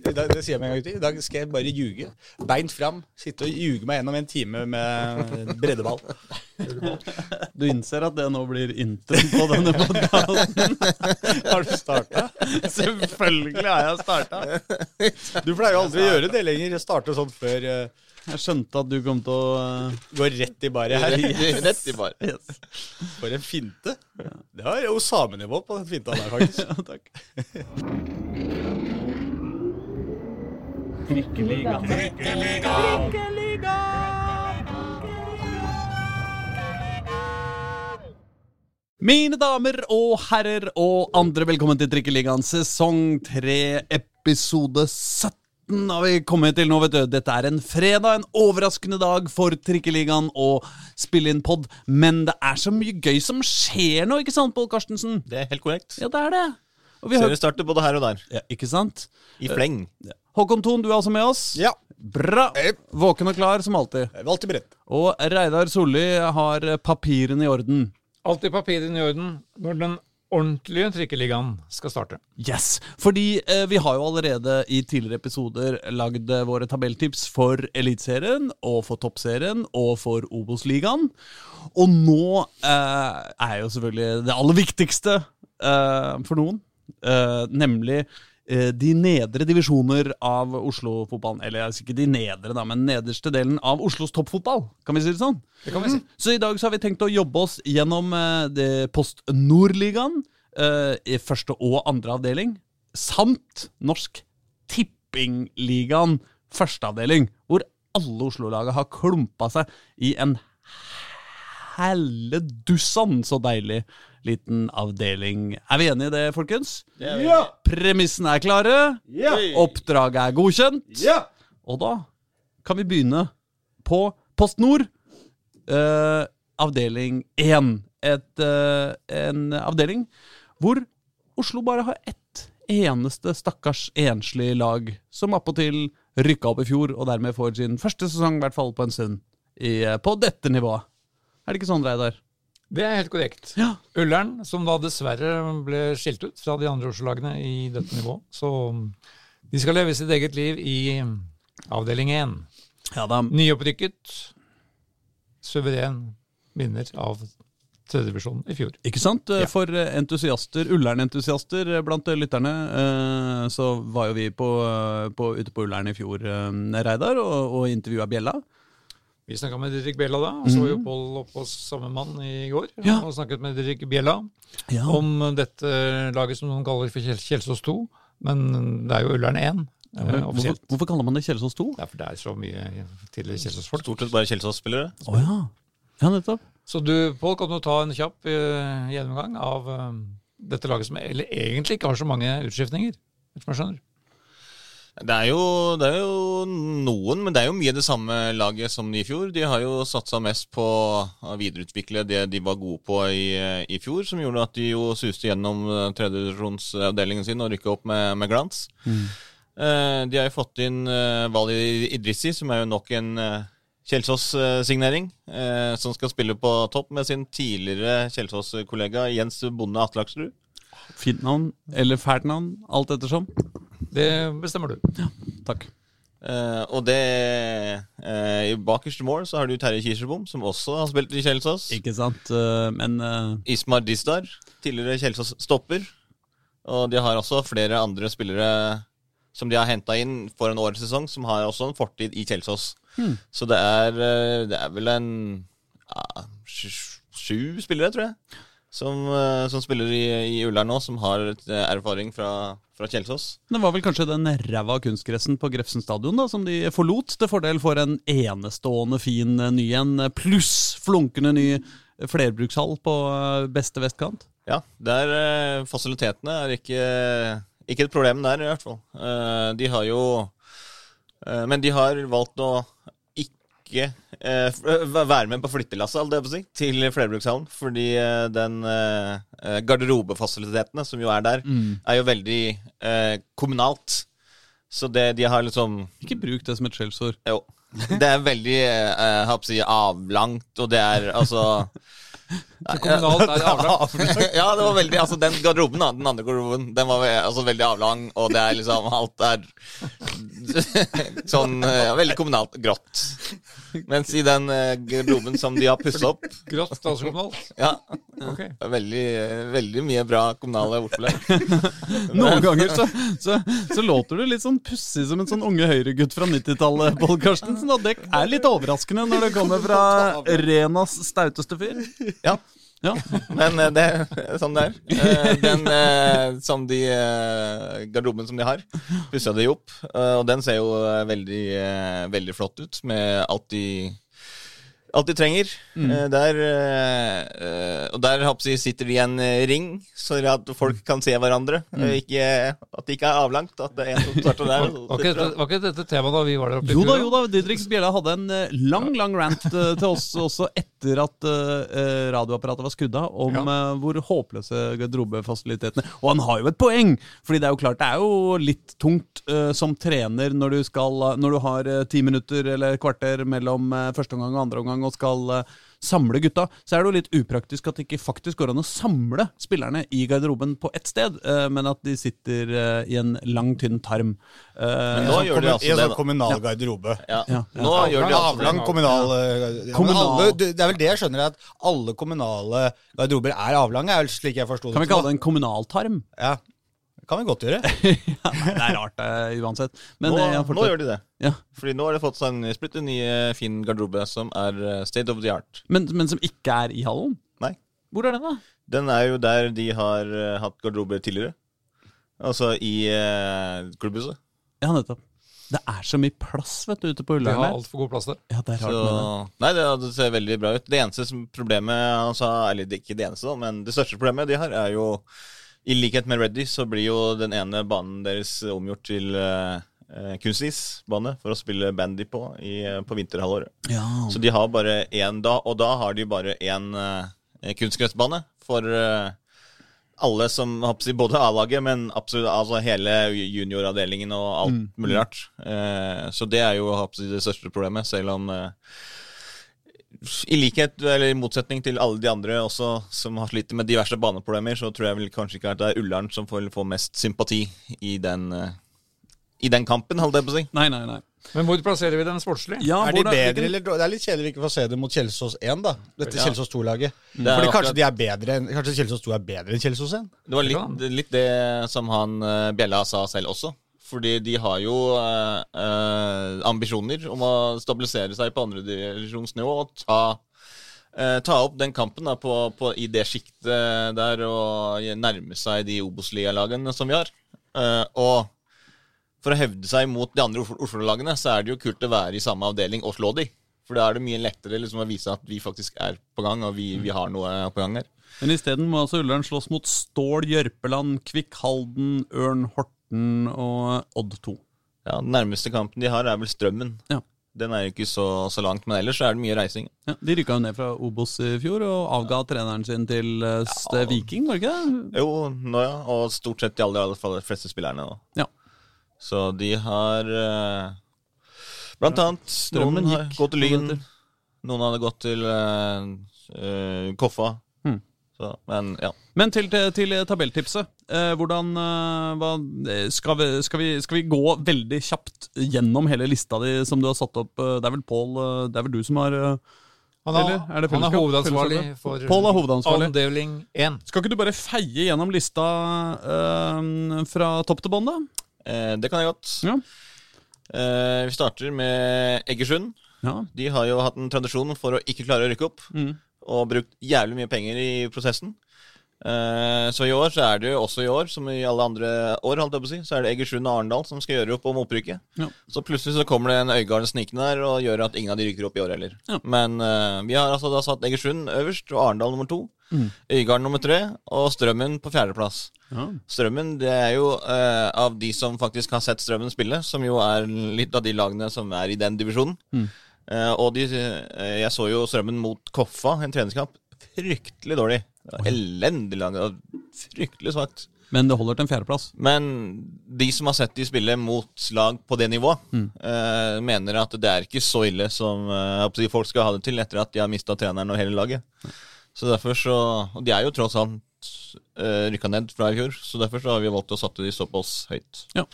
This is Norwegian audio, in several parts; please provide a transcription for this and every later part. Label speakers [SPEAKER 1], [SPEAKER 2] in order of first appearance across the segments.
[SPEAKER 1] I dag, det sier jeg meg en gang ut. I dag skal jeg bare ljuge. Beint fram. Sitte og ljuge meg gjennom en time med breddeball.
[SPEAKER 2] Du innser at det nå blir introen på denne podkasten?
[SPEAKER 1] Har du starta?
[SPEAKER 2] Selvfølgelig har jeg starta.
[SPEAKER 1] Du pleier jo aldri å gjøre det lenger. Starte sånn før uh,
[SPEAKER 2] Jeg skjønte at du kom til å eh,
[SPEAKER 1] Går rett i bare her.
[SPEAKER 3] Rett, rett i bar.
[SPEAKER 2] Yes.
[SPEAKER 1] For en finte. Det har Osame-nivå på den finta der, faktisk.
[SPEAKER 2] Ja, takk. Mine damer og herrer og andre, velkommen til Trikkeligaen sesong 3, episode 17 har vi kommet til nå, vet du. Dette er en fredag, en overraskende dag for Trikkeligaen og spille inn pod, men det er så mye gøy som skjer nå, ikke sant, Pål Karstensen?
[SPEAKER 3] Det er helt korrekt.
[SPEAKER 2] Ja, det er det. Og vi har,
[SPEAKER 3] Seriestarter både her og der.
[SPEAKER 2] ja, ikke sant?
[SPEAKER 3] I fleng.
[SPEAKER 2] Håkon Thon, du er også med oss.
[SPEAKER 1] Ja.
[SPEAKER 2] Bra! Våken og klar som alltid.
[SPEAKER 1] Jeg var alltid beredt.
[SPEAKER 2] Og Reidar Solli har papirene i orden.
[SPEAKER 4] Alltid papirene i orden når den ordentlige trikkeligaen skal starte.
[SPEAKER 2] Yes, fordi eh, vi har jo allerede i tidligere episoder lagd eh, våre tabelltips for Eliteserien og for Toppserien og for Obos-ligaen. Og nå eh, er jo selvfølgelig det aller viktigste eh, for noen, eh, nemlig eh, de nedre divisjoner av Oslo-fotballen. Eller altså ikke de nedre, da, men nederste delen av Oslos toppfotball, kan vi si det sånn.
[SPEAKER 4] Det kan vi si.
[SPEAKER 2] Så i dag så har vi tenkt å jobbe oss gjennom eh, det Post Nordligaen eh, i første og andre avdeling, samt Norsk Tippingligaen første avdeling, hvor alle Oslo-laget har klumpa seg i en helledussan så deilig liten avdeling. Er vi enige i det, folkens?
[SPEAKER 3] Ja!
[SPEAKER 2] Premissene er klare,
[SPEAKER 3] Ja!
[SPEAKER 2] oppdraget er godkjent.
[SPEAKER 3] Ja!
[SPEAKER 2] Og da kan vi begynne på Post Nord, eh, avdeling 1. Et, eh, en avdeling hvor Oslo bare har ett eneste stakkars enslig lag, som appåtil rykka opp i fjor, og dermed får sin første sesong, i hvert fall på en stund, i, eh, på dette nivået. Er det ikke sånn, Reidar?
[SPEAKER 4] Det er helt korrekt.
[SPEAKER 2] Ja.
[SPEAKER 4] Ullern, som da dessverre ble skilt ut fra de andre Oslo-lagene i dette nivået. Så um, de skal leve sitt eget liv i um, avdeling 1.
[SPEAKER 2] Ja da.
[SPEAKER 4] Nyopprykket, suveren vinner av tredjedivisjonen i fjor.
[SPEAKER 2] Ikke sant? For eh, entusiaster, Ullern-entusiaster eh, blant eh, lytterne, eh, så var jo vi på, eh, på, ute på Ullern i fjor, eh, Reidar, og, og intervjua Bjella.
[SPEAKER 4] Vi snakka med Didrik Bjella da, og så jo Pål oppe hos samme mann i går.
[SPEAKER 2] Mm. Ja.
[SPEAKER 4] Og snakket med Didrik Bjella.
[SPEAKER 2] Ja.
[SPEAKER 4] om dette laget som noen kaller for Kjel- Kjelsås 2, men det er jo Ullern 1 eh,
[SPEAKER 2] hvorfor,
[SPEAKER 4] offisielt.
[SPEAKER 2] hvorfor kaller man det Kjelsås 2?
[SPEAKER 4] Det er for det er så mye tidligere Kjelsås-folk.
[SPEAKER 3] Stort sett bare Kjelsås-spillere.
[SPEAKER 2] Å ja. Ja, nettopp.
[SPEAKER 4] Så du, Pål, kan jo ta en kjapp eh, gjennomgang av eh, dette laget som eller, egentlig ikke har så mange utskiftninger, som jeg skjønner.
[SPEAKER 3] Det er, jo, det er jo noen, men det er jo mye det samme laget som i fjor. De har jo satsa mest på å videreutvikle det de var gode på i, i fjor, som gjorde at de jo suste gjennom tredjedivisjonsavdelingen sin og rykka opp med, med glans. Eh, De har jo fått inn eh, Wali Idrissi, som er jo nok en eh, Kjelsås-signering, eh, som skal spille på topp med sin tidligere Kjelsås-kollega Jens Bonde Atlaksrud.
[SPEAKER 2] Fint navn, eller fælt navn, alt ettersom.
[SPEAKER 4] Det bestemmer du.
[SPEAKER 2] Takk.
[SPEAKER 3] Eh, og det eh, I bakerste mål så har du Terje Kirsebom, som også har spilt i Kjelsås.
[SPEAKER 2] Ikke sant? eh, Men eh,
[SPEAKER 3] Ismar Disdar, tidligere Kjelsås stopper. Og de har også flere andre spillere som de har henta inn for en årets sesong, som har også en fortid i Kjelsås. Så det er, eh, det er vel en ja, sju- sju spillere, tror jeg, som, eh, som spiller i, i Ullern nå, som har eh, erfaring fra, fra Kjelsås.
[SPEAKER 2] det var vel kanskje den ræva kunstgressen på Grefsen stadion da, som de forlot, til fordel for en enestående fin eh, ny en, eh, pluss flunkende ny flerbrukshall på eh, beste vestkant.
[SPEAKER 3] Ja, der eh, fasilitetene er ikke, ikke et problem der, i hvert fall. Eh, De har jo eh, Men de har valgt å ikke eh, f- eh, være med på flyttelasset, holdt jeg på å si, til flerbrukshallen. Fordi eh, den eh, eh, garderobefasilitetene som jo er der, er jo veldig eh, kommunalt. Så det de har liksom
[SPEAKER 2] Ikke bruk det som et skjellsord.
[SPEAKER 3] jo. Det er veldig eh, eh, hva skal jeg si, avlangt, og det er altså
[SPEAKER 4] Så kommunalt er det avlagt.
[SPEAKER 3] ja, det var veldig Altså, den garderoben, da, den andre garderoben, den var ve- altså, veldig avlang, og det er liksom Alt er sånn eh, ja, veldig kommunalt grått. Mens i den eh, garderoben som de har pussa opp
[SPEAKER 4] Grått statskommunalt.
[SPEAKER 3] Ja,
[SPEAKER 4] Ok.
[SPEAKER 3] det er veldig, eh, veldig mye bra kommunale ordforlag.
[SPEAKER 2] Noen ganger så, så, så låter du litt sånn pussig som en sånn unge høyregutt fra 90-tallet, Pål Karstensen. Og det er litt overraskende når det kommer fra Renas stauteste fyr.
[SPEAKER 3] Ja.
[SPEAKER 2] Ja.
[SPEAKER 3] Men eh, det er sånn det er. Eh, Den eh, som de eh, Garderoben som de har, pussa de opp. eh, Og den ser jo eh, veldig, eh, veldig flott ut, med alt de Alt de trenger.
[SPEAKER 2] Mm.
[SPEAKER 3] Eh, Der, eh, eh, og der håper jeg, sitter de i en eh, ring, så at folk kan se hverandre.
[SPEAKER 2] Mm.
[SPEAKER 3] Eh, Ikke, at det ikke er avlangt. At det er en som starter der. og så
[SPEAKER 4] Var ikke,
[SPEAKER 3] sitter
[SPEAKER 4] dette, var ikke dette tema da vi var der oppe? i
[SPEAKER 2] Jo da,
[SPEAKER 4] fjor,
[SPEAKER 2] jo da. Didrik Bjella hadde en eh, lang, lang rant eh, til oss også etter at eh, radioapparatet var skrudd av, om eh, hvor håpløse garderobefasilitetene Og han har jo et poeng! Fordi det er jo klart, det er jo litt tungt eh, som trener når du, skal, når du har eh, ti minutter eller kvarter mellom eh, første omgang og andre omgang og skal eh, samle gutta, så er det jo litt upraktisk at det ikke faktisk går an å samle spillerne i garderoben på ett sted, eh, men at de sitter eh, i en lang, tynn tarm. Eh,
[SPEAKER 3] Men nå gjør de
[SPEAKER 1] I
[SPEAKER 3] altså
[SPEAKER 1] en
[SPEAKER 3] det,
[SPEAKER 1] sånn
[SPEAKER 3] da.
[SPEAKER 1] kommunal garderobe.
[SPEAKER 3] Ja.
[SPEAKER 2] Ja.
[SPEAKER 3] Nå gjør de altså det.
[SPEAKER 1] Avlang kommunal eh, garderobe. Ja, men
[SPEAKER 2] Kommunal.
[SPEAKER 1] alle- Det det er vel det jeg skjønner, at alle kommunale garderober er avlange, er vel slik jeg forsto det.
[SPEAKER 2] Kan vi kalle det en kommunaltarm?
[SPEAKER 1] Ja, det kan vi godt gjøre.
[SPEAKER 2] ja, nei, det er rart eh, uansett. Men
[SPEAKER 3] Nå,
[SPEAKER 2] eh, jeg
[SPEAKER 3] nå
[SPEAKER 2] fortsetter.
[SPEAKER 3] gjør de det.
[SPEAKER 2] ja.
[SPEAKER 3] Fordi nå har de fått seg en splitter ny eh, fin garderobe som er eh, state of the art.
[SPEAKER 2] men, men som ikke er i hallen?
[SPEAKER 3] Nei.
[SPEAKER 2] Hvor er den, da?
[SPEAKER 3] Den er jo der de har eh, hatt garderober tidligere. Altså i eh, klubbhuset.
[SPEAKER 2] Ja, nettopp. Det er så mye plass vet du, ute på
[SPEAKER 4] Det
[SPEAKER 2] Ullern.
[SPEAKER 4] har
[SPEAKER 2] der.
[SPEAKER 4] altfor god plass der.
[SPEAKER 2] Ja, det er
[SPEAKER 3] Så,
[SPEAKER 2] rart med det.
[SPEAKER 3] nei, det, det ser veldig bra ut. Det eneste som problemet han sa, eller det- ikke det eneste, da, men det største problemet de har, er jo I likhet med Reddy så blir jo den ene banen deres omgjort til eh, eh, kunstisbane for å spille bandy på i, eh, på vinterhalvåret.
[SPEAKER 2] Ja.
[SPEAKER 3] Så de har bare én da, og da har de bare én eh, kunstgressbane for eh, alle som hva skal jeg si, Både A-laget, men absolutt altså hele junioravdelingen og alt mulig rart. Eh, så det er jo hva skal jeg si, det største problemet, selv om eh, i likhet, eller i motsetning til alle de andre også som har slitt med diverse baneproblemer, så tror jeg vel kanskje ikke at det er Ullern som får, får mest sympati i den, eh, i den kampen, holdt jeg på å si.
[SPEAKER 2] Nei, nei, nei.
[SPEAKER 4] Men hvor plasserer vi den sportslig?
[SPEAKER 2] Ja,
[SPEAKER 1] er de
[SPEAKER 2] hvordan-
[SPEAKER 1] bedre eller dårlig? Det er litt kjedelig å ikke få se det mot Kjelsås 1, da. Dette
[SPEAKER 3] Ja.
[SPEAKER 1] Kjelsås 2-laget.
[SPEAKER 3] er
[SPEAKER 1] Fordi
[SPEAKER 3] akkurat-
[SPEAKER 1] kanskje de er bedre enn Kanskje Kjelsås 2 er bedre enn Kjelsås 1?
[SPEAKER 3] Det var
[SPEAKER 4] Ja.
[SPEAKER 3] litt, litt det som han eh, Bjella sa selv også. Fordi de har jo eh, eh, ambisjoner om å stabilisere seg på andredivisjonsnivå og ta, eh, ta opp den kampen da, på, på, i det sjiktet der og nærme seg de Obos-ligalagene som vi har. Eh, og for å hevde seg mot de andre Oslo- Oslo-lagene, så er det jo kult å være i samme avdeling og slå de. For da er det mye lettere liksom, å vise at vi faktisk er på gang, og vi, vi har noe på gang her.
[SPEAKER 2] Men isteden må altså Ullern slåss mot Stål, Jørpeland, Kvikk Halden, Ørn, Horten og Odd 2.
[SPEAKER 3] Ja, Den nærmeste kampen de har, er vel Strømmen.
[SPEAKER 2] Ja.
[SPEAKER 3] Den er jo ikke så, så langt, men ellers så er det mye reising.
[SPEAKER 2] Ja, de rykka jo ned fra Obos i fjor og avga treneren sin til eh, s- Viking, var det ikke det?
[SPEAKER 3] Jo, nå ja, og stort sett de aller, aller fall- fleste spillerne nå.
[SPEAKER 2] Ja.
[SPEAKER 3] Så de har eh, Blant annet
[SPEAKER 2] Strømmen
[SPEAKER 3] noen har
[SPEAKER 2] gikk
[SPEAKER 3] gått til
[SPEAKER 2] noen
[SPEAKER 3] Lyn,
[SPEAKER 2] meter.
[SPEAKER 3] noen hadde gått til eh, eh, Koffa.
[SPEAKER 2] Mm.
[SPEAKER 3] Så, men ja.
[SPEAKER 2] Men til, til, til tabelltipset. Eh, hvordan, eh, hva, eh, skal, vi, skal, vi, skal vi gå veldig kjapt gjennom hele lista di som du har satt opp? Eh, Det er vel Pål eh, Det er vel du som har eh,
[SPEAKER 4] Han er,
[SPEAKER 2] Eller er det
[SPEAKER 4] han er
[SPEAKER 2] fellesskap?
[SPEAKER 4] hovedansvarlig
[SPEAKER 2] Fellesskapet?
[SPEAKER 4] for
[SPEAKER 2] Pål er hovedansvarlig.
[SPEAKER 4] avdeling 1.
[SPEAKER 2] Skal ikke du bare feie gjennom lista eh, fra topp til bånn, da?
[SPEAKER 3] Eh, det kan jeg godt.
[SPEAKER 2] Ja.
[SPEAKER 3] Eh, vi starter med Egersund.
[SPEAKER 2] ja.
[SPEAKER 3] De har jo hatt en tradisjon for å ikke klare å rykke opp.
[SPEAKER 2] Mm.
[SPEAKER 3] og brukt jævlig mye penger i prosessen. Eh, så i år så er det jo også i år, som i alle andre år, holdt jeg på å si, så er det Egersund og Arendal som skal gjøre opp om opprykket.
[SPEAKER 2] Ja.
[SPEAKER 3] Så plutselig så kommer det en Øygarden snikende der og gjør at ingen av de rykker opp i år heller.
[SPEAKER 2] Ja.
[SPEAKER 3] Men eh, vi har altså da satt Egersund øverst og Arendal nummer to.
[SPEAKER 2] Mm.
[SPEAKER 3] Øygarden nummer tre og Strømmen på fjerdeplass.
[SPEAKER 2] ja.
[SPEAKER 3] Strømmen det er jo eh, av de som faktisk har sett Strømmen spille, som jo er litt av de lagene som er i den divisjonen.
[SPEAKER 2] Mm.
[SPEAKER 3] Eh, og de, eh, jeg så jo Strømmen mot Koffa, en treningskamp. Fryktelig dårlig. Det var Elendig lag. det var Fryktelig svakt.
[SPEAKER 2] Men det holder til en fjerdeplass.
[SPEAKER 3] Men de som har sett de spille mot lag på det nivået, eh, mener at det er ikke så ille som eh, jeg håper å si folk skal ha det til etter at de har mista treneren og hele laget. Så derfor så Og de er jo tross alt uh, rykka ned fra i fjor, så derfor så har vi valgt å satte de såpass høyt.
[SPEAKER 2] Ja.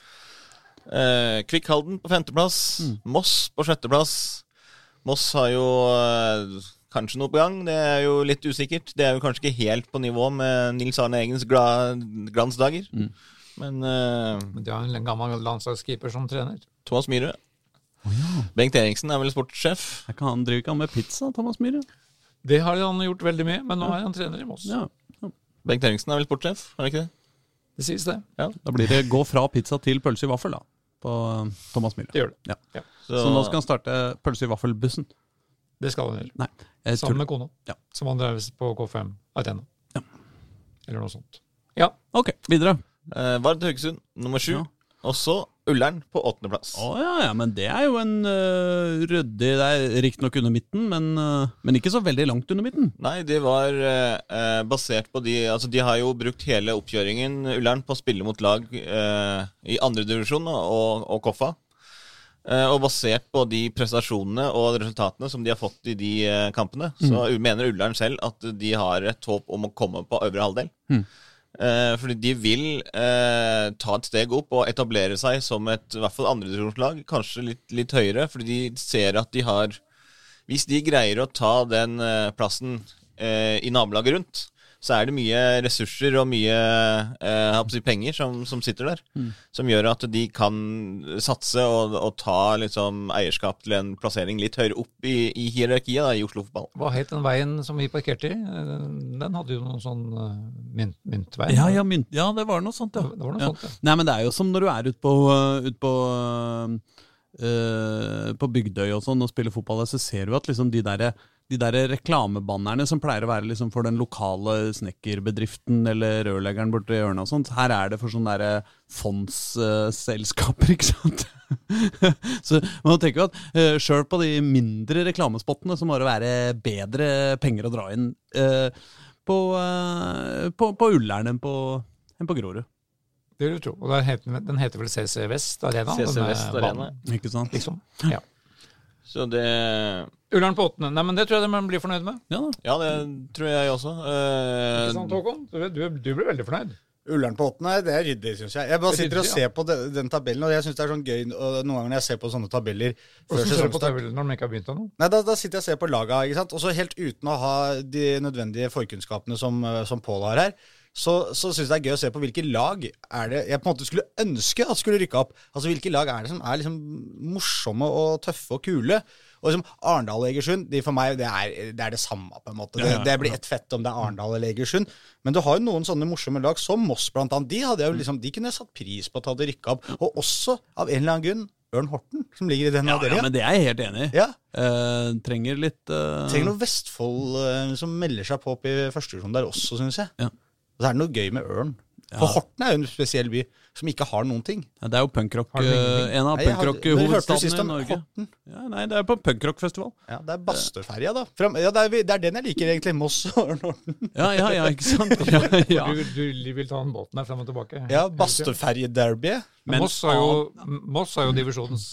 [SPEAKER 3] Eh, Kvikk Halden på femteplass, Moss på sjetteplass. Moss har jo eh, kanskje noe på gang, det er jo litt usikkert. Det er jo kanskje ikke helt på nivå med Nils Arne Eggens gla glansdager. Men eh,
[SPEAKER 4] Men de har en gammel landslagskeeper som trener.
[SPEAKER 3] Thomas Myhre Bengt Eriksen er vel sportssjef.
[SPEAKER 2] Er ikke han, driver ikke han med pizza, Thomas Myhre?
[SPEAKER 4] Det har han gjort veldig mye, men nå er han trener i Moss.
[SPEAKER 2] Ja.
[SPEAKER 3] Bengt Eriksen er vel sportssjef, er det ikke det?
[SPEAKER 4] Det sies det.
[SPEAKER 2] Da blir det gå fra pizza til pølse i vaffel, da. På eh, Thomas Myhre.
[SPEAKER 4] Det gjør det.
[SPEAKER 2] Ja.
[SPEAKER 4] Ja.
[SPEAKER 3] Så,
[SPEAKER 2] Så nå skal han starte pølse i vaffelbussen.
[SPEAKER 4] Det skal han gjøre.
[SPEAKER 2] Nei, jeg
[SPEAKER 4] Sammen
[SPEAKER 2] tuller.
[SPEAKER 4] med kona,
[SPEAKER 2] Ja.
[SPEAKER 4] som han drev på K5 Arena.
[SPEAKER 2] Ja.
[SPEAKER 4] Eller noe sånt. Ja.
[SPEAKER 2] Ok, videre.
[SPEAKER 3] eh, Vard Haugesund nummer sju.
[SPEAKER 2] Ja.
[SPEAKER 3] Og så Ullern på åttendeplass.
[SPEAKER 2] Å ja, ja, men det er jo en uh, ryddig Det er riktignok under midten, men, eh, men ikke så veldig langt under midten.
[SPEAKER 3] Nei, det var eh, eh, basert på de Altså, de har jo brukt hele oppkjøringen, Ullern, på å spille mot lag eh, i andredivisjon og, og Koffa. Eh, og basert på de prestasjonene og resultatene som de har fått i de eh, kampene, så mener Ullern selv at de har et håp om å komme på øvre halvdel. Eh, fordi de vil eh, ta et steg opp og etablere seg som et i hvert fall andredivisjonslag, kanskje litt, litt høyere, fordi de ser at de har hvis de greier å ta den eh, plassen eh, i nabolaget rundt, så er det mye ressurser og mye eh, jeg håper å si penger som, som sitter der. Som gjør at de kan satse og, og ta liksom, eierskap til en plassering litt høyere opp i, i hierarkiet da, i Oslo fotball.
[SPEAKER 4] Hva het den veien som vi parkerte i? Eh, Den hadde jo noen sånn eh, mynt, myntvei.
[SPEAKER 2] Ja, ja, mynt, ja, det var noe sånt, ja.
[SPEAKER 4] Det var noe
[SPEAKER 2] ja.
[SPEAKER 4] sånt, ja.
[SPEAKER 2] Nei, men det er jo som når du er ute på, øh, ut på, øh, øh, på Bygdøy og sånn og spiller fotball, så ser du at liksom de der, de der reklamebannerne som pleier å være liksom for den lokale snekkerbedriften eller rørleggeren borte i hjørnet og sånt, her er det for sånne der fondsselskaper, ikke sant? så man tenker jo at uh, sjøl på de mindre reklamespottene så må det være bedre penger å dra inn eh, på, eh, på, på Ullern enn på, enn på Grorud.
[SPEAKER 4] Det vil du tro. Og der het den, den heter vel CC Vest Arena?
[SPEAKER 3] CC
[SPEAKER 4] denne
[SPEAKER 3] Vest Arena.
[SPEAKER 4] banen,
[SPEAKER 2] Ikke sant?
[SPEAKER 4] Liksom. Ja.
[SPEAKER 3] Så det
[SPEAKER 4] Ullern på åttende. Nei, men det tror jeg de blir fornøyd med.
[SPEAKER 2] Ja da.
[SPEAKER 3] Ja, det tror jeg også.
[SPEAKER 4] Ikke
[SPEAKER 3] Eh,
[SPEAKER 4] sant, Håkon? Du, du, du blir veldig fornøyd.
[SPEAKER 1] Ullern på åttende, det er ryddig, syns jeg. Jeg bare
[SPEAKER 4] Det er
[SPEAKER 1] sitter og
[SPEAKER 4] ryddig, ja.
[SPEAKER 1] ser på de- den tabellen, og jeg syns det er sånn gøy og noen ganger når jeg ser på sånne tabeller før
[SPEAKER 4] Hvordan ser du på
[SPEAKER 1] sesongstart.
[SPEAKER 4] tabellen når de ikke har begynt ennå?
[SPEAKER 1] Nei, da, da sitter jeg og ser på laga, ikke sant? Og så helt uten å ha de nødvendige forkunnskapene som, eh, som Pål har her, så, så syns jeg det er gøy å se på hvilke lag er det jeg på en måte skulle ønske at skulle rykke opp. Altså hvilke lag er det som er liksom morsomme og tøffe og kule. Og liksom Arendal og Egersund, de for meg, det er det, er det samme, på en måte. Det, det blir ett fett om det er Arendal eller Egersund. Men du har jo noen sånne morsomme lag, som Moss blant annet. De, hadde jeg
[SPEAKER 2] Mm.
[SPEAKER 1] jo liksom, de kunne jeg satt pris på at hadde rykka opp. Og også, av en eller annen grunn, Ørn Horten, som ligger i den
[SPEAKER 2] Ja, ja,
[SPEAKER 1] avdelinga.
[SPEAKER 2] men det er jeg helt enig i.
[SPEAKER 1] Ja,
[SPEAKER 2] Eh, trenger litt eh,
[SPEAKER 1] Trenger noe Vestfold eh, som melder seg på opp i første divisjon der også, syns jeg.
[SPEAKER 2] Ja.
[SPEAKER 1] Og så er det noe gøy med Ørn. For Horten er jo en spesiell by som ikke har noen ting.
[SPEAKER 2] ja, Det er jo punkrock.
[SPEAKER 4] Har du ingenting?
[SPEAKER 2] eh, en av
[SPEAKER 1] Nei, jeg har- dere hørte jo sist
[SPEAKER 2] punkrock-hovedstadene i
[SPEAKER 1] om
[SPEAKER 2] Norge.
[SPEAKER 1] Horten.
[SPEAKER 2] Ja, nei, det er på punkrockfestival.
[SPEAKER 1] Ja, det er Bastøferja, da. Fram, ja, det, er, vi- det er den jeg liker, egentlig. Moss og Ørn Horten.
[SPEAKER 2] Ja, ja, ja, ikke sant? Ja, ja.
[SPEAKER 4] Du, du vil ta den båten her frem og tilbake?
[SPEAKER 1] Ja, Bastøferjederby.
[SPEAKER 4] Men
[SPEAKER 2] Men
[SPEAKER 4] Moss er jo, Moss er jo divisjonens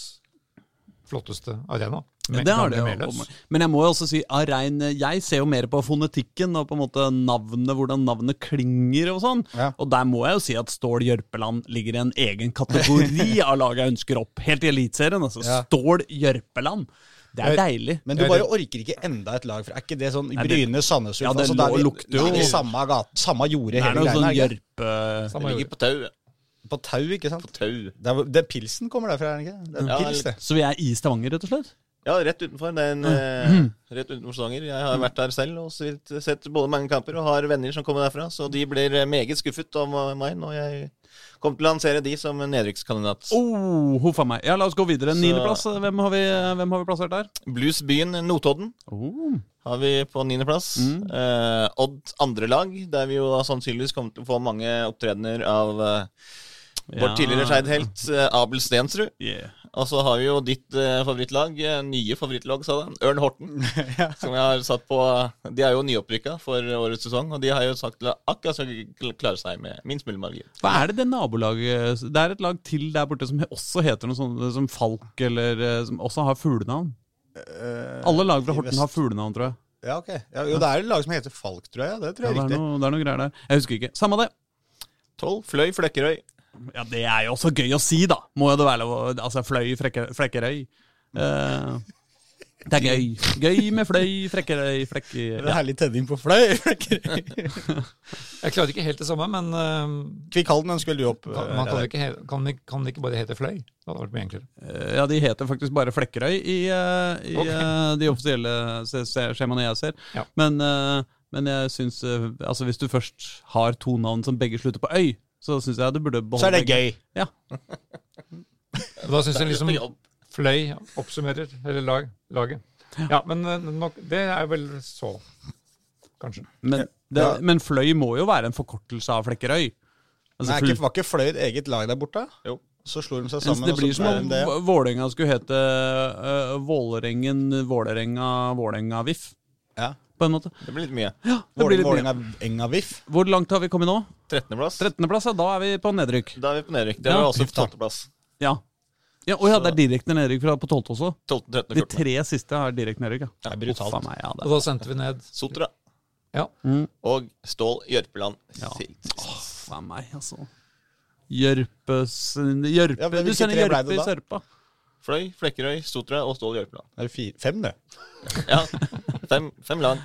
[SPEAKER 4] flotteste arena. Med
[SPEAKER 2] Det har det
[SPEAKER 4] gamle Meløs.
[SPEAKER 2] jo. Men jeg må jo også si av rein Jeg ser jo mer på fonetikken og på en måte navnet, hvordan navnet klinger og sånn.
[SPEAKER 1] Ja.
[SPEAKER 2] Og der må jeg jo si at Stål Jørpeland ligger i en egen kategori av lag jeg ønsker opp. Helt i Eliteserien, altså.
[SPEAKER 1] Ja.
[SPEAKER 2] Stål Jørpeland. Det er
[SPEAKER 4] Jeg-
[SPEAKER 2] deilig.
[SPEAKER 1] Men du bare orker ikke enda et lag, for er ikke det sånn
[SPEAKER 2] det-
[SPEAKER 1] Bryne, Sandnes
[SPEAKER 2] Ja, det
[SPEAKER 1] Ullfoss, og da er vi-
[SPEAKER 2] lukter jo-
[SPEAKER 1] da er vi samme, gate, samme jordet,
[SPEAKER 2] Det er
[SPEAKER 1] hele
[SPEAKER 2] noe
[SPEAKER 1] greia.
[SPEAKER 2] sånn
[SPEAKER 1] ikke?
[SPEAKER 2] jørpe...
[SPEAKER 4] Samme
[SPEAKER 3] ligger
[SPEAKER 4] jorda.
[SPEAKER 3] på tau.
[SPEAKER 1] På tau, ikke sant?
[SPEAKER 3] Tau.
[SPEAKER 1] Det er, det er pilsen kommer derfra, er det ikke? Det er
[SPEAKER 3] Ja,
[SPEAKER 1] pils, det.
[SPEAKER 2] Så vi er i Stavanger, rett og slett?
[SPEAKER 3] Ja, rett utenfor. Det er en,
[SPEAKER 2] Mm.
[SPEAKER 3] eh, rett utenfor Stavanger. Jeg har vært der selv og sett sett både mange kamper og har venner som kommer derfra, så de blir eh, meget skuffet av meg når jeg kommer til å lansere de som en nedrykkskandidat.
[SPEAKER 2] Oh, huff a meg. Ja, la oss gå videre.
[SPEAKER 3] Så-
[SPEAKER 2] Niendeplass, hvem, har vi- hvem har vi plassert der?
[SPEAKER 3] Bluesbyen Notodden
[SPEAKER 2] Oh.
[SPEAKER 3] har vi på niendeplass.
[SPEAKER 2] Mm.
[SPEAKER 3] Eh, Odd andre lag, der vi jo da sannsynligvis kommer til å få mange opptredener av eh, vår
[SPEAKER 2] Ja.
[SPEAKER 3] tidligere Skeid-helt eh, Abel Stensrud.
[SPEAKER 2] Yeah.
[SPEAKER 3] Og så har vi jo ditt eh, favorittlag, eh, nye favorittlag, sa den, Ørn Horten. Som jeg har satt på De er jo nyopprykka for årets sesong, og de har jo sagt til at akkurat skal kl- klare seg med minst mulig margin.
[SPEAKER 2] Hva er det det nabolaget Det er et lag til der borte som he- også heter noe sånt som Falk, eller eh, som også har fuglenavn. Alle lag fra
[SPEAKER 1] i
[SPEAKER 2] Horten
[SPEAKER 1] vest.
[SPEAKER 2] har fuglenavn, tror jeg.
[SPEAKER 1] Ja, ok. Ja, jo, det er et lag som heter Falk, tror jeg. Det tror
[SPEAKER 2] Ja,
[SPEAKER 1] jeg
[SPEAKER 2] det,
[SPEAKER 1] er
[SPEAKER 2] er
[SPEAKER 1] riktig.
[SPEAKER 2] noe, det er noe greier der. Jeg husker ikke. Samme det.
[SPEAKER 3] Tolv. Fløy Flekkerøy.
[SPEAKER 2] Ja, Det er jo også gøy å si, da. Må jo det være lov å Altså, fløy frekke, Flekkerøy. Eh, det er gøy. Gøy med fløy, Flekkerøy, Flekkerøy
[SPEAKER 1] Det
[SPEAKER 2] ja.
[SPEAKER 1] er herlig tenning på fløy.
[SPEAKER 4] Jeg klarte ikke helt det samme, men øhm,
[SPEAKER 1] Kvikkhalden ønsker vel du opp? eh,
[SPEAKER 4] kan, man kan,
[SPEAKER 1] Reidar?
[SPEAKER 4] det ikke, he- kan, det- kan det ikke bare hete Fløy? Det hadde vært mye enklere.
[SPEAKER 2] Eh, ja, de heter faktisk bare Flekkerøy i, eh, i
[SPEAKER 4] Ok.
[SPEAKER 2] eh, de offisielle se- se- skjemaene jeg ser.
[SPEAKER 4] Ja.
[SPEAKER 2] Men, eh, men jeg syns eh, Altså, hvis du først har to navn som begge slutter på øy, så syns jeg du burde beholde
[SPEAKER 1] Så er det
[SPEAKER 2] begge.
[SPEAKER 1] gøy.
[SPEAKER 2] Ja.
[SPEAKER 4] Da syns jeg liksom Fløy oppsummerer hele lag, laget. Ja, men øh, nok, det er vel så, kanskje.
[SPEAKER 2] Men, det,
[SPEAKER 1] Ja.
[SPEAKER 2] men fløy må jo være en forkortelse av Flekkerøy. Altså,
[SPEAKER 1] Nei,
[SPEAKER 2] fl-
[SPEAKER 1] ikke, var ikke Fløy et eget lag der borte?
[SPEAKER 3] Jo.
[SPEAKER 1] Så slo de seg
[SPEAKER 2] Mens
[SPEAKER 1] sammen.
[SPEAKER 2] det
[SPEAKER 1] og så
[SPEAKER 2] blir som
[SPEAKER 1] ble
[SPEAKER 2] om
[SPEAKER 1] de altså, det.
[SPEAKER 2] Vå- Vålerenga skulle hete eh, Vålerengen, Vålerenga, Vålerenga VIF,
[SPEAKER 1] Ja.
[SPEAKER 2] på en måte.
[SPEAKER 3] Det blir litt mye.
[SPEAKER 2] Det blir litt mye.
[SPEAKER 1] Vålerenga Enga VIF.
[SPEAKER 2] Hvor langt har vi kommet nå?
[SPEAKER 3] 13.-plass.
[SPEAKER 2] 13.-plass, ja. Da er vi på nedrykk.
[SPEAKER 3] Da er vi på nedrykk. Det
[SPEAKER 2] Ja.
[SPEAKER 3] er jo også
[SPEAKER 1] Drift, da.
[SPEAKER 3] 12.-plass.
[SPEAKER 2] Ja. Ja, Å ja,
[SPEAKER 3] Så-
[SPEAKER 2] det er direkte nedrykk fra på 12. også.
[SPEAKER 3] 12., 13.
[SPEAKER 2] De
[SPEAKER 3] og 14.
[SPEAKER 2] tre siste har direkte nedrykk, ja.
[SPEAKER 1] Det er brutalt.
[SPEAKER 2] Faen meg, ja, det.
[SPEAKER 4] Og da sendte vi ned
[SPEAKER 3] Sotra
[SPEAKER 4] Ja.
[SPEAKER 3] og Stål Jørpeland.
[SPEAKER 2] Ja.
[SPEAKER 3] Silt.
[SPEAKER 2] Faen meg, altså. Jørpe, s- Jørpe.
[SPEAKER 1] Ja, men
[SPEAKER 2] Du
[SPEAKER 1] hvilke
[SPEAKER 2] sender
[SPEAKER 1] tre ble
[SPEAKER 2] Jørpe
[SPEAKER 1] det
[SPEAKER 2] i
[SPEAKER 1] da?
[SPEAKER 2] sørpa.
[SPEAKER 3] Fløy, Flekkerøy, Sotra og Stål Jørpeland.
[SPEAKER 1] Det er fire, fem, det.
[SPEAKER 3] Ja, fem, fem lag.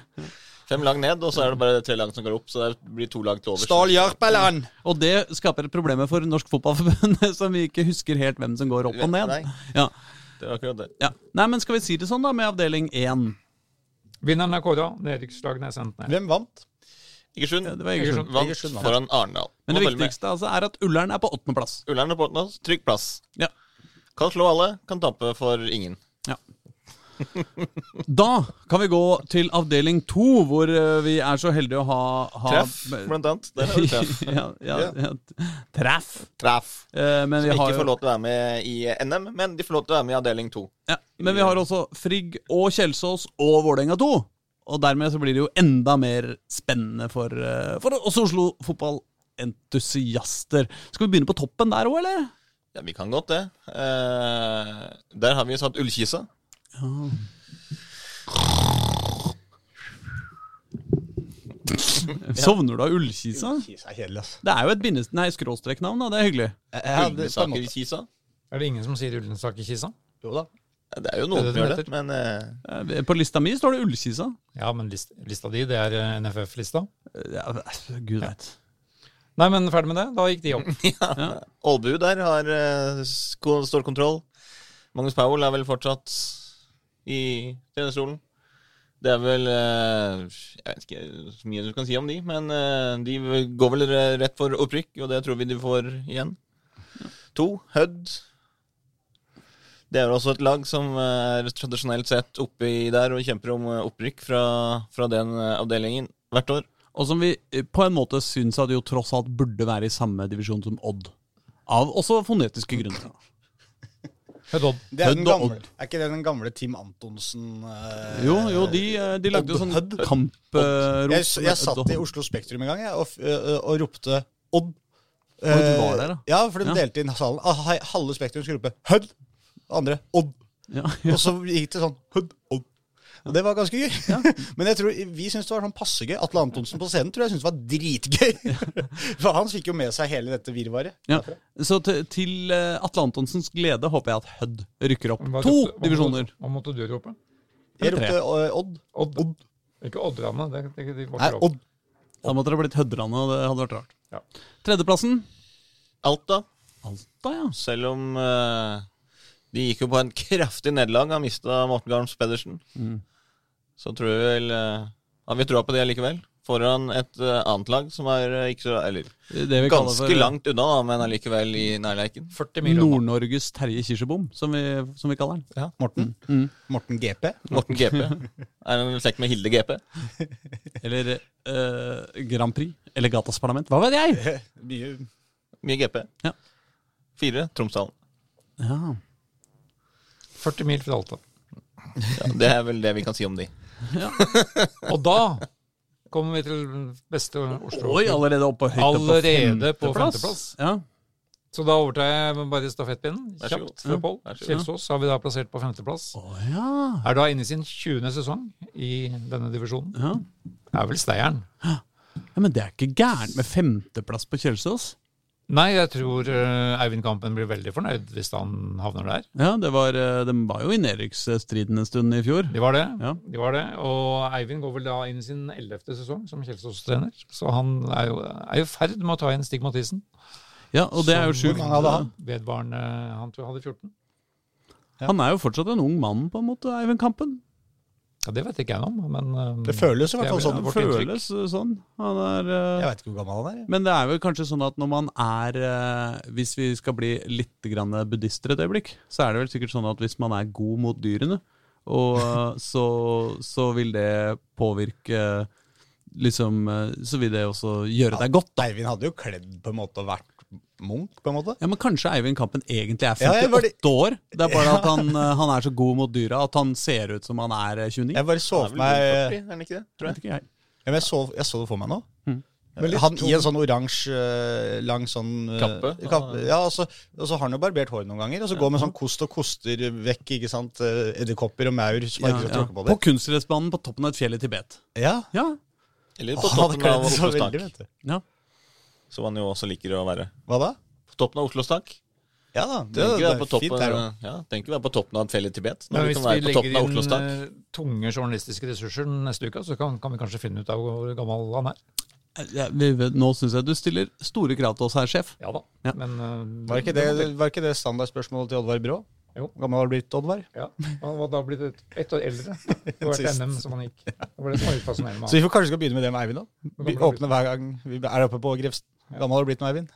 [SPEAKER 3] Fem lag ned, og så er det bare tre lag som går opp. Så det blir to lag til overs.
[SPEAKER 1] Stål Jørpeland!
[SPEAKER 2] Og det skaper problemer for Norsk Fotballforbund, som vi ikke husker helt hvem som går opp og ned.
[SPEAKER 3] Nei.
[SPEAKER 2] Ja.
[SPEAKER 3] Det var akkurat det.
[SPEAKER 2] Ja. Nei, men skal vi si det sånn, da, med avdeling 1?
[SPEAKER 4] Vinneren er kåra, nedrykkslagene er sendt ned.
[SPEAKER 1] Hvem vant?
[SPEAKER 3] Egersund
[SPEAKER 2] Ja, det var Egersund.
[SPEAKER 3] Egersund vant
[SPEAKER 1] Egersund vant.
[SPEAKER 3] foran Arendal.
[SPEAKER 2] Men det
[SPEAKER 3] Må følge med.
[SPEAKER 2] viktigste altså, er at Ullern er på åttendeplass.
[SPEAKER 3] Ullern og Portnas, trygg plass.
[SPEAKER 2] Ja.
[SPEAKER 3] Kan slå alle, kan tape for ingen.
[SPEAKER 2] Da kan vi gå til avdeling to, hvor eh, vi er så heldige å ha, ha
[SPEAKER 3] Treff, blant annet. Der har du treff.
[SPEAKER 2] ja, ja, ja. Treff.
[SPEAKER 3] treff.
[SPEAKER 2] Eh, men, vi
[SPEAKER 3] Som
[SPEAKER 2] har,
[SPEAKER 3] ikke får
[SPEAKER 2] jo-
[SPEAKER 3] lov til å være med i NM, men de får lov til å være med i avdeling to.
[SPEAKER 2] ja, men vi har også Frigg og Kjelsås og Vålerenga 2. Og dermed så blir det jo enda mer spennende for, eh, for oss Oslo fotballentusiaster. Skal vi begynne på toppen der òg, eller?
[SPEAKER 3] Ja, vi kan godt det. Eh, der har vi satt ullkisa.
[SPEAKER 2] Sovner du av ullkisa?
[SPEAKER 1] Det er kjedelig, ass.
[SPEAKER 2] Det er jo et bindes- nei, skråstreknavn, da. Det er hyggelig.
[SPEAKER 1] Ja, det, på en måte.
[SPEAKER 3] Ullensaker-kisa.
[SPEAKER 4] Er det ingen som sier Ullensaker-Kisa?
[SPEAKER 1] Jo da.
[SPEAKER 3] Ja, Det er jo
[SPEAKER 4] Det
[SPEAKER 3] noen
[SPEAKER 4] er det
[SPEAKER 3] som gjør
[SPEAKER 4] det
[SPEAKER 3] det, men eh,
[SPEAKER 2] Eh, På lista mi står det Ullkisa. Eh,
[SPEAKER 4] Ja, men list, lista di, det er eh, NFF-lista.
[SPEAKER 2] Ja, altså, Gud veit.
[SPEAKER 4] Nei, men ferdig med det. Da gikk de opp.
[SPEAKER 3] Ålbu der har eh, sko- stålkontroll. Magnus Powell er vel fortsatt i trenerstolen. Det er vel eh, Jeg vet ikke så mye du kan si om de, men eh, de går vel rett for opprykk, og det tror vi de får igjen. To. Hødd. Det er vel også et lag som eh, er tradisjonelt sett oppi der og kjemper om eh, opprykk fra, fra den eh, avdelingen hvert år.
[SPEAKER 2] Og som vi eh, på en måte syns at jo tross alt burde være i samme divisjon som Odd. Av også fonetiske grunner.
[SPEAKER 4] Hødd Odd.
[SPEAKER 1] Det er, den
[SPEAKER 2] Hødd og
[SPEAKER 1] gamle,
[SPEAKER 2] Odd.
[SPEAKER 1] er ikke det den gamle Team Antonsen eh,
[SPEAKER 2] Jo, jo, de, eh, de lagde jo
[SPEAKER 1] Odd-
[SPEAKER 2] sånn
[SPEAKER 1] Odd.
[SPEAKER 2] kamprop.
[SPEAKER 1] jeg, jeg satt i Oslo Spektrum en gang jeg, og, f- øh, og ropte Odd. Eh,
[SPEAKER 2] du var der, da?
[SPEAKER 1] ja, for de
[SPEAKER 2] Ja.
[SPEAKER 1] delte inn salen. Ah, hei, Halve Spektrum skulle rope Hødd! Andre Odd.
[SPEAKER 2] Ja,
[SPEAKER 1] Og så gikk det sånn Hødd! Odd. Og det var ganske gøy. Men jeg tror, vi syntes det var sånn passe gøy. Atle Antonsen på scenen tror jeg syntes det var dritgøy. For han fikk jo med seg hele dette virvaret.
[SPEAKER 2] ja. Så til, til eh, Atle Antonsens glede håper jeg at Hødd rykker opp.
[SPEAKER 4] Hva
[SPEAKER 2] To
[SPEAKER 4] ropte- hva-
[SPEAKER 2] divisjoner!
[SPEAKER 4] Hva måtte du rope?
[SPEAKER 1] Jeg
[SPEAKER 2] Eller tre.
[SPEAKER 1] ropte øh, Odd.
[SPEAKER 4] Odd. Ikke Odd-ranet. Det, det, det var
[SPEAKER 1] Nei,
[SPEAKER 4] ikke lov.
[SPEAKER 1] Odd.
[SPEAKER 2] Da måtte det ha blitt Høddrande, og det hadde vært rart.
[SPEAKER 4] Ja.
[SPEAKER 2] Tredjeplassen
[SPEAKER 3] Alta
[SPEAKER 2] Alta, ja.
[SPEAKER 3] Selv om eh, de gikk jo på en kraftig nederlag, har mista Morten Garms Pedersen.
[SPEAKER 1] Mm.
[SPEAKER 3] Så tror vi vel eh, Har vi troa på det likevel? Foran et eh, annet lag som er eh, ikke så Eller
[SPEAKER 2] Det vi kaller
[SPEAKER 3] ganske
[SPEAKER 2] for eh,
[SPEAKER 3] langt unna, da, men allikevel i nærleiken.
[SPEAKER 4] 40 mil unna.
[SPEAKER 2] Nord-Norges Terje Kirsebom, som vi, som vi kaller den.
[SPEAKER 1] Morten. Morten GP.
[SPEAKER 3] Morten GP. Er en slekt med Hilde GP.
[SPEAKER 2] Eller eh, Grand Prix. Eller Gatas Parlament. Hva vet jeg?
[SPEAKER 1] Mye
[SPEAKER 3] Mye GP.
[SPEAKER 2] Ja.
[SPEAKER 3] Fire Tromsdalen.
[SPEAKER 2] Ja.
[SPEAKER 4] 40 mil fra Alta.
[SPEAKER 3] Ja, det er vel det vi kan si om de.
[SPEAKER 4] Og da kommer vi til beste Oslo.
[SPEAKER 2] Oi, allerede oppe høyt oppe på
[SPEAKER 4] Allerede på
[SPEAKER 2] femteplass.
[SPEAKER 4] femteplass.
[SPEAKER 2] Ja.
[SPEAKER 4] Så da overtar jeg bare stafettpinnen.
[SPEAKER 3] Vær så god.
[SPEAKER 4] Kjapt fra Pål.
[SPEAKER 3] Vær så god.
[SPEAKER 4] Kjelsås har vi da plassert på femteplass.
[SPEAKER 2] Å ja.
[SPEAKER 4] Er da inne i sin 20. sesong i denne divisjonen.
[SPEAKER 2] ja.
[SPEAKER 4] Det er vel steieren.
[SPEAKER 2] Ja, Men det er ikke gærent med femteplass på Kjelsås.
[SPEAKER 4] Nei, jeg tror eh, Eivind Kampen blir veldig fornøyd hvis han havner der.
[SPEAKER 2] Ja, det var, eh, De var jo i nedrykksstriden en stund i fjor.
[SPEAKER 4] De var det.
[SPEAKER 2] Ja.
[SPEAKER 4] De var det. Og Eivind går vel da inn i sin ellevte sesong som Kjelsås-trener. Så han er jo er i ferd med å ta igjen Stig Mathisen.
[SPEAKER 2] Ja, Og det er jo
[SPEAKER 4] Som
[SPEAKER 2] sjukt.
[SPEAKER 1] mange hadde han?
[SPEAKER 4] Vedvarende Han tror jeg hadde 14.
[SPEAKER 2] Han er jo fortsatt en ung mann, på en måte, Eivind Kampen.
[SPEAKER 4] Ja, Det vet ikke jeg noe om, men eh,
[SPEAKER 1] Det føles i hvert fall
[SPEAKER 4] Det er
[SPEAKER 1] sånn.
[SPEAKER 4] vårt
[SPEAKER 2] Føles eh, sånn. Han er eh,
[SPEAKER 1] Jeg veit ikke hvor gammel han er. jeg.
[SPEAKER 2] Men det er vel kanskje sånn at når man er eh, Hvis vi skal bli litt grann buddhister et øyeblikk, så er det vel sikkert sånn at hvis man er god mot dyrene, og, eh, så, så vil det påvirke eh, Liksom eh, Så vil det også gjøre deg godt.
[SPEAKER 1] Eivind hadde jo kledd på en måte og vært Munch, på en måte.
[SPEAKER 2] Ja, Men kanskje Eivind Kampen egentlig er
[SPEAKER 1] Ja,
[SPEAKER 2] 58
[SPEAKER 1] jeg var det-
[SPEAKER 2] år? Det er bare at han, eh, han er så god mot dyra at han ser ut som han er eh, 29.
[SPEAKER 1] Jeg bare så
[SPEAKER 3] Han er
[SPEAKER 1] for
[SPEAKER 3] vel
[SPEAKER 1] meg
[SPEAKER 3] rundt 40, er han ikke det? Tror jeg.
[SPEAKER 2] vet ikke jeg.
[SPEAKER 1] ja, men jeg, så, jeg så det for meg nå.
[SPEAKER 3] Mm.
[SPEAKER 4] Men litt
[SPEAKER 1] Han
[SPEAKER 4] tung-
[SPEAKER 1] i en sånn oransje, eh, lang sånn eh,
[SPEAKER 3] Kappe.
[SPEAKER 1] kappe. Ja, og så, og så har han jo barbert håret noen ganger. Og så går han med sånn kost og koster vekk, ikke sant. eh, Edderkopper og maur. som
[SPEAKER 2] Ja,
[SPEAKER 1] har ikke
[SPEAKER 2] ja.
[SPEAKER 1] tråkket
[SPEAKER 2] På,
[SPEAKER 1] På det.
[SPEAKER 2] kunstgressbanen på toppen av et fjell i Tibet.
[SPEAKER 1] Ja.
[SPEAKER 2] Ja,
[SPEAKER 3] Eller på
[SPEAKER 1] Han hadde
[SPEAKER 3] toppen
[SPEAKER 1] kledd
[SPEAKER 3] av
[SPEAKER 1] det så
[SPEAKER 3] Oslo Stank,
[SPEAKER 1] veldig, vet du.
[SPEAKER 2] ja.
[SPEAKER 3] som han jo også liker å være.
[SPEAKER 1] Hva da?
[SPEAKER 3] På toppen av Oslo Stank.
[SPEAKER 1] Ja da. Det,
[SPEAKER 3] Trenger ikke
[SPEAKER 1] det
[SPEAKER 3] være på
[SPEAKER 1] er fint
[SPEAKER 3] toppen,
[SPEAKER 1] der òg.
[SPEAKER 3] ja, trenger ikke være på toppen av et fjell i Tibet.
[SPEAKER 4] Men
[SPEAKER 3] Når du
[SPEAKER 4] hvis
[SPEAKER 3] kan
[SPEAKER 4] vi
[SPEAKER 3] være liksom- på toppen
[SPEAKER 4] legger
[SPEAKER 3] av Oslo
[SPEAKER 4] inn
[SPEAKER 3] Stank.
[SPEAKER 4] eh, tunge journalistiske ressurser neste uke, så kan, kan vi kanskje finne ut av hvor gammel han er.
[SPEAKER 2] Eh, Ja, vi, nå syns jeg du stiller store krav til oss her, sjef.
[SPEAKER 4] Ja da.
[SPEAKER 2] Ja.
[SPEAKER 4] Men eh,
[SPEAKER 1] Var ikke det, var ikke det standardspørsmålet til Oddvar Brå?
[SPEAKER 4] Jo.
[SPEAKER 1] Hvor gammel har du blitt, Oddvar?
[SPEAKER 4] Ja, Han var da blitt et- ett år eldre. Det var et
[SPEAKER 1] Sist.
[SPEAKER 4] NM som han gikk. Det var det som var litt fascinerende med
[SPEAKER 1] Så
[SPEAKER 4] han.
[SPEAKER 1] vi får kanskje skal begynne med det med Eivind nå.
[SPEAKER 4] Hvor
[SPEAKER 1] Vi
[SPEAKER 4] gammel har du
[SPEAKER 1] åpner hver gang vi er oppe på Grefsen. Hvor gammel har du blitt nå, Eivind?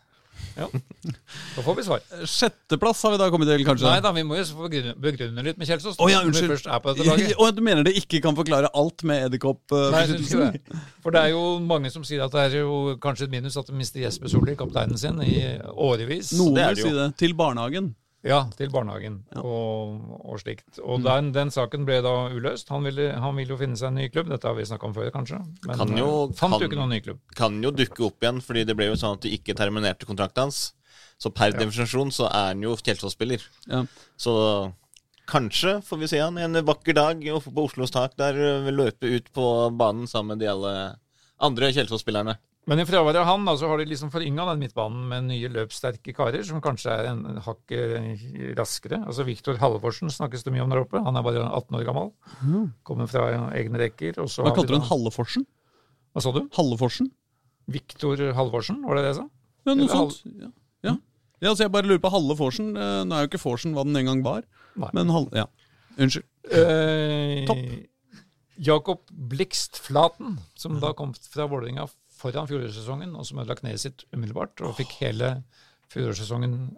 [SPEAKER 4] Da får vi svar.
[SPEAKER 2] Sjetteplass har vi da kommet til, kanskje?
[SPEAKER 4] Nei da, vi må jo få begrunne- begrunne litt med Kjelsås.
[SPEAKER 2] Å ja,
[SPEAKER 4] når vi
[SPEAKER 2] unnskyld.
[SPEAKER 4] først er på dette laget.
[SPEAKER 2] Å, du mener det ikke kan forklare alt med eh,
[SPEAKER 4] Nei, jeg synes
[SPEAKER 2] edderkoppbeskyttelsen?
[SPEAKER 4] ikke det. For det er jo mange som sier at det er jo kanskje et minus at de mister Jesper Solli, kapteinen sin, i årevis.
[SPEAKER 2] Noen
[SPEAKER 3] Det er
[SPEAKER 2] vil
[SPEAKER 3] det
[SPEAKER 2] si
[SPEAKER 3] jo.
[SPEAKER 2] det. Til barnehagen.
[SPEAKER 4] Ja, til barnehagen og, og slikt. Og
[SPEAKER 2] Mm.
[SPEAKER 4] den, den saken ble da uløst. Han ville, han ville jo finne seg en ny klubb. Dette har vi snakka om før, kanskje. Men
[SPEAKER 3] Kan jo-
[SPEAKER 4] eh, fant jo
[SPEAKER 3] kan-
[SPEAKER 4] ikke noen ny klubb.
[SPEAKER 3] Kan jo dukke opp igjen, fordi det ble jo sånn at de ikke terminerte kontrakten hans. Så per definisjon så er han jo Kjelsås-spiller.
[SPEAKER 2] Ja.
[SPEAKER 3] Så kanskje får vi se han en vakker dag oppe på Oslos tak der eh, vil løpe ut på banen sammen med de alle andre Kjelsås-spillerne.
[SPEAKER 4] Men i fraværet av han da, så har de liksom forynga den midtbanen med nye løpssterke karer, som kanskje er en en hakk eh, raskere. Altså Viktor Halvorsen snakkes det mye om der oppe. Han er bare 18 år gammel. Kommer fra egne rekker. Og så
[SPEAKER 2] Mm. Hva
[SPEAKER 4] har vi
[SPEAKER 2] kalte du
[SPEAKER 4] da-
[SPEAKER 2] den? Halleforsen?
[SPEAKER 4] Hva sa du?
[SPEAKER 2] Halleforsen?
[SPEAKER 4] Viktor Halvorsen, var det det jeg sa?
[SPEAKER 2] Ja, noe
[SPEAKER 4] Eller Hall-
[SPEAKER 2] sånt. Ja. Ja. ja, så jeg bare lurer på Halle Forsen. Eh, Nå er jo ikke Forsen hva den en gang var,
[SPEAKER 4] Nei.
[SPEAKER 2] men Halle Ja. Unnskyld.
[SPEAKER 4] Eh,
[SPEAKER 2] Topp.
[SPEAKER 4] Jakob Blikst Flaten, som da kom fra Vålerenga foran fjorårssesongen, og som ødela kneet sitt umiddelbart, og fikk hele fjorårssesongen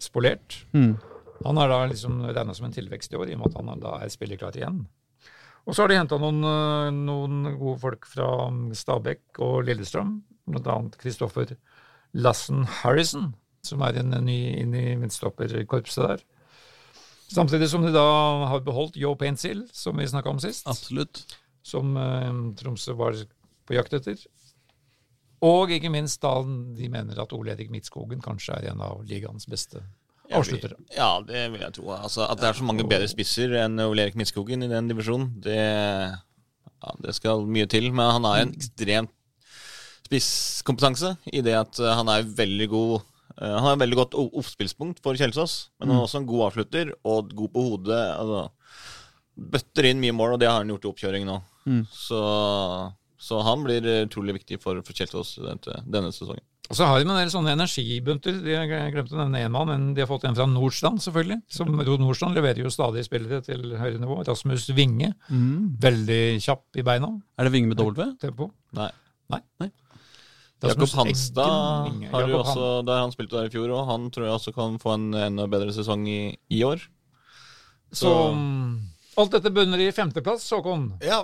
[SPEAKER 4] spolert. Han er da liksom regna som en tilvekst i år, i og med at han da er spillerklar igjen. Og så har de henta noen, eh, noen gode folk fra Stabekk og Lillestrøm, bl.a. Kristoffer Lassen Harrison, som er en ny inn i midtstopperkorpset der. Samtidig som de da har beholdt Yo Painsil, som vi snakka om sist,
[SPEAKER 2] Absolutt.
[SPEAKER 4] som eh, Tromsø var på jakt etter. Og ikke minst da de mener at Ole Erik Midtskogen kanskje er en av ligaens beste avsluttere.
[SPEAKER 3] Ja, det vil jeg tro. Altså, at det er så mange bedre spisser enn Ole Erik Midtskogen i den divisjonen, det, ja, det skal mye til. Men han har en ekstremt spisskompetanse i det at eh, han er veldig god eh, Han har et veldig godt o- oppspillspunkt for Kjelsås, men han er også en god avslutter og god på hodet. Altså, bøtter inn mye mål, og det har han gjort i oppkjøring nå. Så, så han blir eh, utrolig viktig for, for Kjelsås denne, denne sesongen.
[SPEAKER 4] Og så har de en del sånne energibunter. De- Jeg glemte å nevne én mann, men de har fått en fra Nordstrand, selvfølgelig. Som Rod Nordstrand leverer jo stadig spillere til høyere nivå. Rasmus Winge,
[SPEAKER 3] Mm.
[SPEAKER 4] veldig kjapp i beina.
[SPEAKER 2] Er det Vinge med W?
[SPEAKER 4] Tempo.
[SPEAKER 3] Nei.
[SPEAKER 4] Rasmus
[SPEAKER 3] Jakob Hanstad
[SPEAKER 4] Eggen Winge.
[SPEAKER 3] har jo
[SPEAKER 4] Jakob Han-
[SPEAKER 3] også, der han spilte der i fjor, og han tror jeg også kan få en enda bedre sesong i, i år.
[SPEAKER 4] Så mm, alt dette bunner i femteplass, Håkon.
[SPEAKER 1] Ja.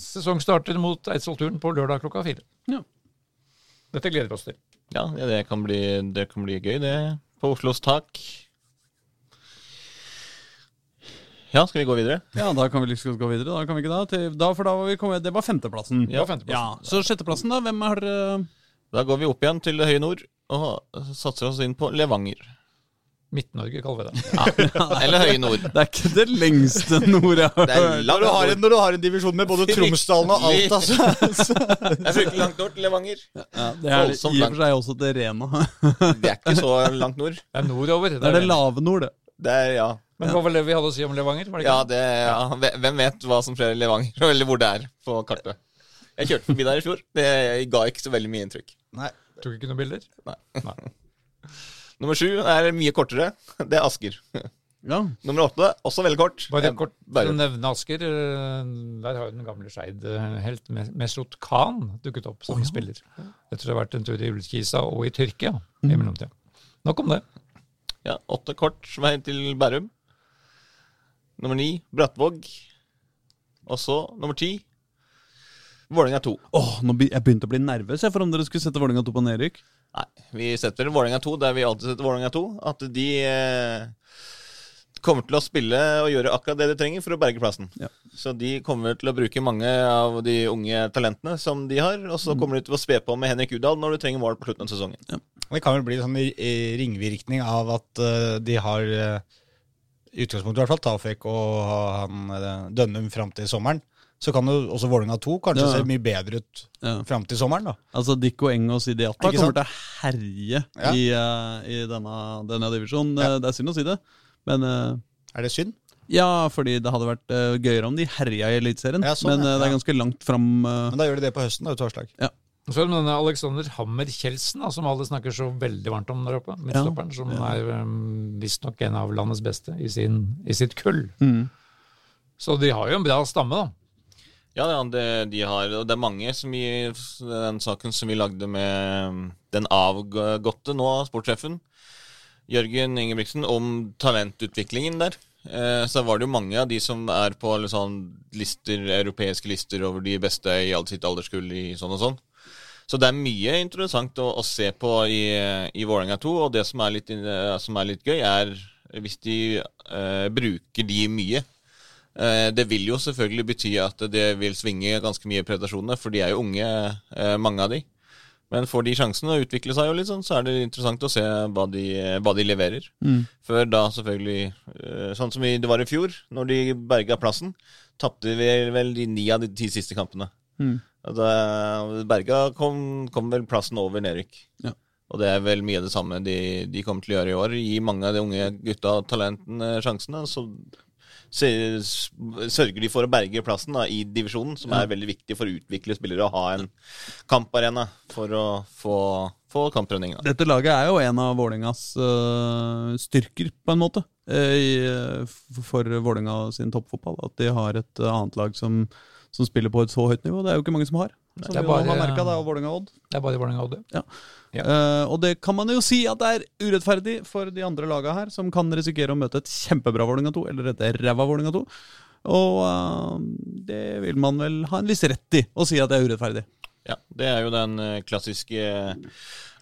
[SPEAKER 4] Sesong starter mot Eidsvollturen på lørdag klokka fire.
[SPEAKER 2] Ja.
[SPEAKER 4] Dette gleder vi oss til.
[SPEAKER 3] Ja, det kan bli, det kan bli gøy, det. På Oslos tak. Ja, skal vi gå videre?
[SPEAKER 2] Ja, da kan vi liksom gå videre. Da kan vi ikke da, til, da for da var vi kommet Det var femteplassen.
[SPEAKER 4] Ja, femteplass.
[SPEAKER 2] Ja, Så sjetteplassen, da? Hvem har eh,
[SPEAKER 3] Da går vi opp igjen til det høye nord. og satser oss inn på Levanger.
[SPEAKER 4] Midt-Norge kaller vi det.
[SPEAKER 3] Eller Høye Nord.
[SPEAKER 2] Det er ikke det lengste nord jeg har
[SPEAKER 3] Det er
[SPEAKER 2] hørt.
[SPEAKER 1] Når du, har en, når du har en divisjon med både Tromsdalen og Alta, så
[SPEAKER 3] Det er fryktelig langt nord til Levanger.
[SPEAKER 2] Ja, det er i og
[SPEAKER 3] Voldsomt
[SPEAKER 2] for seg også det rene.
[SPEAKER 3] Det er ikke så langt nord.
[SPEAKER 4] Det er nordover.
[SPEAKER 2] Det er det lave nord, det.
[SPEAKER 3] Det er, ja.
[SPEAKER 4] Men hva var det vi hadde å si om Levanger? Var det
[SPEAKER 3] Ja,
[SPEAKER 4] ikke?
[SPEAKER 3] det, ja. Hvem vet hva som skjer i Levanger, eller hvor det er på kartet. Jeg kjørte forbi der i fjor. Det ga ikke så veldig mye inntrykk.
[SPEAKER 1] Nei.
[SPEAKER 4] Tok ikke noen bilder?
[SPEAKER 3] Nummer sju er mye kortere. Det er Asker.
[SPEAKER 2] Ja.
[SPEAKER 3] Nummer åtte, også veldig kort.
[SPEAKER 4] Bare
[SPEAKER 3] Eh,
[SPEAKER 4] kort for å
[SPEAKER 3] Bærum.
[SPEAKER 4] nevne Asker. eh, Der har jo den gamle Skeid-helt Mes- Mesut Khan dukket opp som spiller. Jeg tror det har vært en tur i Ullkisa og i Tyrkia i mellomtida. Nok om det.
[SPEAKER 3] Ja, åtte kort vei til Bærum. Nummer ni, Brattvåg. Og så nummer ti, Vålerenga 2.
[SPEAKER 2] Åh, nå be jeg begynte å bli nervøs jeg, for om dere skulle sette Vålerenga 2 på nedrykk.
[SPEAKER 3] Nei, vi setter Vålerenga 2 der vi alltid setter Vålerenga 2. At de eh, kommer til å spille og gjøre akkurat det de trenger for å berge plassen.
[SPEAKER 2] Ja.
[SPEAKER 3] Så de kommer til å bruke mange av de unge talentene som de har. Og så kommer de til å spe på med Henrik Udal når du trenger mål på slutten av sesongen.
[SPEAKER 1] Det kan vel bli en sånn i- ringvirkning av at eh, de har eh, I utgangspunktet i hvert fall Tafek og han eh, Dønnum fram til sommeren. Så kan jo også Vålerenga 2 kanskje
[SPEAKER 2] Ja.
[SPEAKER 1] se mye bedre ut
[SPEAKER 2] Ja.
[SPEAKER 1] fram til sommeren, da.
[SPEAKER 2] Altså Dikko Engås i Diata
[SPEAKER 1] Ikke sant?
[SPEAKER 2] kommer til å herje
[SPEAKER 1] Ja.
[SPEAKER 2] i, eh, i denne, denne divisjonen.
[SPEAKER 1] Ja.
[SPEAKER 2] Eh, Det er synd å si det, men eh,
[SPEAKER 1] Er det synd?
[SPEAKER 2] ja, fordi det hadde vært eh, gøyere om de herja i Eliteserien.
[SPEAKER 1] Ja, sånn,
[SPEAKER 2] men
[SPEAKER 1] ja.
[SPEAKER 2] eh,
[SPEAKER 1] Ja.
[SPEAKER 2] det er ganske langt fram. eh,
[SPEAKER 1] Men da gjør de det på høsten, da, ute avslag.
[SPEAKER 4] Og Så er det denne Alexander Hammer Kjeldsen, da, som alle snakker så veldig varmt om der oppe. Midtstopperen, som er um, visstnok en av landets beste i, sin, i sitt kull.
[SPEAKER 2] Mm.
[SPEAKER 4] Så de har jo en bra stamme, da.
[SPEAKER 3] Ja, ja det, de har, og det er mange som i den saken som vi lagde med um, den avgåtte nå, sportssjefen, Jørgen Ingebrigtsen, om talentutviklingen der. Eh, så var det jo mange av de som er på alle sånn lister, europeiske lister over de beste i alt sitt alderskull i sånn og sånn. Så det er mye interessant å, å se på i, i Vålerenga 2, og det som er litt, eh, som er litt gøy, er hvis de eh, bruker de mye. Eh, Det vil jo selvfølgelig bety at det vil svinge ganske mye i prestasjonene, for de er jo unge, eh, mange av de. Men får de sjansen å utvikle seg, jo litt sånn, så er det interessant å se hva de, hva de leverer.
[SPEAKER 1] mm,
[SPEAKER 3] Før da selvfølgelig, eh, sånn som i- det var i fjor, når de berga plassen, tapte vi vel de ni av de ti siste kampene.
[SPEAKER 2] Mm.
[SPEAKER 3] Og Da, berga kom, kom vel plassen over nedrykk.
[SPEAKER 2] Ja.
[SPEAKER 3] Og det er vel mye av det samme de, de kommer til å gjøre i år. Gi mange av de unge gutta talentene sjansene, så se- s- sørger de for å berge plassen da, i divisjonen, som er veldig viktig for å utvikle spillere og ha en kamparena for å få, få kamptrening. Da.
[SPEAKER 2] Dette laget er jo en av Vålerengas eh, styrker, på en måte, eh, i, eh, f- for Vålerenga sin toppfotball. At de har et eh, annet lag som, som spiller på et så høyt nivå. Det er jo ikke mange som har. Som
[SPEAKER 4] Det er
[SPEAKER 2] vi jo har
[SPEAKER 4] bare-
[SPEAKER 2] merket, det er jo Vålerenga og Odd.
[SPEAKER 4] Det er bare Vålerenga og Odd.
[SPEAKER 2] Ja.
[SPEAKER 4] Ja.
[SPEAKER 2] Eh, og det kan man jo si at det er urettferdig for de andre laga her, som kan risikere å møte et kjempebra Vålerenga 2, eller et ræva Vålerenga 2. Og eh, det vil man vel ha en viss rett i, å si at det er urettferdig.
[SPEAKER 3] Ja, det er jo den eh, klassiske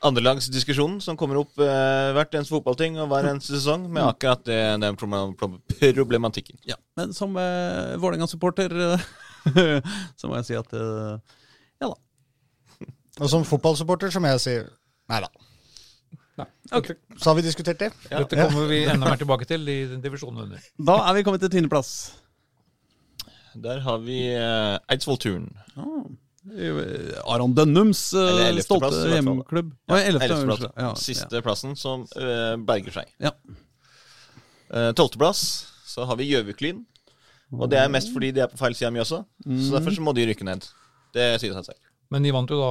[SPEAKER 3] andrelagsdiskusjonen som kommer opp eh, hvert eneste fotballting og hver eneste sesong, med akkurat det, den problem- problematikken.
[SPEAKER 2] Ja, men som eh, Vålerenga-supporter eh, så må jeg si at eh, ja da.
[SPEAKER 1] Og som fotballsupporter så må jeg si nei da.
[SPEAKER 4] Nei.
[SPEAKER 1] Så har vi diskutert det.
[SPEAKER 4] Dette kommer vi enda mer tilbake til i den divisjonen under.
[SPEAKER 2] Da er vi kommet til tiendeplass.
[SPEAKER 3] Der har vi eh, Eidsvoll Turn.
[SPEAKER 2] Eh, Aron Dønnums eh,
[SPEAKER 3] Eller ellevteplass,
[SPEAKER 2] stolte
[SPEAKER 3] i hvert fall.
[SPEAKER 2] hjemklubb. Ja, ellevte,
[SPEAKER 3] Ellevteplass.
[SPEAKER 2] unnskyld. Ja,
[SPEAKER 3] Siste plassen som eh, berger seg.
[SPEAKER 2] Ja.
[SPEAKER 3] Eh, Tolvteplass så har vi Gjøviklyn. Og det er mest fordi de er på feil side av Mjøsa. Så derfor så må de rykke ned. Det sier seg selv.
[SPEAKER 4] Men de vant jo da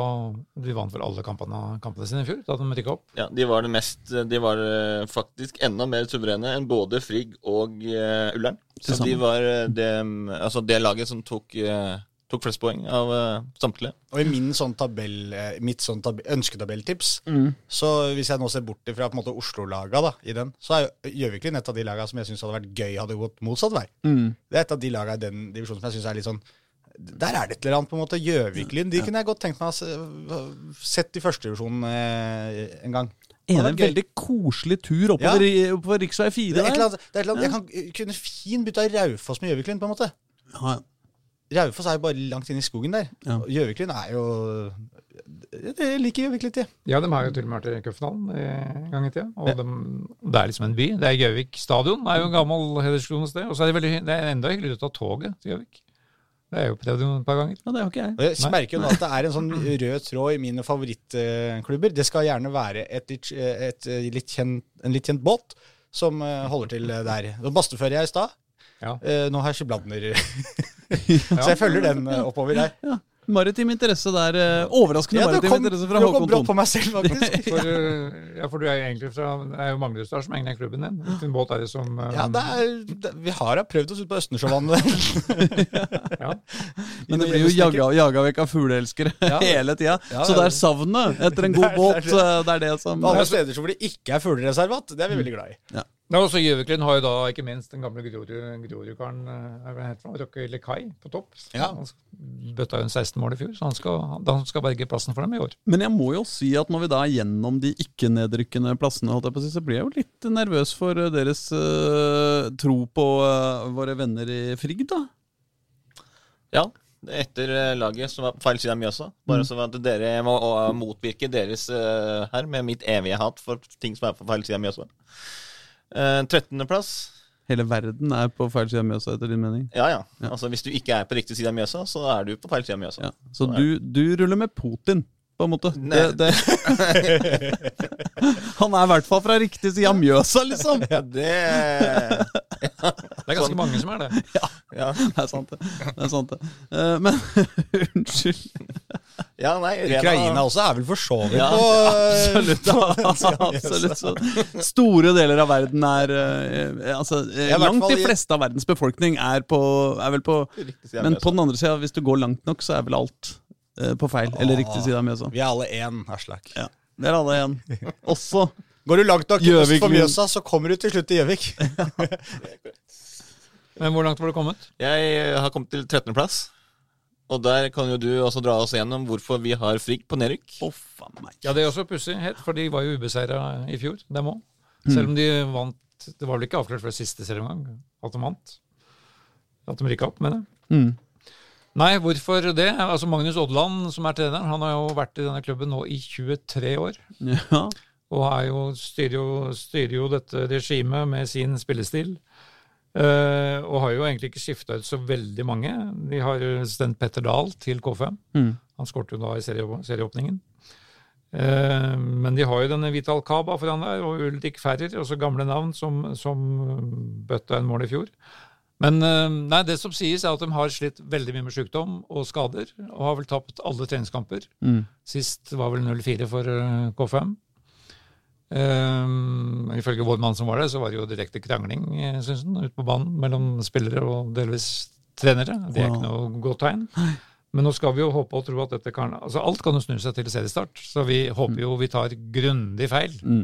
[SPEAKER 4] De vant vel alle kampene, kampene sine i fjor, da de rykka opp.
[SPEAKER 3] Ja, de var det mest De var eh, faktisk enda mer suverene enn både Frigg og eh, Ullern. Så
[SPEAKER 2] Tilsammen.
[SPEAKER 3] de var eh, det, altså det laget som tok, eh, tok flest poeng av eh, samtlige.
[SPEAKER 1] Og i min sånn tabell, eh, mitt sånn tab ønsketabelltips,
[SPEAKER 2] Mm.
[SPEAKER 1] så hvis jeg nå ser bort ifra på en måte Oslo-laga da, i den, så er jo eh, Gjøviklyn et av de laga som jeg syns hadde vært gøy hadde gått motsatt vei.
[SPEAKER 2] Mm.
[SPEAKER 1] Det er et av de laga i den divisjonen som jeg syns er litt sånn Der er det et eller annet, på en måte. Gjøviklyn, de kunne jeg godt tenkt meg å se- sett i førstedivisjon eh, en gang.
[SPEAKER 2] En,
[SPEAKER 1] Det
[SPEAKER 2] en
[SPEAKER 1] er gøy.
[SPEAKER 2] veldig koselig tur oppover i- oppover rv. 4
[SPEAKER 1] Det er et eh,
[SPEAKER 2] der.
[SPEAKER 1] eller annet, det er et eller annet, jeg kan, kunne fin bytta Raufoss med Gjøviklyn, på en måte.
[SPEAKER 2] Ja, ja.
[SPEAKER 1] Raufoss er jo bare langt inn i skogen der.
[SPEAKER 2] Ja.
[SPEAKER 1] Og Gjøviklyn er jo Jeg liker Gjøvik litt, jeg.
[SPEAKER 4] Ja, de har jo til og med vært i cupfinalen en gang i tida. Og dem- det er liksom en by. Det er Gjøvik stadion. Det er jo en gammel hederskrone sted. Og så er det, veldig, det er enda hyggeligere å ta toget til Gjøvik. Det er jo prøvd jo et par ganger.
[SPEAKER 2] Ja, det har ikke jeg.
[SPEAKER 1] Og jeg merker jo nå at det er en sånn rød tråd i mine favorittklubber. Det skal gjerne være et, litt- et, eh, litt kjent, en litt kjent båt som eh, holder til eh, der. Og Bastøfører jeg i stad.
[SPEAKER 4] Ja.
[SPEAKER 1] Eh, Nå har jeg Skibladner. Så jeg følger den eh, oppover der.
[SPEAKER 2] Ja. Maritim interesse der. eh, Overraskende
[SPEAKER 1] Ja, det
[SPEAKER 2] maritim
[SPEAKER 1] kom,
[SPEAKER 2] interesse fra
[SPEAKER 1] det kom
[SPEAKER 2] Håkon
[SPEAKER 1] brått
[SPEAKER 2] Thon.
[SPEAKER 1] på meg selv, faktisk.
[SPEAKER 4] For, eh, ja, for du er jo egentlig fra Det er jo Magnusdal som egentlig er klubben din. Hvilken båt er det som eh,
[SPEAKER 1] Ja, det er, det, vi har da prøvd oss ut på Østensjøvannet.
[SPEAKER 4] ja.
[SPEAKER 2] Men det blir jo jaga, jaga vekk av fugleelskere
[SPEAKER 1] Ja.
[SPEAKER 2] hele tida.
[SPEAKER 1] Ja,
[SPEAKER 2] Så
[SPEAKER 1] ja.
[SPEAKER 2] det er savnet etter en
[SPEAKER 1] Det
[SPEAKER 2] god
[SPEAKER 1] er-
[SPEAKER 2] båt.
[SPEAKER 1] det er-
[SPEAKER 2] eh, Det er det som
[SPEAKER 1] Alle steder som hvor det ikke er fuglereservat. Det er vi veldig glad i.
[SPEAKER 4] Ja, og så Gjøviklund har jo da ikke minst den gamle Grorud- Grorud-karen eh, hva heter han, Rocke Lekai på topp.
[SPEAKER 1] Ja.
[SPEAKER 4] Han bøtta jo en 16 mål i fjor, så han skal, han skal berge plassen for dem i år.
[SPEAKER 2] Men jeg må jo si at når vi da er gjennom de ikke-nedrykkende plassene, holdt jeg på å si, så blir jeg jo litt nervøs for eh, deres eh, tro på eh, våre venner i Frigg, da.
[SPEAKER 3] Ja, etter eh, laget som var på feil side av Mjøsa. Bare så at dere må å, motvirke deres eh, her med mitt evige hat for ting som er på feil side av Mjøsa. Eh, 13.-plass.
[SPEAKER 2] Hele verden er på feil side av Mjøsa, etter din mening.
[SPEAKER 3] Ja, ja Altså Hvis du ikke er på riktig side av Mjøsa, så er du på feil side av Mjøsa.
[SPEAKER 2] Ja. Så du, du ruller med Putin, på en måte. Det,
[SPEAKER 3] Nei.
[SPEAKER 2] det. Han er i hvert fall fra riktig side av Mjøsa, liksom!
[SPEAKER 3] Ja, det
[SPEAKER 4] Det er
[SPEAKER 1] Sånn.
[SPEAKER 4] ganske mange som er det.
[SPEAKER 3] ja.
[SPEAKER 2] Det er sant, det. det, er sant, det. Eh, men unnskyld.
[SPEAKER 3] ja, nei
[SPEAKER 1] Ukraina også er vel for så vidt
[SPEAKER 3] Ja,
[SPEAKER 1] på
[SPEAKER 2] Absolutt. absolutt. Så altså. Store deler av verden er eh, eh, altså, eh,
[SPEAKER 1] Ja, i hvert
[SPEAKER 2] Langt de
[SPEAKER 1] fall i-
[SPEAKER 2] fleste av verdens befolkning er, på, er vel på
[SPEAKER 3] Riktig side av
[SPEAKER 2] Men
[SPEAKER 3] Mjøsa.
[SPEAKER 2] på den andre sida, hvis du går langt nok, så er vel alt eh, på feil. Eller riktig side av Mjøsa.
[SPEAKER 1] Vi er alle én, Aslak.
[SPEAKER 2] Ja. Det er alle igjen. Også
[SPEAKER 1] Går du langt nok øst
[SPEAKER 2] Gjøvik-
[SPEAKER 1] for Mjøsa, så kommer du til slutt til Gjøvik.
[SPEAKER 4] Men hvor langt var du kommet?
[SPEAKER 3] Jeg eh, har kommet til 13.-plass. Og der kan jo du også dra oss gjennom hvorfor vi har Frigg på nedrykk.
[SPEAKER 2] Å, faen meg.
[SPEAKER 4] Ja, det er også pussig, helt, for de var jo ubeseira i fjor, dem òg. Selv om de vant Det var vel ikke avklart før siste serieomgang at de vant. At de rykka opp, mener jeg.
[SPEAKER 2] Mm.
[SPEAKER 4] Nei, hvorfor det? Altså Magnus Odland, som er treneren, han har jo vært i denne klubben nå i 23 år.
[SPEAKER 2] Ja.
[SPEAKER 4] og er jo, styrer, jo, styrer jo dette regimet med sin spillestil. Eh, og har jo egentlig ikke skifta ut så veldig mange. De har jo sendt Petter Dahl til K5.
[SPEAKER 2] Mm.
[SPEAKER 4] Han skårte jo da i serie, serieåpningen. Eh, men de har jo denne Vital Kaba foran der, og Ulrik Ferrer, også gamle navn, som, som bøtta en mål i fjor. Men eh, nei, det som sies, er at de har slitt veldig mye med sykdom og skader, og har vel tapt alle treningskamper.
[SPEAKER 2] Mm.
[SPEAKER 4] Sist var vel 0-4 for eh, K5. Ehm, ifølge vår mann som var der, så var det jo direkte krangling eh, synes han, ute på banen mellom spillere og delvis trenere. Det er ikke noe godt tegn. Men nå skal vi jo håpe og tro at dette kan altså Alt kan jo snu seg til seriestart, så vi håper jo vi tar grundig feil.
[SPEAKER 2] Mm.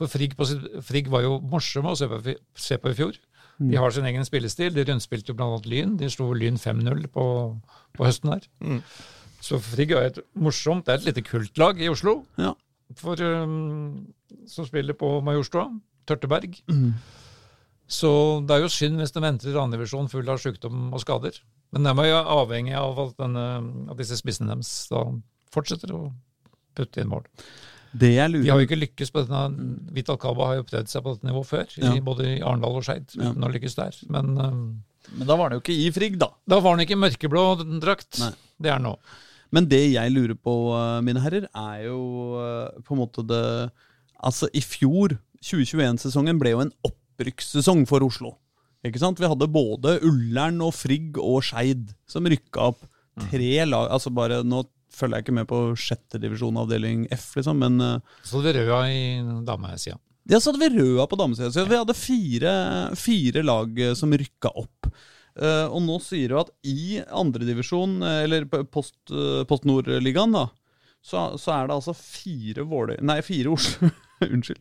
[SPEAKER 4] For Frigg, på, sitt- Frigg var jo morsomme å se på, i fi- se på i fjor. De har sin egen spillestil. De rundspilte jo bl.a. Lyn. De slo Lyn 5-0 på, på høsten der. Så Frigg er et morsomt, det er et lite kultlag i Oslo
[SPEAKER 2] Ja.
[SPEAKER 4] for, um, som spiller på Majorstua, Tørteberg.
[SPEAKER 2] Mm.
[SPEAKER 4] Så det er jo synd hvis de venter i andredivisjon full av sykdom og skader. Men de er jo avhengig av at, denne, at disse spissene deres da fortsetter å putte inn mål.
[SPEAKER 2] Det jeg
[SPEAKER 4] De har
[SPEAKER 2] lurer
[SPEAKER 4] jo ikke lykkes på denne Vital Kaba har jo prøvd seg på dette nivået før,
[SPEAKER 2] Ja.
[SPEAKER 4] i, både i Arendal og Skeid, uten å lykkes der. Men um,
[SPEAKER 2] Men da var det jo ikke i Frigg, da.
[SPEAKER 4] da var han ikke i mørkeblå drakt.
[SPEAKER 2] Nei.
[SPEAKER 4] Det er han nå.
[SPEAKER 2] Men det jeg lurer på, eh, mine herrer, er jo eh, på en måte det Altså, i fjor, 2021-sesongen, ble jo en opprykkssesong for Oslo. Ikke sant? Vi hadde både Ullern og Frigg og Skeid som rykka opp tre lag Altså bare Nå følger jeg ikke med på sjette divisjon avdeling F, liksom, men eh,
[SPEAKER 4] Så det røde i damesida.
[SPEAKER 2] ja, så hadde vi Røa på damesida. Så vi hadde fire, fire lag eh, som rykka opp. Eh, og nå sier du at i andredivisjon, eller p- post, eh, post Nord-ligaen, da, så, så er det altså fire Våløy... Nei, fire Oslo... Unnskyld.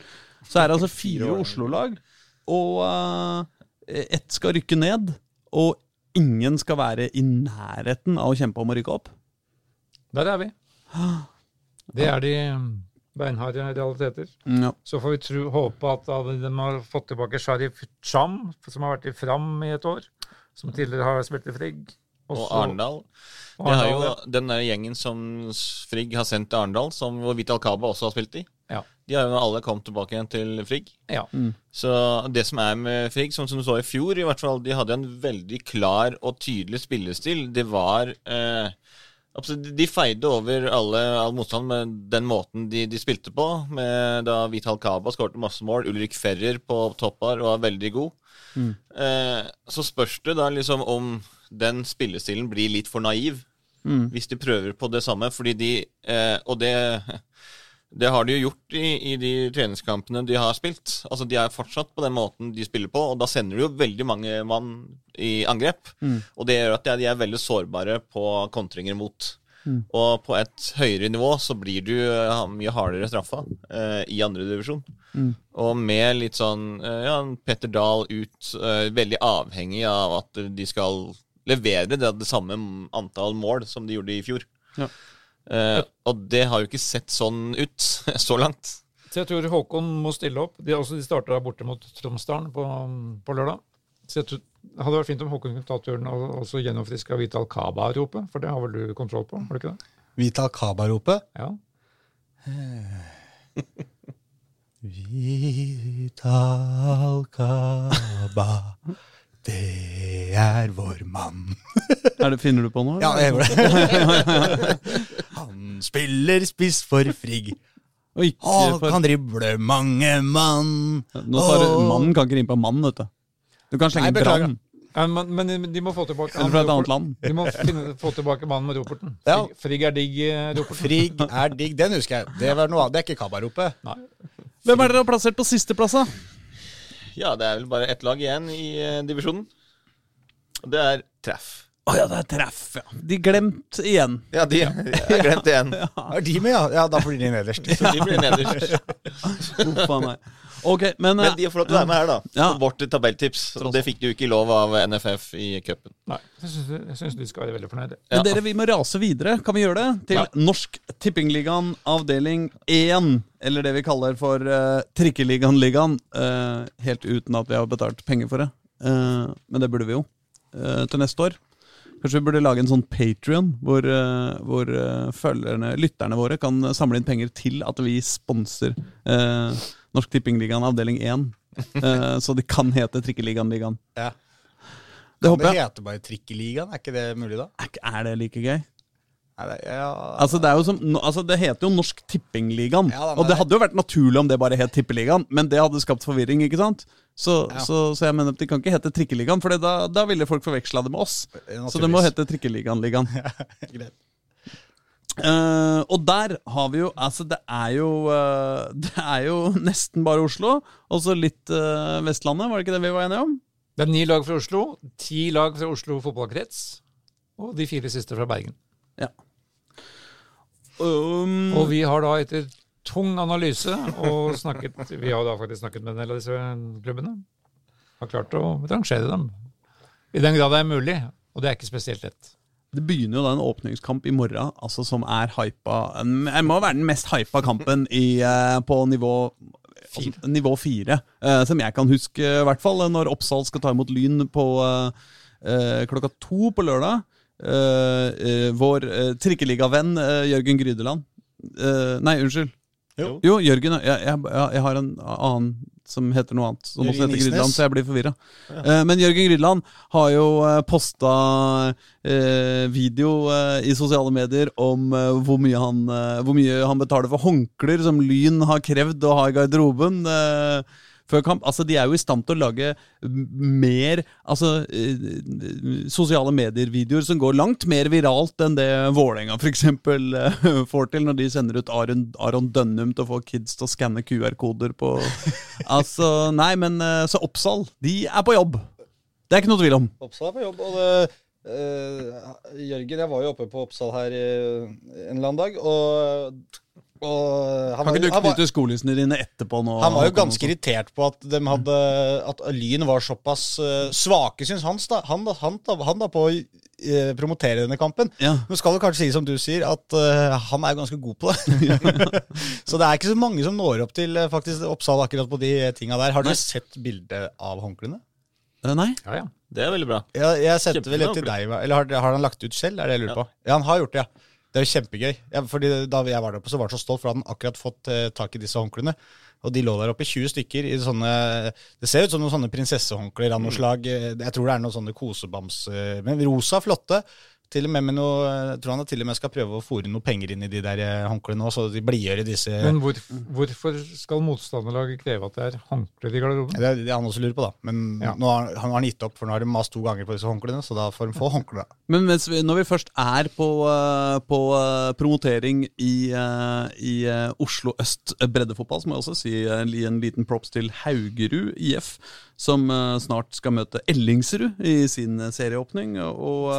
[SPEAKER 2] Så er det altså fire Oslo-lag, og eh, ett skal rykke ned, og ingen skal være i nærheten av å kjempe om å rykke opp.
[SPEAKER 4] Der er vi. Det er de um, beinharde realiteter.
[SPEAKER 1] Mm,
[SPEAKER 2] Ja.
[SPEAKER 4] Så får vi tro, håpe at da de har fått tilbake Sharif Cham, som har vært i Fram i et år, som tidligere har spilt i Frigg.
[SPEAKER 3] og
[SPEAKER 4] Også-
[SPEAKER 3] Arendal. Det har jo den der gjengen som Frigg har sendt til Arendal, som hvor Vital Kaba også har spilt i.
[SPEAKER 4] Ja.
[SPEAKER 3] De har jo alle kommet tilbake igjen til Frigg.
[SPEAKER 4] ja.
[SPEAKER 3] Så det som er med Frigg, sånn som du så i fjor, i hvert fall, de hadde en veldig klar og tydelig spillestil. Det var eh, altså, de- De feide over alle, all motstand med den måten de, de spilte på. Med, da Vital Kaba skårte masse mål, Ulrik Ferrer på topp her var veldig god. Eh, så spørs det da liksom om den spillestilen blir litt for naiv. Hvis de prøver på det samme, fordi de eh, Og det det har de jo gjort i, i de treningskampene de har spilt. Altså, De er fortsatt på den måten de spiller på, og da sender de jo veldig mange mann i angrep. Og det gjør at de er, de er veldig sårbare på kontringer mot. Og på et høyere nivå så blir du eh, mye hardere straffa eh, i andredivisjon. divisjon Og med litt sånn eh, ja, Petter Dahl ut, eh, veldig avhengig av at de skal levere det, det samme antall mål som de gjorde i fjor. Eh, og det har jo ikke sett sånn ut så langt.
[SPEAKER 4] Så jeg tror Håkon må stille opp. De, også, de starter der borte mot Tromsdalen på, um, på lørdag. Så jeg tror, det hadde vært fint om Håkon kunne ta turen og også gjennomfriska Vital Kaba-ropet, for det har vel du kontroll på? har du ikke det?
[SPEAKER 1] Vital Kaba-ropet.
[SPEAKER 4] Ja.
[SPEAKER 1] Vital Kaba, det er vår mann.
[SPEAKER 2] Er det, finner du på noe?
[SPEAKER 1] Ja, jeg gjorde det. Han spiller spiss for Frigg.
[SPEAKER 2] Og ikke
[SPEAKER 1] Å,
[SPEAKER 2] for,
[SPEAKER 1] kan drible mange mann.
[SPEAKER 2] nå tar du,
[SPEAKER 1] Å.
[SPEAKER 2] mannen kan ikke rimpe av mann, vet du. Du kan slenge
[SPEAKER 1] Nei, beklager.
[SPEAKER 2] brann.
[SPEAKER 4] Ja, Men, men de må få tilbake
[SPEAKER 2] Eller fra et annet land.
[SPEAKER 4] De må finne, få tilbake mannen med roperten.
[SPEAKER 1] Ja.
[SPEAKER 4] Frigg- Frigg er digg, eh, roperten.
[SPEAKER 1] Frigg er digg. Den husker jeg. Det, var noe, annet. det er ikke Kaba-ropet.
[SPEAKER 4] Nei.
[SPEAKER 2] Hvem er dere har plassert på sisteplass, da?
[SPEAKER 3] Ja, det er vel bare ett lag igjen i eh, divisjonen. Og det er treff.
[SPEAKER 2] Å ja, det er treff, ja. De glemt igjen.
[SPEAKER 3] Ja, de jeg har glemt det igjen.
[SPEAKER 1] Er de med, ja? Ja, da blir de nederst.
[SPEAKER 3] Så de blir nederst.
[SPEAKER 2] Uff a meg. Ok, men, eh,
[SPEAKER 3] Men de har fått lov til å være med her, da.
[SPEAKER 2] Ja.
[SPEAKER 3] På vårt tabelltips. Og det fikk de jo ikke lov av NFF i cupen.
[SPEAKER 4] Nei. Jeg syns, jeg syns de skal være veldig fornøyde.
[SPEAKER 2] Men
[SPEAKER 3] Ja.
[SPEAKER 2] dere, vi må rase videre. Kan vi gjøre det? Til
[SPEAKER 3] Ja.
[SPEAKER 2] Norsk Tippingligaen avdeling 1. Eller det vi kaller for uh, Trikkeligaen-ligaen. eh, helt uten at vi har betalt penger for det. Eh, men det burde vi jo. eh, til neste år. Kanskje vi burde lage en sånn Patrion, hvor, eh, hvor eh, følgerne, lytterne våre kan samle inn penger til at vi sponser eh, Norsk Tippingligaen avdeling 1. Eh, så de kan hete Trikkeligaen-ligaen.
[SPEAKER 1] Ja.
[SPEAKER 2] Det
[SPEAKER 1] Det
[SPEAKER 2] håper jeg.
[SPEAKER 1] heter bare Trikkeligaen. Er ikke det mulig, da?
[SPEAKER 2] Er ikke- Er det like gøy?
[SPEAKER 1] Nei, det, ja.
[SPEAKER 2] Altså Det er jo som, no- altså det heter jo Norsk Tippingligaen.
[SPEAKER 1] Ja da, men
[SPEAKER 2] og det
[SPEAKER 1] det-
[SPEAKER 2] hadde jo vært naturlig om det bare het Tippeligaen, men det hadde skapt forvirring. ikke sant? Så,
[SPEAKER 1] Ja.
[SPEAKER 2] så, så jeg mener at de kan ikke hete Trikkeligaen, for det- da, da ville folk forveksla det med oss.
[SPEAKER 1] Naturligvis.
[SPEAKER 2] Så det må hete Trikkeligaen-ligaen.
[SPEAKER 1] Greit.
[SPEAKER 2] Eh, og der har vi jo Altså, det er jo eh, Det er jo nesten bare Oslo, og så litt eh, Vestlandet, var det ikke det vi var enige om?
[SPEAKER 4] Det er ni lag fra Oslo, ti lag fra Oslo fotballkrets, og de fire siste fra Bergen.
[SPEAKER 2] Ja. Um,
[SPEAKER 4] Og vi har da etter tung analyse og snakket Vi har da faktisk snakket med en del av disse klubbene. Har klart å rangere dem. I den grad det er mulig. Og det er ikke spesielt lett.
[SPEAKER 2] Det begynner jo da en åpningskamp i morgen, altså som er hypa Det må være den mest hypa kampen i, eh, på nivå altså, Nivå fire, eh, som jeg kan huske, i hvert fall. Når Oppsal skal ta imot Lyn på eh, eh, klokka to på lørdag. Eh, eh, vår eh, trikkeligavenn eh, Jørgen Grydeland eh, Nei, unnskyld.
[SPEAKER 1] Jo.
[SPEAKER 2] Jo, Jørgen jeg, jeg, jeg- jeg har en annen som heter noe annet. Som
[SPEAKER 1] Jørgen
[SPEAKER 2] også heter
[SPEAKER 1] Isnes.
[SPEAKER 2] Grydeland, så jeg blir forvirra. Eh, Men Jørgen Grydeland har jo eh, posta eh, video eh, i sosiale medier om eh, hvor mye, han, eh, hvor mye han betaler for håndklær som Lyn har krevd å ha i garderoben. eh, Før kamp, altså De er jo i stand til å lage m- mer altså, eh, sosiale medier-videoer som går langt mer viralt enn det Vålerenga f.eks. får til, når de sender ut Aron, Aron Dønnum til å få kids til å skanne QR-koder på Altså, nei, men eh, Så Oppsal, de er på jobb. Det er ikke noe tvil om.
[SPEAKER 1] Oppsal er på jobb, og det, eh, Jørgen, jeg var jo oppe på Oppsal her eh, en eller annen dag, og, og han,
[SPEAKER 2] Kan
[SPEAKER 1] var-
[SPEAKER 2] ikke du
[SPEAKER 1] han, var,
[SPEAKER 2] knytte skolissene dine etterpå nå?
[SPEAKER 1] han var jo
[SPEAKER 2] Håkon,
[SPEAKER 1] ganske
[SPEAKER 2] også?
[SPEAKER 1] irritert på at, dem hadde, at Lyn var såpass eh, svake, syns han, da, han, da, han, da, han da på å eh, promotere denne kampen.
[SPEAKER 2] Ja.
[SPEAKER 1] Nå skal det kanskje si som du sier, at eh, han er ganske god på det. så det er ikke så mange som når opp til eh, faktisk Oppsal akkurat på de tinga der. Har du sett bildet av håndklærne?
[SPEAKER 2] Eh, Nei?
[SPEAKER 4] Ja, ja.
[SPEAKER 3] Det er veldig bra.
[SPEAKER 1] Jeg, jeg sendte vel
[SPEAKER 3] Kjempebra,
[SPEAKER 1] et til deg, eller har, har han lagt ut selv? Er det jeg lurer på? Ja, han har gjort det, ja. Det er jo kjempegøy. Ja, fordi da jeg var der oppe, så var han så stolt, for da hadde han akkurat fått eh, tak i disse håndklærne. Og de lå der oppe i 20 stykker i sånne Det ser ut som noen sånne prinsessehåndklær av noe slag. Eh, Jeg tror det er noen sånne kosebams... eh, Men rosa, flotte. Til og med med noe Jeg tror han til og med skal prøve å fòre noe penger inn i de der eh, håndklærne nå, så de blidgjør i disse
[SPEAKER 4] Men hvor, hvorfor skal motstanderlaget kreve at det er håndklær i garderoben?
[SPEAKER 1] det er det han også lurer på, da. Men
[SPEAKER 4] Ja.
[SPEAKER 1] nå har han, har han gitt opp, for nå har de mast to ganger på disse håndklærne, så da får de få håndklær. da.
[SPEAKER 2] Men mens vi, når vi først er på, eh, på eh, promotering i, eh, i eh, Oslo øst breddefotball, så må jeg også si eh, li- en liten props til Haugerud IF, som eh, snart skal møte Ellingsrud i sin eh, serieåpning. Og,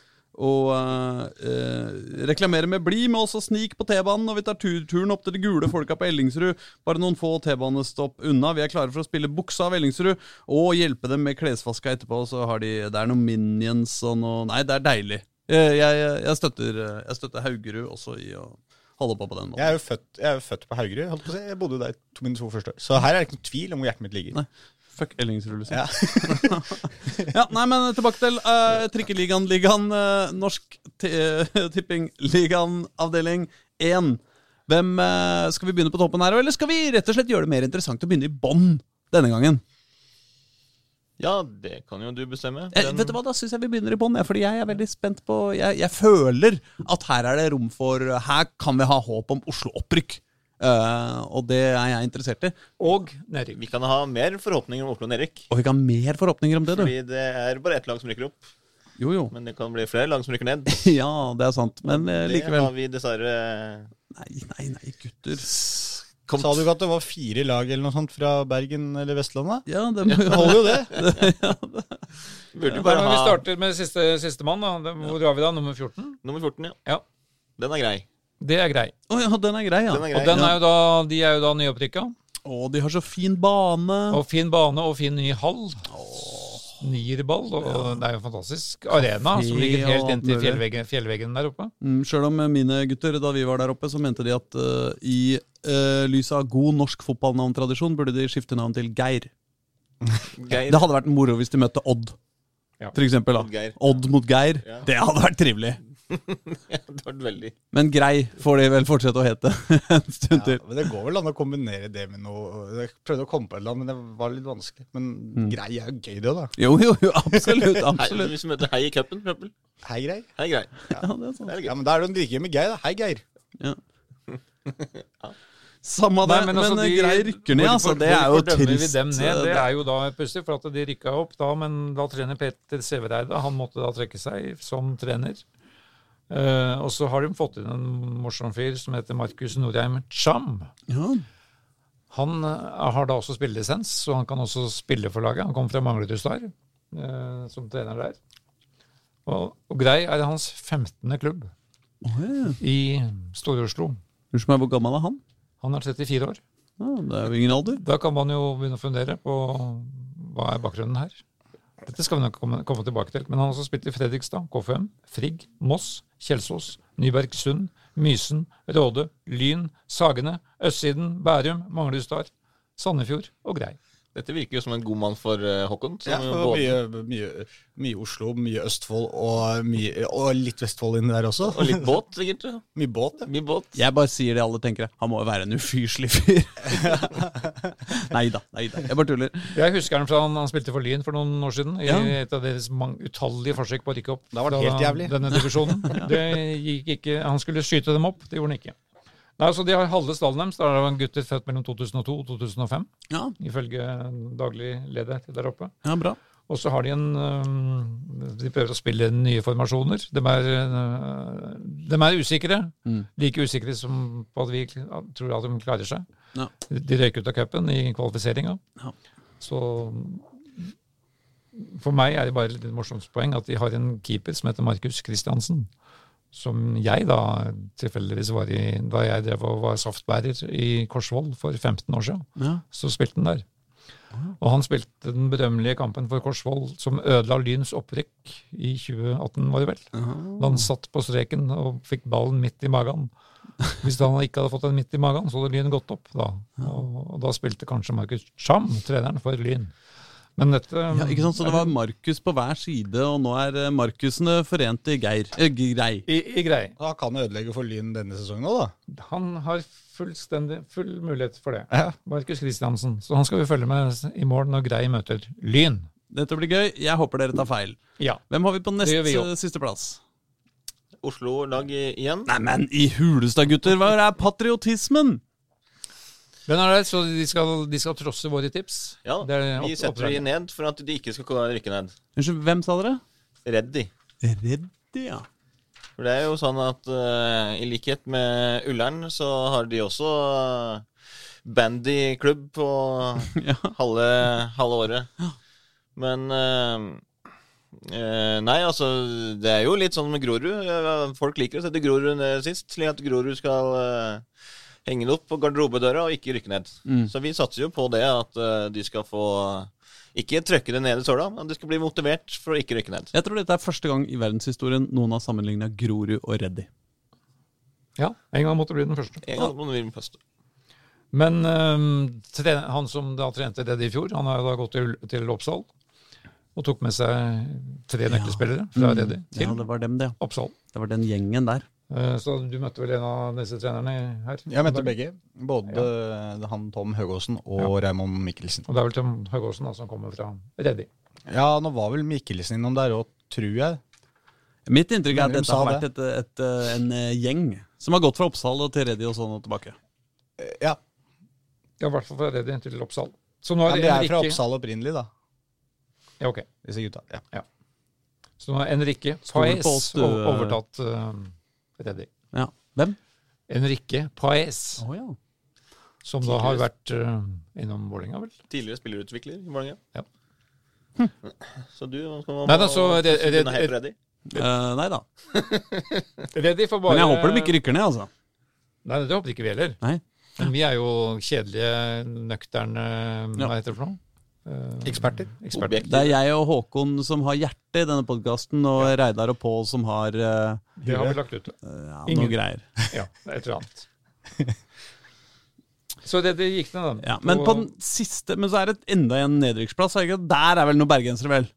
[SPEAKER 2] eh, og eh, eh, reklamere med 'bli med oss og snik på T-banen' når vi tar tur turen opp til de gule folka på Ellingsrud. Bare noen få T-banestopp unna. Vi er klare for å spille buksa av Ellingsrud og hjelpe dem med klesvaska etterpå. Så har de, det er noen minions og noe Nei, det er deilig. Eh, Jeg, jeg, støtter, eh, jeg støtter Haugerud også i å holde på på den måten.
[SPEAKER 1] Jeg er jo født, jeg er jo født på Haugerud. holdt på å si. Jeg bodde jo der to mine to første år. Så her er det ikke noen tvil om hvor hjertet mitt ligger.
[SPEAKER 2] Nei. Fuck Ellingsrud, liksom.
[SPEAKER 1] Ja.
[SPEAKER 2] Ja, nei, men tilbake til uh, Trikkeligaen, ligaen, eh, Norsk t Tipping Ligaen, avdeling 1. Hvem, eh, skal vi begynne på toppen her, eller skal vi rett og slett gjøre det mer interessant å begynne i bånn denne gangen?
[SPEAKER 3] Ja, det kan jo du bestemme.
[SPEAKER 2] Eh, vet du hva, Da syns jeg vi begynner i bånn, jeg, fordi jeg er veldig spent på jeg, jeg føler at her er det rom for eh, Her kan vi ha håp om Oslo-opprykk. Eh, og det er jeg interessert i.
[SPEAKER 4] Og nedrykk.
[SPEAKER 3] Vi kan ha mer forhåpninger om Oslo og Erik.
[SPEAKER 2] Og vi kan ha mer forhåpninger om det, du.
[SPEAKER 3] Fordi det er bare ett lag som rykker opp.
[SPEAKER 2] Jo, jo.
[SPEAKER 3] Men det kan bli flere lag som rykker ned.
[SPEAKER 2] Ja, det er sant. Men eh,
[SPEAKER 3] Det
[SPEAKER 2] likevel.
[SPEAKER 3] har vi dessverre
[SPEAKER 2] Nei, nei, nei, gutter.
[SPEAKER 3] kommet
[SPEAKER 1] Sa du ikke at det var fire lag eller noe sånt fra Bergen eller Vestlandet?
[SPEAKER 2] Ja, det må jo
[SPEAKER 1] Det holder jo det.
[SPEAKER 3] Burde jo
[SPEAKER 4] Hva
[SPEAKER 3] bare
[SPEAKER 4] om vi
[SPEAKER 3] ha
[SPEAKER 4] starter med siste sistemann? da? Det- Hvor har vi da? Nummer 14?
[SPEAKER 3] nummer 14, ja.
[SPEAKER 4] Ja.
[SPEAKER 3] Den er grei.
[SPEAKER 4] Det er grei.
[SPEAKER 2] Å ja, den er grei, ja.
[SPEAKER 3] Den er grei.
[SPEAKER 4] Og den er jo da, de er jo da nyopprykka.
[SPEAKER 2] Å, de har så fin bane.
[SPEAKER 4] Og fin bane og fin ny hall. Nierball. Og og det er jo en fantastisk arena som
[SPEAKER 2] Kafé
[SPEAKER 4] ligger helt
[SPEAKER 2] og
[SPEAKER 4] inntil
[SPEAKER 2] alt mulig.
[SPEAKER 4] fjellveggen, fjellveggen der oppe.
[SPEAKER 2] Mm, Sjøl om mine gutter, da vi var der oppe, så mente de at eh, i uh, lys av god norsk fotballnavntradisjon burde de skifte navn til Geir.
[SPEAKER 3] Geir.
[SPEAKER 2] Det hadde vært moro hvis de møtte Odd.
[SPEAKER 4] Ja.
[SPEAKER 2] For eksempel,
[SPEAKER 3] Mot
[SPEAKER 2] da.
[SPEAKER 3] Geir.
[SPEAKER 2] Odd mot Geir.
[SPEAKER 3] Ja.
[SPEAKER 2] Det hadde vært trivelig.
[SPEAKER 3] Ja, det var veldig
[SPEAKER 2] Men Grei får de vel fortsette å hete en
[SPEAKER 1] Ja,
[SPEAKER 2] stund til.
[SPEAKER 1] men det går vel an å kombinere det med noe Jeg prøvde å komme på et eller annet, men det var litt vanskelig. Men grei er jo gøy, det, da.
[SPEAKER 2] Jo, jo, jo, absolutt.
[SPEAKER 3] Hei,
[SPEAKER 2] absolutt.
[SPEAKER 3] Hvis vi møter Hei i cupen, for eksempel.
[SPEAKER 1] Hei, grei.
[SPEAKER 3] Hei, grei.
[SPEAKER 2] Ja, det er sant.
[SPEAKER 3] Det er
[SPEAKER 1] Ja,
[SPEAKER 3] gøy.
[SPEAKER 1] men da er det jo en like med Geir, da. Hei, Geir.
[SPEAKER 2] Ja. Samme det,
[SPEAKER 4] Nei,
[SPEAKER 2] men,
[SPEAKER 4] altså, de-
[SPEAKER 2] Grei rykker ned, altså.
[SPEAKER 4] hvorfor-
[SPEAKER 2] Det er jo
[SPEAKER 4] hvorfor dømmer
[SPEAKER 2] trist. eh,
[SPEAKER 4] Vi dem ned? Det
[SPEAKER 2] Det-
[SPEAKER 4] er jo da pussig, for at de rykka opp da, men da trener Petter Sævereide Han måtte da trekke seg som trener. Eh, og så har de fått inn en morsom fyr som heter Markus Norheim Cham.
[SPEAKER 2] Ja,
[SPEAKER 4] Han eh, har da også spillelisens, så han kan også spille for laget. Han kommer fra Manglerud Star eh, som trener der. Og, og Grei er hans 15. klubb
[SPEAKER 2] Åh,
[SPEAKER 4] i Stor-Oslo.
[SPEAKER 2] Unnskyld meg, hvor gammel er han?
[SPEAKER 4] Han er 34 år.
[SPEAKER 2] Ja, det er jo ingen alder.
[SPEAKER 4] Da kan man jo begynne å fundere på hva er bakgrunnen her. Dette skal vi nok komme, komme tilbake til. Men han har også spilt i Fredrikstad, KFM, Frigg, Moss, Kjelsås, Nybergsund, Mysen, Råde, Lyn, Sagene, Østsiden, Bærum, Manglerudstad, Sandefjord og Grei.
[SPEAKER 3] Dette virker jo som en god mann for eh, Håkon. Som
[SPEAKER 1] Ja,
[SPEAKER 3] jo
[SPEAKER 1] og
[SPEAKER 3] både-
[SPEAKER 1] mye, mye, mye Oslo, mye Østfold og, mye, og litt Vestfold inni der også.
[SPEAKER 3] Og litt båt, sikkert. ja.
[SPEAKER 1] Mye båt. Ja.
[SPEAKER 3] Mye båt.
[SPEAKER 2] Jeg bare sier det alle tenker. Han må jo være en ufyselig fyr. nei da, nei da. Jeg bare tuller.
[SPEAKER 4] Jeg husker han fra han, han spilte for Lyn for noen år siden. I
[SPEAKER 2] Ja.
[SPEAKER 4] et av deres mange, utallige forsøk på å rykke opp.
[SPEAKER 1] Det har vært
[SPEAKER 4] fra
[SPEAKER 1] helt jævlig.
[SPEAKER 4] Denne divisjonen. Det gikk ikke, han skulle skyte dem opp, det gjorde han ikke. Nei, så De har halve stallen deres. Der var gutter født mellom 2002 og 2005,
[SPEAKER 2] Ja,
[SPEAKER 4] ifølge daglig leder der oppe.
[SPEAKER 2] ja bra.
[SPEAKER 4] Og så har de en øhm, De prøver å spille nye formasjoner. De er, øh, de er usikre.
[SPEAKER 2] Mm.
[SPEAKER 4] Like usikre som på at vi kl- tror at de klarer seg.
[SPEAKER 2] Ja.
[SPEAKER 4] De røyk ut av cupen i kvalifiseringa.
[SPEAKER 2] Ja.
[SPEAKER 4] Så for meg er det bare et litt morsomt poeng at de har en keeper som heter Markus Kristiansen. Som jeg da tilfeldigvis var i da jeg drev og var saftbærer i Korsvoll for 15 år siden
[SPEAKER 2] Ja.
[SPEAKER 4] så spilte han der. Og han spilte den berømmelige kampen for Korsvoll som ødela Lyns opprykk i 2018, var det vel. Da han satt på streken og fikk ballen midt i magen. Hvis han ikke hadde fått den midt i magen, så hadde Lyn gått opp da. Og, og da spilte kanskje Markus Cham, treneren for Lyn. Men dette
[SPEAKER 2] Ja, ikke sant? Så det var Markus på hver side, og nå er eh, Markusene forent i Geir. Eh, grei.
[SPEAKER 4] i, i grei.
[SPEAKER 1] Da kan det ødelegge for Lyn denne sesongen òg, da.
[SPEAKER 4] Han har fullstendig full mulighet for det. Markus Kristiansen. Så han skal vi følge med i morgen når Grei møter Lyn.
[SPEAKER 2] Dette blir gøy. Jeg håper dere tar feil.
[SPEAKER 4] Ja.
[SPEAKER 2] Hvem har vi på nest
[SPEAKER 4] gjør vi jo.
[SPEAKER 2] eh, siste plass?
[SPEAKER 3] Oslo-lag i- igjen.
[SPEAKER 2] Neimen, i hulestad, gutter! Hva er patriotismen?
[SPEAKER 4] Men er det, så de skal, de skal trosse våre tips?
[SPEAKER 3] Ja,
[SPEAKER 4] Det er
[SPEAKER 3] vi
[SPEAKER 4] opp-
[SPEAKER 3] setter de
[SPEAKER 4] oppdraget.
[SPEAKER 3] ned for at de ikke skal gå- rykke ned.
[SPEAKER 2] Unnskyld, hvem sa dere?
[SPEAKER 3] Redd de.
[SPEAKER 2] Reddy, ja.
[SPEAKER 3] For det er jo sånn at eh, i likhet med Ullern, så har de også uh, bandyklubb på
[SPEAKER 2] Ja.
[SPEAKER 3] halve, halve året. Men eh, eh, Nei, altså, det er jo litt sånn med Grorud. Eh, Folk liker å sette Grorud ned sist, slik at Grorud skal eh, henge det opp på garderobedøra og ikke rykke ned. Så vi satser jo på det, at eh, de skal få ikke trøkke det ned i søla, men de skal bli motivert for å ikke rykke ned.
[SPEAKER 2] Jeg tror dette er første gang i verdenshistorien noen har sammenligna Grorud og Reddy.
[SPEAKER 4] Ja, en gang måtte bli den første.
[SPEAKER 3] En gang må vi passe.
[SPEAKER 4] Men øhm, tre, han som da trente Reddy i fjor, han har jo da gått til, til Oppsal. Og tok med seg tre nøkkelspillere
[SPEAKER 1] Mm.
[SPEAKER 4] fra Reddy
[SPEAKER 2] Ja,
[SPEAKER 4] til
[SPEAKER 2] det var dem, det. ja.
[SPEAKER 4] Oppsal.
[SPEAKER 2] Det var den gjengen der.
[SPEAKER 4] Eh, Så du møtte vel en av disse trenerne her?
[SPEAKER 1] Jeg mente begge. Både han Tom Høgåsen og Raymond Mikkelsen.
[SPEAKER 4] Og det er vel Tom Høgåsen da, som kommer fra Reddy.
[SPEAKER 1] Ja, nå var vel Mikkelsen innom der òg, tror jeg.
[SPEAKER 2] Mitt inntrykk er at
[SPEAKER 1] Mener de
[SPEAKER 2] dette har
[SPEAKER 1] sa
[SPEAKER 2] vært et, et, eh, en eh, gjeng som har gått fra Oppsal og til Reddy og sånn og tilbake.
[SPEAKER 1] Ja,
[SPEAKER 4] Ja, i hvert fall fra Reddy til Oppsal. Så nå
[SPEAKER 1] ja
[SPEAKER 4] har
[SPEAKER 1] De er fra
[SPEAKER 4] Enrique-
[SPEAKER 1] Oppsal opprinnelig, da.
[SPEAKER 4] Ja, ok.
[SPEAKER 1] Disse gutta. Ja.
[SPEAKER 4] Så nå har Enrique
[SPEAKER 2] Stoler på
[SPEAKER 4] Paez
[SPEAKER 2] oss, du,
[SPEAKER 4] o- overtatt øhm, Reddy.
[SPEAKER 2] eh, Ja. Hvem?
[SPEAKER 4] Enrique Paez,
[SPEAKER 2] Å ja.
[SPEAKER 4] som da har vært øhm, innom Vålerenga, vel?
[SPEAKER 3] Tidligere spillerutvikler i Vålerenga.
[SPEAKER 4] Ja.
[SPEAKER 3] Så du man,
[SPEAKER 4] Nei, da, så det- det-
[SPEAKER 3] Nei,
[SPEAKER 4] det-
[SPEAKER 3] Freddy.
[SPEAKER 2] Eh, nei da.
[SPEAKER 4] Reddy får bare
[SPEAKER 2] Men jeg håper de ikke rykker ned, altså.
[SPEAKER 4] Nei, det håper ikke vi heller.
[SPEAKER 2] Nei.
[SPEAKER 4] Men vi er jo kjedelige, nøkterne Hva heter det for noe? Eh,
[SPEAKER 1] Eksperter.
[SPEAKER 4] eksperter.
[SPEAKER 3] Objekt.
[SPEAKER 2] Det er jeg og Håkon som har hjerte i denne podkasten, og Reidar og Pål som har eh,
[SPEAKER 4] Det har vi lagt ut.
[SPEAKER 2] ja,
[SPEAKER 4] Ingen.
[SPEAKER 2] noe greier.
[SPEAKER 4] Ja, et eller annet. Så det, det gikk ned, da.
[SPEAKER 2] Ja, men på den siste Men så er det enda en nedrykksplass. er det ikke? Der er vel noen bergensere, vel?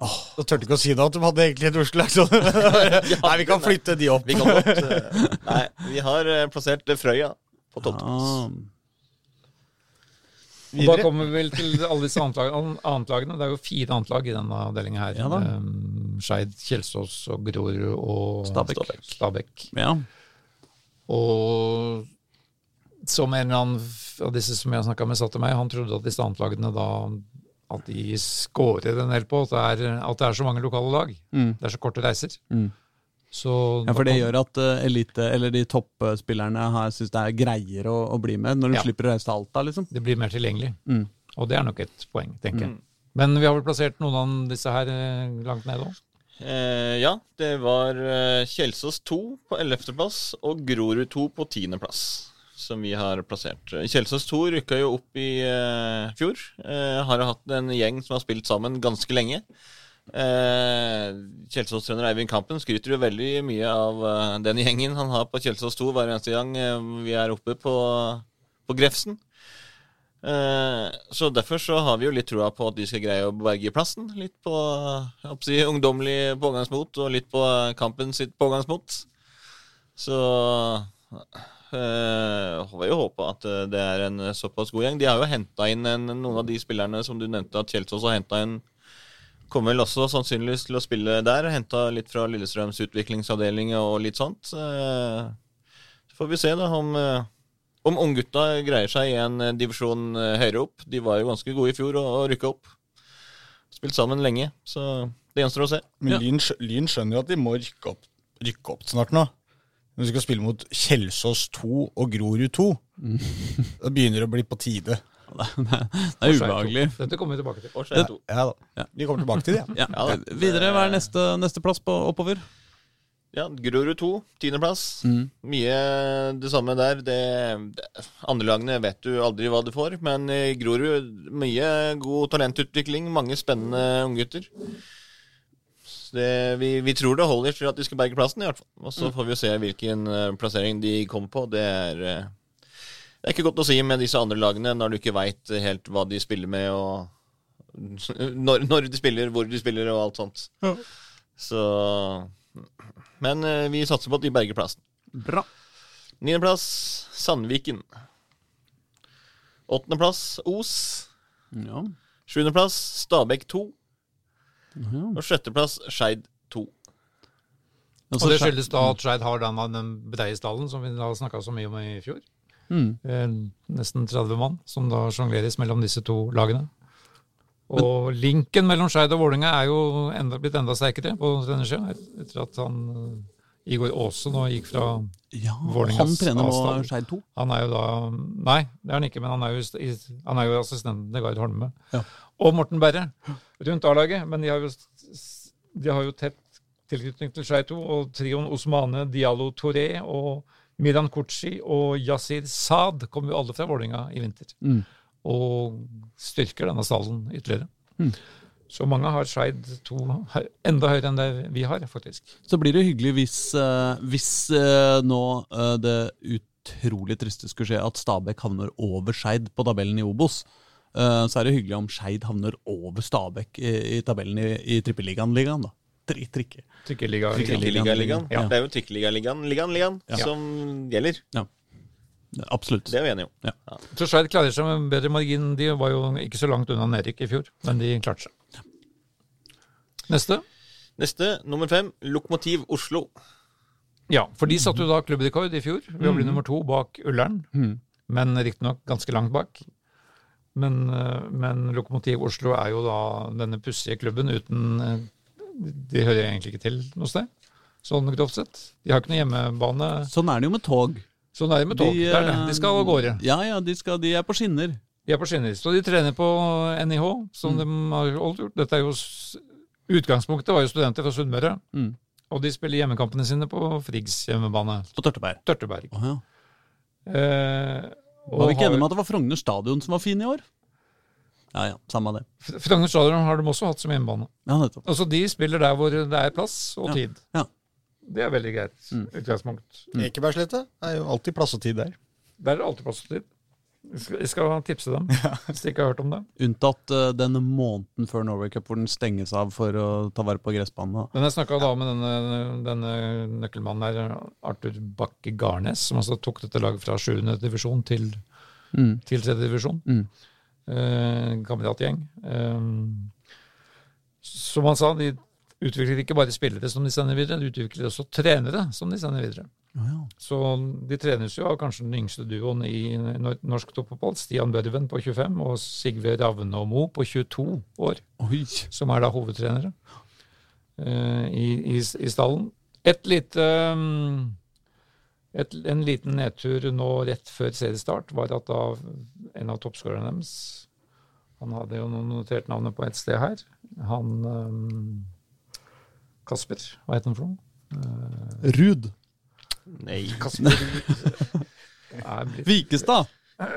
[SPEAKER 1] Du tørte ikke å si det at de hadde egentlig et Oslo-lag. så- Nei, vi kan flytte de opp.
[SPEAKER 3] Vi kan godt eh, Nei, vi har eh, plassert eh, Frøya på tolvteplass.
[SPEAKER 2] Ah.
[SPEAKER 4] og da
[SPEAKER 1] videre.
[SPEAKER 4] kommer vi vel til alle disse annetlagene. annetlagene. Det er jo fire annetlag i denne avdelinga her.
[SPEAKER 2] Ja da.
[SPEAKER 4] Eh, Skeid, Kjelsås og Grorud og
[SPEAKER 2] Stabæk.
[SPEAKER 4] Stabæk.
[SPEAKER 2] Ja.
[SPEAKER 4] Og som en eller annen f- av disse som jeg snakka med, sa til meg, han trodde at disse anklagene da at de scorer en del på at det er, at det er så mange lokale lag. Det er så korte reiser. Så
[SPEAKER 2] Mm. ja, for det gjør at eh, elite, eller de toppspillerne her syns det er greiere å, å bli med, når de
[SPEAKER 4] Ja.
[SPEAKER 2] slipper å reise til Alta, liksom.
[SPEAKER 4] det blir mer tilgjengelig.
[SPEAKER 2] Mm.
[SPEAKER 4] Og det er nok et poeng, tenker jeg. Men vi har vel plassert noen av disse her eh, langt ned òg.
[SPEAKER 3] Eh, ja, det var eh, Kjelsås 2 på 11.-plass og Grorud 2 på 10.-plass. Som vi har plassert. Kjelsås 2 rykka jo opp i eh, fjor. Eh, har hatt en gjeng som har spilt sammen ganske lenge. Eh, Kjelsås-trener Eivind Kampen skryter jo veldig mye av eh, den gjengen han har på Kjelsås 2 hver eneste gang eh, vi er oppe på, på Grefsen. Eh, så derfor så har vi jo litt trua på at de skal greie å berge plassen. Litt på jeg håper å si, ungdommelig pågangsmot og litt på eh, kampen sitt pågangsmot. Så eh, får vi jo håpe at eh, det er en såpass god gjeng. De har jo henta inn en, noen av de spillerne som du nevnte at Kjelsås har henta inn. Kommer vel også sannsynligvis til å spille der. Henta litt fra Lillestrøms utviklingsavdeling og litt sånt. Eh, Så får vi se da om, eh, om unggutta greier seg i en eh, divisjon eh, høyere opp. De var jo ganske gode i fjor og, og rykka opp. Spilt sammen lenge, så det gjenstår å se.
[SPEAKER 1] Men Lyn, skj- Lyn skjønner jo at de må rykke opp, rykke opp snart nå. Når de skal spille mot Kjelsås 2 og Grorud 2, da begynner det å bli på tide.
[SPEAKER 2] Det er ubehagelig.
[SPEAKER 4] Dette kommer vi tilbake til.
[SPEAKER 3] Og Skeid to.
[SPEAKER 1] Ja da.
[SPEAKER 2] Ja.
[SPEAKER 1] Vi kommer tilbake til det. Ja.
[SPEAKER 2] Ja.
[SPEAKER 3] Ja da.
[SPEAKER 2] Videre, hva er neste, neste plass på oppover?
[SPEAKER 3] Ja, Grorud 2, tiendeplass. Mye det samme der. Det, det, andre lagene vet du aldri hva du får, men i Grorud mye god talentutvikling. Mange spennende unggutter. Så Det, vi, vi tror det holder til at de skal berge plassen, i hvert fall. Og så får vi jo se hvilken eh, plassering de kommer på. Det er eh, Det er ikke godt å si med disse andre lagene når du ikke veit helt hva de spiller med, og når, når de spiller, hvor de spiller, og alt sånt.
[SPEAKER 2] Ja.
[SPEAKER 3] Så Men eh, vi satser på at de berger plassen.
[SPEAKER 2] Bra.
[SPEAKER 3] Niendeplass Sandviken. Åttendeplass Os.
[SPEAKER 2] Ja.
[SPEAKER 3] Sjuendeplass Stabæk 2. Og sjetteplass Skeid 2.
[SPEAKER 2] Og Altså,
[SPEAKER 4] Og det skyldes da at Skeid har den, den Breiesdalen som vi da snakka så mye om i fjor.
[SPEAKER 2] Mm.
[SPEAKER 4] Eh, nesten 30 mann som da sjongleres mellom disse to lagene. Og linken mellom Skeid og Vålerenga er jo enda, blitt enda sterkere på denne skjea, etter at han eh, Igor Aase nå gikk fra
[SPEAKER 2] Ja, han
[SPEAKER 4] Vålerengas
[SPEAKER 2] trener nå
[SPEAKER 4] avstand.
[SPEAKER 2] Skeid 2.
[SPEAKER 4] Han er jo da Nei, det er han ikke, men han er jo, i- han er jo assistenten til Gard Holme.
[SPEAKER 2] Ja.
[SPEAKER 4] Og Morten Berre rundt A-laget. Men de har jo, s- de har jo tett tilknytning til Skeid 2. Og trioen Osmane Diallo Touré og Miran Kutsji og Yasir Saad kom jo alle fra Vålerenga i vinter.
[SPEAKER 2] Mm.
[SPEAKER 4] Og styrker denne stallen ytterligere.
[SPEAKER 2] Mm.
[SPEAKER 4] Så mange har Skeid 2 hø- enda høyere enn det vi har, faktisk.
[SPEAKER 2] Så blir det hyggelig hvis, eh, hvis eh, nå eh, det utrolig triste skulle skje at Stabæk havner over Skeid på tabellen i Obos. Eh, så er det hyggelig om Skeid havner over Stabæk i, i tabellen i, i Trippeligaen-ligaen, da. Tri, trikke.
[SPEAKER 4] Trikkeliga.
[SPEAKER 3] Trikkeligaen.
[SPEAKER 2] Ja.
[SPEAKER 3] Det er jo Trikkeligaen, ligaen, ligaen, som gjelder.
[SPEAKER 2] Absolutt.
[SPEAKER 3] Det er vi enige om.
[SPEAKER 4] Så Skeid klarer seg med en bedre margin. De var jo ikke så langt unna nedrykk i fjor, men de klarte seg. Neste.
[SPEAKER 3] Neste, nummer fem, Lokomotiv Oslo.
[SPEAKER 4] Ja, for de satte jo da klubbrekord i fjor ved å bli nummer to bak Ullern. Men riktignok ganske langt bak. Men, eh, men Lokomotiv Oslo er jo da denne pussige klubben uten eh, De hører egentlig ikke til noe sted, sånn grovt sett. De har ikke noe hjemmebane.
[SPEAKER 2] Sånn er det jo med tog.
[SPEAKER 4] Sånn er det med tog.
[SPEAKER 2] De,
[SPEAKER 4] De, det er det. de skal av gårde.
[SPEAKER 2] Ja, ja, de, skal, de er på skinner.
[SPEAKER 4] De er på skinner. Så de trener på NIH, som
[SPEAKER 2] Mm.
[SPEAKER 4] de har alltid gjort. Dette er jo, s- utgangspunktet var jo studenter fra Sunnmøre.
[SPEAKER 2] Mm.
[SPEAKER 4] Og de spiller hjemmekampene sine på Friggs hjemmebane,
[SPEAKER 2] På Tørteberg.
[SPEAKER 4] Tørteberg.
[SPEAKER 2] Å ja.
[SPEAKER 4] Eh, og
[SPEAKER 2] Var vi ikke
[SPEAKER 4] har-
[SPEAKER 2] enige om at det var Frogner stadion som var fin i år? Ja ja, samme det.
[SPEAKER 4] Fr- Frogner stadion har de også hatt som hjemmebane.
[SPEAKER 2] Ja, nettopp.
[SPEAKER 4] Altså De spiller der hvor det er plass og
[SPEAKER 2] Ja.
[SPEAKER 4] tid.
[SPEAKER 2] Ja. Mm.
[SPEAKER 4] Det er veldig greit utgangspunkt.
[SPEAKER 1] Mm. Ekebergsletta er jo alltid plass og tid der.
[SPEAKER 4] Der er det alltid plass og tid. Jeg skal, jeg skal tipse dem, hvis de ikke har hørt om det.
[SPEAKER 2] Unntatt uh, den måneden før Norway Cup hvor den stenges av for å ta vare på gressbanen. da.
[SPEAKER 4] Men jeg snakka da med denne, denne nøkkelmannen her, Arthur Bakke Garnes, som altså tok dette laget fra 7. divisjon til,
[SPEAKER 2] Mm.
[SPEAKER 4] til 3. divisjon.
[SPEAKER 2] Mm.
[SPEAKER 4] Eh, kameratgjeng. Eh, som han sa, de utvikler ikke bare spillere som de sender videre, de utvikler også trenere som de sender videre.
[SPEAKER 2] Å ja.
[SPEAKER 4] Så de trenes jo av kanskje den yngste duoen i nor- norsk toppfotball, Stian Børven på 25 og Sigve Ravne og Mo på 22 år
[SPEAKER 2] Oi.
[SPEAKER 4] som er da hovedtrenere eh, i, i, i stallen. Et lite mm, et, En liten nedtur nå rett før seriestart var at da en av toppskårerne deres Han hadde jo noen notert navnet på et sted her. Han mm, Kasper, hva het han for noe? Eh,
[SPEAKER 2] Ruud
[SPEAKER 3] Nei.
[SPEAKER 4] Kasper Nei, blitt-
[SPEAKER 2] Vikestad.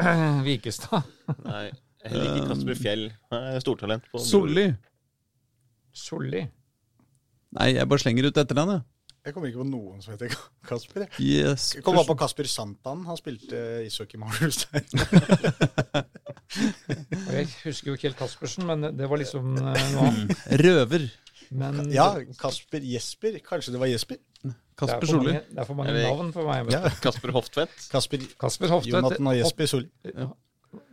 [SPEAKER 4] Vikestad.
[SPEAKER 3] Nei. Heller ikke Kasper Fjell. Han er Stortalent på
[SPEAKER 2] Solli.
[SPEAKER 4] Solli.
[SPEAKER 2] Nei, jeg bare slenger ut etternavnet.
[SPEAKER 1] Jeg kommer ikke på noen som heter Kasper. jeg.
[SPEAKER 2] Yes.
[SPEAKER 1] Jeg kom bare på Kasper Santan. Han spilte ishockey med Arnulfstein.
[SPEAKER 4] Og jeg husker jo ikke helt Kaspersen, men det- det var liksom eh, noe
[SPEAKER 2] Mm.
[SPEAKER 4] annet.
[SPEAKER 2] Røver.
[SPEAKER 4] Men
[SPEAKER 1] Ja,
[SPEAKER 4] det,
[SPEAKER 1] Kasper Jesper. Kanskje det var Jesper?
[SPEAKER 4] det, er
[SPEAKER 2] Kasper
[SPEAKER 4] for
[SPEAKER 2] Solli.
[SPEAKER 4] mange, det er for mange
[SPEAKER 3] Eller-
[SPEAKER 4] navn for meg. vet du.
[SPEAKER 3] Kasper Hoftvedt.
[SPEAKER 1] Kasper
[SPEAKER 4] Kasper Hoftvedt.
[SPEAKER 1] Jonathan og Jesper Solli.
[SPEAKER 4] Hoft-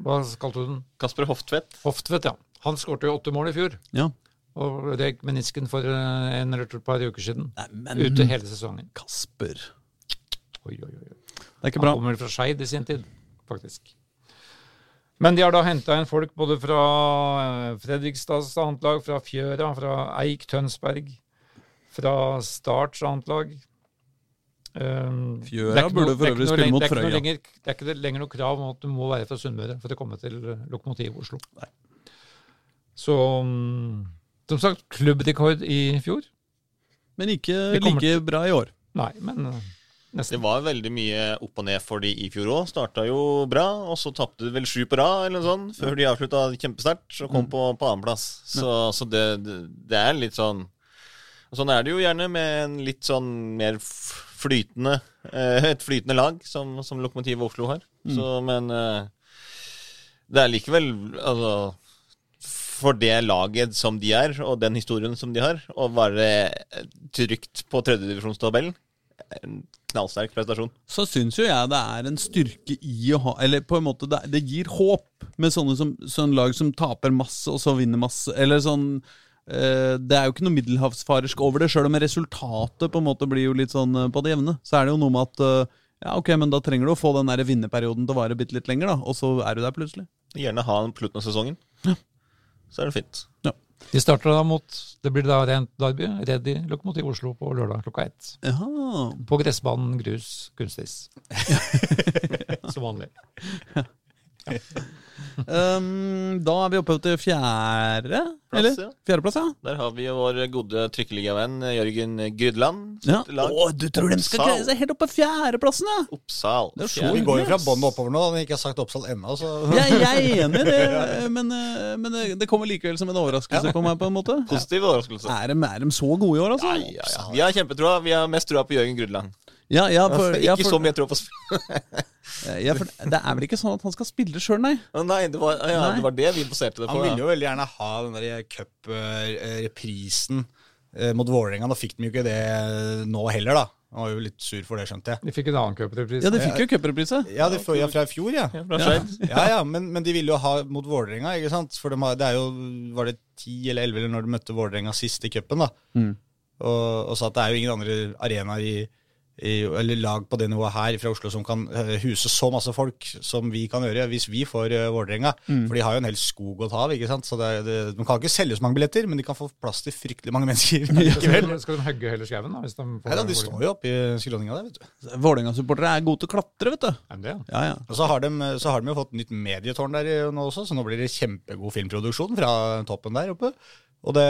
[SPEAKER 4] Hva kalte du den?
[SPEAKER 3] Kasper Hoftvedt.
[SPEAKER 4] Hoftvedt, ja. Han skårte jo åtte mål i fjor.
[SPEAKER 2] Ja.
[SPEAKER 4] Og røyk menisken for eh, en eller et par uker siden.
[SPEAKER 2] Nei, men
[SPEAKER 4] Ute hele sesongen.
[SPEAKER 2] Kasper. Det
[SPEAKER 4] Oi, oi, oi.
[SPEAKER 2] er ikke
[SPEAKER 4] Han
[SPEAKER 2] bra.
[SPEAKER 4] kommer fra Skeid i sin tid, faktisk. Men de har da henta inn folk både fra eh, Fredrikstads annet lag, fra Fjøra, fra Eik Tønsberg, fra Starts annet lag. Um,
[SPEAKER 2] Fjøra
[SPEAKER 4] det er ikke
[SPEAKER 2] burde
[SPEAKER 4] noe-
[SPEAKER 2] for
[SPEAKER 4] det er
[SPEAKER 2] øvrig
[SPEAKER 4] ikke noe
[SPEAKER 2] spille
[SPEAKER 4] leng-
[SPEAKER 2] mot
[SPEAKER 4] det er ikke noe
[SPEAKER 2] Frøya.
[SPEAKER 4] lenger- Det er ikke det lenger noe krav om at du må være fra Sunnmøre for å komme til eh, Lokomotiv Oslo.
[SPEAKER 2] Nei.
[SPEAKER 4] Så mm, som sagt, klubbrekord i fjor.
[SPEAKER 2] Men ikke
[SPEAKER 4] Vi kommer
[SPEAKER 2] like bra i år.
[SPEAKER 4] Nei, men eh,
[SPEAKER 3] Det
[SPEAKER 4] nesten.
[SPEAKER 3] var veldig mye opp og ned for de i fjor òg. Starta jo bra, og så tapte de vel sju på rad eller noe sånt, før de avslutta kjempesterkt og kom på, på annenplass. Så, så det, det det er litt sånn Sånn er det jo gjerne med en litt sånn mer f- flytende, eh, et flytende lag som, som Lokomotiv Oslo har. Så, men eh, det er likevel altså, For det laget som de er, og den historien som de har, å være trygt på tredjedivisjonstabellen en Knallsterk prestasjon.
[SPEAKER 2] så syns jo jeg det er en styrke i å ha Eller på en måte, det, det gir håp med sånne som, sånn lag som taper masse, og så vinner masse. Eller sånn eh, Det er jo ikke noe middelhavsfarersk over det, sjøl om resultatet på en måte blir jo litt sånn eh, på det jevne. Så er det jo noe med at eh, ja, ok, men da trenger du å få den der vinnerperioden til å vare bitte litt lenger, da. Og så er du der plutselig.
[SPEAKER 3] Gjerne ha en på slutten av sesongen. Så er det fint.
[SPEAKER 4] De starter da mot Det blir da rent derby. Redi Lokomotiv Oslo på lørdag klokka ett.
[SPEAKER 2] Ja.
[SPEAKER 4] På gressbanen grus kunstis. Som vanlig.
[SPEAKER 2] Um, da er vi oppe til fjerde,
[SPEAKER 3] Plass,
[SPEAKER 2] eller?
[SPEAKER 3] ja.
[SPEAKER 2] Fjerdeplass, ja.
[SPEAKER 3] Der har vi jo vår gode trykkeligavenn Jørgen Grydland.
[SPEAKER 2] ja.
[SPEAKER 3] sitt lag.
[SPEAKER 2] Å, du tror de skal
[SPEAKER 3] Oppsal.
[SPEAKER 2] greie seg helt opp på fjerdeplassen, ja?
[SPEAKER 3] Oppsal.
[SPEAKER 2] Det er så
[SPEAKER 3] Fjerde.
[SPEAKER 1] Vi går jo fra bånn og oppover nå, når vi ikke har sagt Oppsal ennå. Så
[SPEAKER 2] Jeg, jeg er enig i det, men, eh, men det- det kommer likevel som en overraskelse på meg, på en måte.
[SPEAKER 3] Positiv overraskelse.
[SPEAKER 2] Er de, er de så gode i år, altså?
[SPEAKER 3] Ja, ja, ja. Vi har kjempetroa. Vi har mest troa på Jørgen Grydland. Altså,
[SPEAKER 2] Ja, ja, for, ja,
[SPEAKER 3] Ikke så
[SPEAKER 2] for,
[SPEAKER 3] mye tro på sp-
[SPEAKER 2] ja, for det er vel ikke sånn at han skal spille sjøl, nei?
[SPEAKER 3] Å Nei, det var, ja,
[SPEAKER 2] Nei.
[SPEAKER 3] det var det vi baserte det
[SPEAKER 1] han
[SPEAKER 3] på.
[SPEAKER 1] ville
[SPEAKER 3] Ja.
[SPEAKER 1] jo veldig gjerne ha den der cup-reprisen eh, mot Vålerenga. Da fikk de jo ikke det nå heller, da. Han var jo litt sur for det, skjønte jeg.
[SPEAKER 4] De fikk en annen cuprepris.
[SPEAKER 2] Ja, de fikk jo cupreprise.
[SPEAKER 1] Ja, det får jeg fra i fjor, ja.
[SPEAKER 3] Fra Skeid.
[SPEAKER 1] Ja, ja, men, men de ville jo ha mot Vålerenga, ikke sant? For de har, det er jo, var det ti eller elleve eller når de møtte Vålerenga sist i cupen, da. Og, og sa at det er jo ingen andre arenaer i, i eller lag på det nivået her fra Oslo som kan eh, huse så masse folk som vi kan gjøre, hvis vi får eh, Vålerenga. For de har jo en hel skog å ta av, ikke sant. Så det, er- det, de kan ikke selge så mange billetter, men de kan få plass til fryktelig mange mennesker likevel.
[SPEAKER 4] Skal de- Skal de hogge hele skauen, da? Hvis de får
[SPEAKER 1] Nei da, de står jo oppe i skråninga der, vet du.
[SPEAKER 2] Vålerenga-supportere er gode til å klatre, vet du.
[SPEAKER 4] Er de det, ja?
[SPEAKER 2] Ja, ja.
[SPEAKER 1] Og så har, de, så har de jo fått nytt medietårn der i- nå også, så nå blir det kjempegod filmproduksjon fra toppen der oppe. Og det,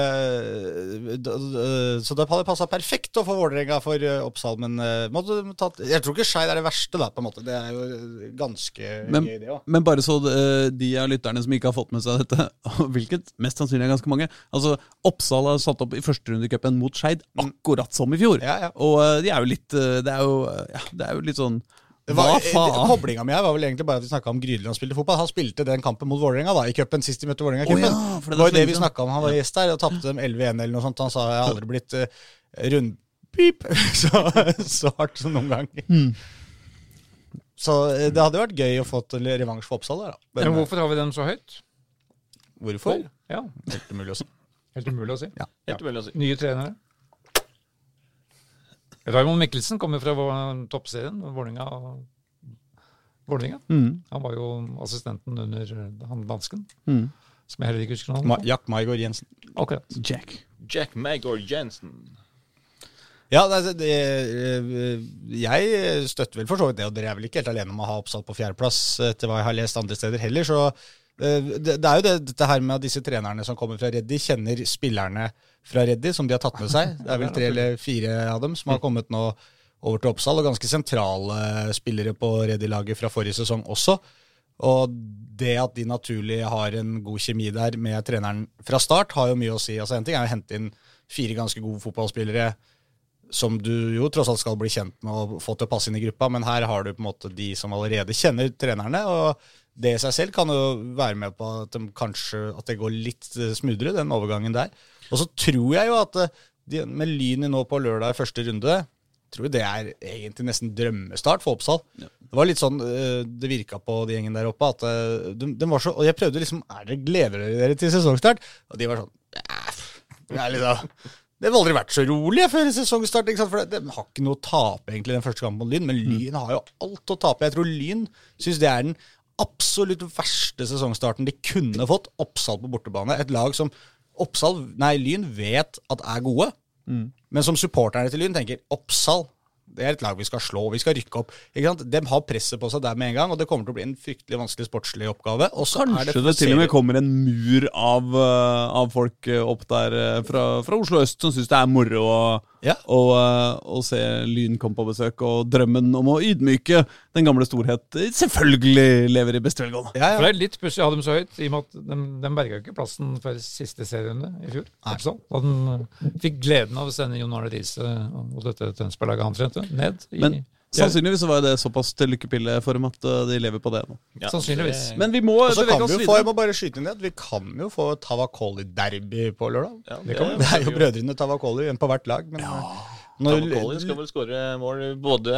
[SPEAKER 1] d- d- så det hadde passa perfekt å få Vålerenga for eh, Oppsal, men eh, måtte de tatt, jeg tror ikke Skeid er det verste, da, på en måte. Det er jo eh, ganske
[SPEAKER 2] Men,
[SPEAKER 1] gøy, det òg.
[SPEAKER 2] men bare så eh, de av lytterne som ikke har fått med seg dette, hvilket mest sannsynlig er ganske mange Altså, Oppsal har satt opp i førsterundecupen mot Skeid, akkurat som i fjor.
[SPEAKER 1] Ja, ja.
[SPEAKER 2] Og eh, de er jo litt eh, Det er jo, eh, ja, det er jo litt sånn Hva faen?
[SPEAKER 1] eh, Koblinga mi her var vel egentlig bare at vi snakka om Grydland spilte fotball. Han spilte den kampen mot Vålerenga da, i cupen sist de møtte Vålerenga i
[SPEAKER 2] Å
[SPEAKER 1] cupen.
[SPEAKER 2] ja, for det
[SPEAKER 1] det,
[SPEAKER 2] er
[SPEAKER 1] var
[SPEAKER 2] så
[SPEAKER 1] jo det
[SPEAKER 2] lenge
[SPEAKER 1] vi
[SPEAKER 2] siden.
[SPEAKER 1] snakka om. Han var gjest der og tapte dem 11-1 eller noe sånt. Han sa jeg har aldri blitt eh, rundpip så, så hardt som noen gang.
[SPEAKER 2] Hmm.
[SPEAKER 1] Så eh, det hadde vært gøy å få til revansj for Oppsal der, da.
[SPEAKER 4] Men
[SPEAKER 1] Men eh,
[SPEAKER 4] hvorfor har vi dem så høyt?
[SPEAKER 1] hvorfor?
[SPEAKER 4] Ja,
[SPEAKER 1] Helt umulig å si.
[SPEAKER 4] Helt umulig å si.
[SPEAKER 3] Helt umulig å si.
[SPEAKER 4] Nye trenere. Raymond Mikkelsen kommer fra vår- toppserien, Vålerenga. Vålerenga.
[SPEAKER 2] Mm.
[SPEAKER 4] Han var jo assistenten under han dansken,
[SPEAKER 2] Mm.
[SPEAKER 4] som jeg heller ikke husker
[SPEAKER 1] Ma
[SPEAKER 4] navnet på.
[SPEAKER 1] Jack Maigård Jensen.
[SPEAKER 4] Akkurat.
[SPEAKER 2] Jack.
[SPEAKER 3] Jack Magor Jensen.
[SPEAKER 1] Ja, det, det, eh, jeg støtter vel for så vidt det, og dere er vel ikke helt alene om å ha oppsatt på fjerdeplass, etter hva jeg har lest andre steder heller. Så eh, det, det er jo det, dette her med at disse trenerne som kommer fra Reddy, kjenner spillerne fra Reddy, som de har tatt med seg. Det er vel tre eller fire av dem som har kommet nå over til Oppsal, og ganske sentrale spillere på Reddy-laget fra forrige sesong også. Og det at de naturlig har en god kjemi der med treneren fra start, har jo mye å si. Altså En ting er å hente inn fire ganske gode fotballspillere som du jo tross alt skal bli kjent med og få til å passe inn i gruppa, men her har du på en måte de som allerede kjenner trenerne, og det i seg selv kan jo være med på at de kanskje at det går litt eh, smoothere, den overgangen der. Og så tror jeg jo at eh, de, med Lynet nå på lørdag i første runde, tror jeg det er egentlig nesten drømmestart for Oppsal. Det var litt sånn eh, det virka på de gjengen der oppe, at eh, de, de var så Og jeg prøvde liksom Er dere gleder dere til sesongstart? Og de var sånn det er liksom det har aldri vært så rolig før sesongstart. ikke sant? For det- De har ikke noe å tape egentlig den første kampen mot Lyn, men
[SPEAKER 2] Mm.
[SPEAKER 1] Lyn har jo alt å tape. Jeg tror Lyn syns det er den absolutt verste sesongstarten de kunne fått. Oppsal på bortebane. Et lag som Oppsal, nei, Lyn vet at er gode,
[SPEAKER 2] Mm.
[SPEAKER 1] men som supporterne til Lyn tenker Oppsal det er et lag vi skal slå, vi skal rykke opp. ikke sant? De har presset på seg der med en gang, og det kommer til å bli en fryktelig vanskelig sportslig oppgave. Og så er
[SPEAKER 2] Kanskje det til og
[SPEAKER 1] serien-
[SPEAKER 2] med kommer en mur av, eh, av folk eh, opp der eh, fra, fra Oslo øst som syns det er moro å
[SPEAKER 1] Ja.
[SPEAKER 2] Og, eh, og se Lyn komme på besøk, og drømmen om å ydmyke den gamle storhet eh, selvfølgelig lever i beste velgående.
[SPEAKER 1] Ja,
[SPEAKER 4] For
[SPEAKER 1] ja.
[SPEAKER 4] det er litt pussig å ha dem så høyt, i og med at de, de berga jo ikke plassen før siste serierunde i fjor. ikke sant? Da den eh, fikk gleden av å sende Jon Arne Riise og dette Tønsberg-laget han trente, ned. I,
[SPEAKER 2] Men sannsynligvis så var jo det såpass til lykkepilleform at eh, de lever på det nå.
[SPEAKER 3] Ja.
[SPEAKER 4] Sannsynligvis.
[SPEAKER 2] Men vi må
[SPEAKER 1] Og så kan vi
[SPEAKER 2] bevege oss
[SPEAKER 1] jo få, jeg
[SPEAKER 2] videre.
[SPEAKER 1] må bare skyte inn det, at vi kan jo få Tavakoli-derby på lørdag.
[SPEAKER 3] Ja,
[SPEAKER 4] Det kan
[SPEAKER 1] Det er jo brødrene Tavakoli, en på hvert lag. Men eh, nå,
[SPEAKER 3] Tavakoli skal vel skåre mål både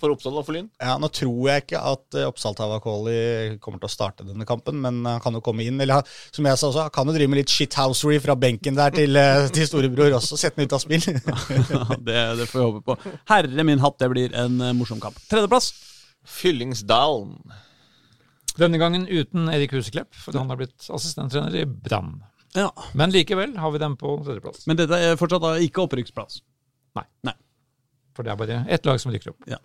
[SPEAKER 3] for Oppsal og for Lyn.
[SPEAKER 1] ja, nå tror jeg ikke at eh, Oppsal Tavakoli kommer til å starte denne kampen, men eh, han kan jo komme inn. Eller han- som jeg sa også, han kan jo drive med litt shithousery fra benken der til, eh, til storebror også. Sette den ut av spill.
[SPEAKER 2] Ja, det, det får vi håpe på. Herre min hatt, det blir en eh, morsom kamp. Tredjeplass.
[SPEAKER 3] Fyllingsdalen.
[SPEAKER 4] Denne gangen uten Erik Huseklepp, for han har blitt assistenttrener i Brann.
[SPEAKER 2] Ja.
[SPEAKER 4] Men likevel har vi dem på tredjeplass.
[SPEAKER 2] Men dette er fortsatt da ikke opprykksplass.
[SPEAKER 4] Nei.
[SPEAKER 2] Nei.
[SPEAKER 4] For det er bare ett lag som rykker opp.
[SPEAKER 2] Ja.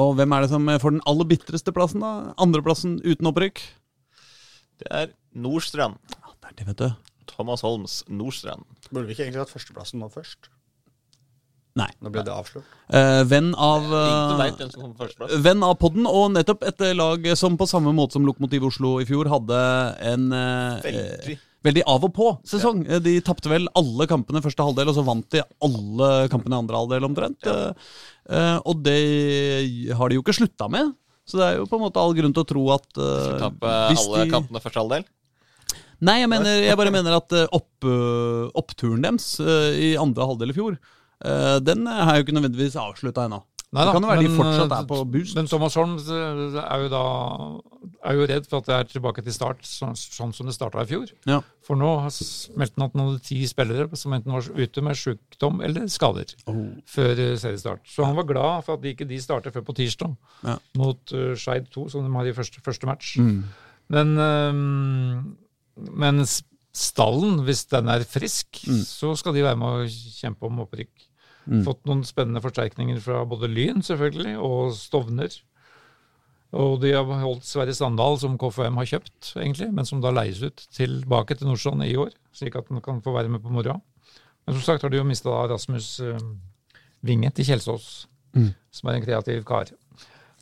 [SPEAKER 2] Og hvem er det som eh, får den aller bitreste plassen, da? Andreplassen uten opprykk?
[SPEAKER 3] Det er Nordstrand.
[SPEAKER 2] Ja, det er det, vet du.
[SPEAKER 3] Thomas Holms Nordstrand.
[SPEAKER 1] Burde vi ikke egentlig hatt førsteplassen nå først?
[SPEAKER 2] Nei.
[SPEAKER 1] Nå ble det avslått.
[SPEAKER 2] Eh, venn av
[SPEAKER 3] Ingen
[SPEAKER 2] eh,
[SPEAKER 3] veit hvem som kommer på førsteplass.
[SPEAKER 2] Venn av podden, og nettopp et eh, lag som på samme måte som Lokomotiv Oslo i fjor hadde en eh,
[SPEAKER 3] Veldig.
[SPEAKER 2] eh, veldig av og på-sesong. De tapte vel alle kampene første halvdel, og så vant de alle kampene i andre halvdel omtrent. Eh, eh, Og det har de jo ikke slutta med, så det er jo på en måte all grunn til å tro at eh,
[SPEAKER 3] Tappe
[SPEAKER 2] hvis
[SPEAKER 3] alle
[SPEAKER 2] de-
[SPEAKER 3] kampene første halvdel.
[SPEAKER 2] Nei, jeg, mener, jeg bare mener at eh, opp, eh, oppturen deres eh, i andre halvdel i fjor, eh, den er jo ikke nødvendigvis avslutta ennå.
[SPEAKER 4] Nei
[SPEAKER 2] det
[SPEAKER 4] da,
[SPEAKER 2] kan jo være de
[SPEAKER 4] men,
[SPEAKER 2] fortsatt
[SPEAKER 4] eh,
[SPEAKER 2] er på boost.
[SPEAKER 4] Men Thomas Holm eh, er jo da er jo redd for at det er tilbake til start, sånn, sånn som det starta i fjor.
[SPEAKER 2] Ja.
[SPEAKER 4] For nå har s- meldte han at han hadde ti spillere som enten var ute med sykdom eller skader før eh, seriestart. Så han var glad for at de ikke de starter før på tirsdag
[SPEAKER 2] Ja.
[SPEAKER 4] mot uh, Skeid 2, som de har i første, første match. Men, eh, men s- stallen, hvis den er frisk, så skal de være med å kjempe om opprykk. Fått noen spennende forsterkninger fra både Lyn selvfølgelig, og Stovner. Og de har holdt Sverre Sandal, som KFM har kjøpt, egentlig, men som da leies ut tilbake til Nordstrand i år, slik at han kan få være med på moroa. Men som sagt har de jo mista Rasmus eh, Winge til Kjelsås,
[SPEAKER 2] Mm.
[SPEAKER 4] som er en kreativ kar.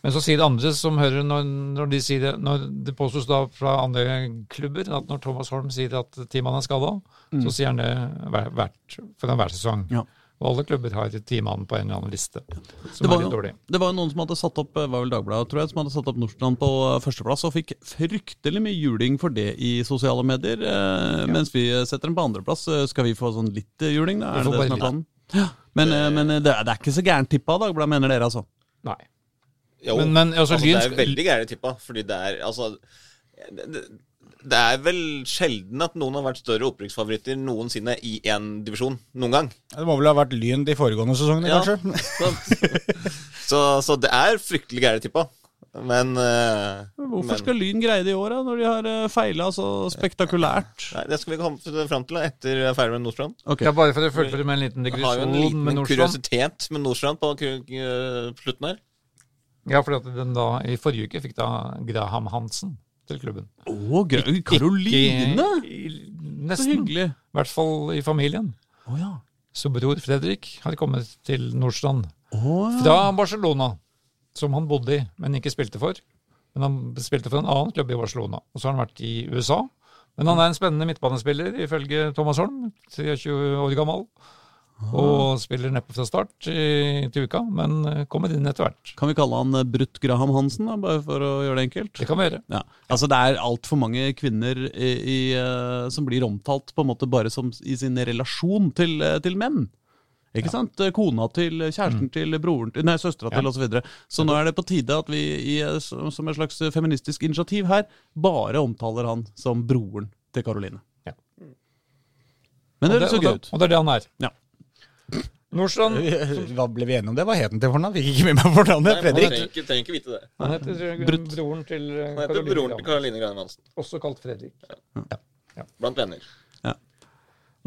[SPEAKER 4] Men så sier det andre som hører når, når de sier det, når det påstås da fra andre klubber at når Thomas Holm sier at ti mann er skada, så sier han det hver, hvert, foran hver sesong.
[SPEAKER 2] Mm. Ja.
[SPEAKER 4] Og alle klubber har ti mann på en eller annen liste, som
[SPEAKER 2] Det var,
[SPEAKER 4] er litt
[SPEAKER 2] jo-
[SPEAKER 4] dårlig.
[SPEAKER 2] det var jo noen som hadde satt opp eh, var vel Dagbladet, tror jeg, som hadde satt opp Nordstrand på eh, førsteplass, og fikk fryktelig mye juling for det i sosiale medier. eh, Mens vi eh, setter den på andreplass, eh, skal vi få sånn litt eh, juling, da?
[SPEAKER 4] Vi
[SPEAKER 2] Er det
[SPEAKER 4] får
[SPEAKER 2] det som
[SPEAKER 4] bare
[SPEAKER 2] er
[SPEAKER 4] litt.
[SPEAKER 2] planen? Ja. Men, eh, men eh, det, er, det er ikke så gærent tippa av Dagbladet, mener dere, altså?
[SPEAKER 4] Nei.
[SPEAKER 3] Jo,
[SPEAKER 4] Men- men, altså,
[SPEAKER 3] altså,
[SPEAKER 4] Lyn
[SPEAKER 3] det er
[SPEAKER 4] skal-
[SPEAKER 3] veldig gærent tippa, fordi det er altså det, det, det er vel sjelden at noen har vært større opprykksfavoritter noensinne i én divisjon. Noen gang.
[SPEAKER 1] Det må vel ha vært Lyn de foregående sesongene,
[SPEAKER 3] Ja.
[SPEAKER 1] kanskje?
[SPEAKER 3] Så, så, så det er fryktelig gærent tippa. Men eh,
[SPEAKER 2] Hvorfor
[SPEAKER 3] men,
[SPEAKER 2] skal Lyn greie det i år, da, når de har feila så spektakulært?
[SPEAKER 3] Nei, det skal vi komme fram til da, etter vi er ferdig med Nordstrand.
[SPEAKER 2] Ok.
[SPEAKER 4] Ja, bare for å fullføre med en liten
[SPEAKER 3] Vi har jo
[SPEAKER 4] digresjon
[SPEAKER 3] en
[SPEAKER 4] med
[SPEAKER 3] liten
[SPEAKER 4] Nordstrand.
[SPEAKER 3] kuriositet med Nordstrand på ku- eh, på slutten her.
[SPEAKER 4] Ja, fordi at den da i forrige uke fikk da Graham Hansen til klubben.
[SPEAKER 2] Å, gøy. Karoline!
[SPEAKER 4] I, i,
[SPEAKER 2] Så
[SPEAKER 4] nesten.
[SPEAKER 2] hyggelig.
[SPEAKER 4] I hvert fall i familien.
[SPEAKER 2] Å ja.
[SPEAKER 4] Så bror Fredrik har kommet til Nordstrand.
[SPEAKER 2] Å, ja.
[SPEAKER 3] Ah.
[SPEAKER 4] Fra Barcelona, som han bodde i, men ikke spilte for. Men han spilte for en annen klubb i Barcelona. Og så har han vært i USA. Men han er en spennende midtbanespiller, ifølge Thomas Holm. 23 år gammel.
[SPEAKER 3] Ah.
[SPEAKER 4] Og spiller neppe fra start i, til uka, men eh, kommer inn etter hvert.
[SPEAKER 2] Kan vi kalle han eh, Brutt Graham Hansen, da, bare for å gjøre det enkelt?
[SPEAKER 4] Det kan vi gjøre.
[SPEAKER 2] Ja, altså Det er altfor mange kvinner i, i, eh, som blir omtalt på en måte bare som s- i sin relasjon til, eh, til menn. Ikke sant? Eh, Kona til eh, kjæresten
[SPEAKER 4] Mm.
[SPEAKER 2] til broren til, nei, søstera til osv. Så, videre. så nå er det på tide at vi i, eh, s- som et slags feministisk initiativ her bare omtaler han som broren til Karoline.
[SPEAKER 4] Ja.
[SPEAKER 2] Men det
[SPEAKER 4] Og
[SPEAKER 2] høres så
[SPEAKER 4] og
[SPEAKER 2] gøy ut.
[SPEAKER 4] Og det er det han er.
[SPEAKER 2] Ja.
[SPEAKER 4] Nordstrand
[SPEAKER 1] Hva ble vi enige om det? Hva het den til fornavn? Fikk ikke med meg fornavnet. Fredrik.
[SPEAKER 3] ikke, trenger ikke vite det.
[SPEAKER 4] han heter
[SPEAKER 2] Brutt.
[SPEAKER 4] broren til eh,
[SPEAKER 3] Han heter
[SPEAKER 4] Caroline
[SPEAKER 3] broren til
[SPEAKER 4] Graham,
[SPEAKER 3] Karoline Graham Hansen.
[SPEAKER 4] også kalt Fredrik.
[SPEAKER 3] Blant venner.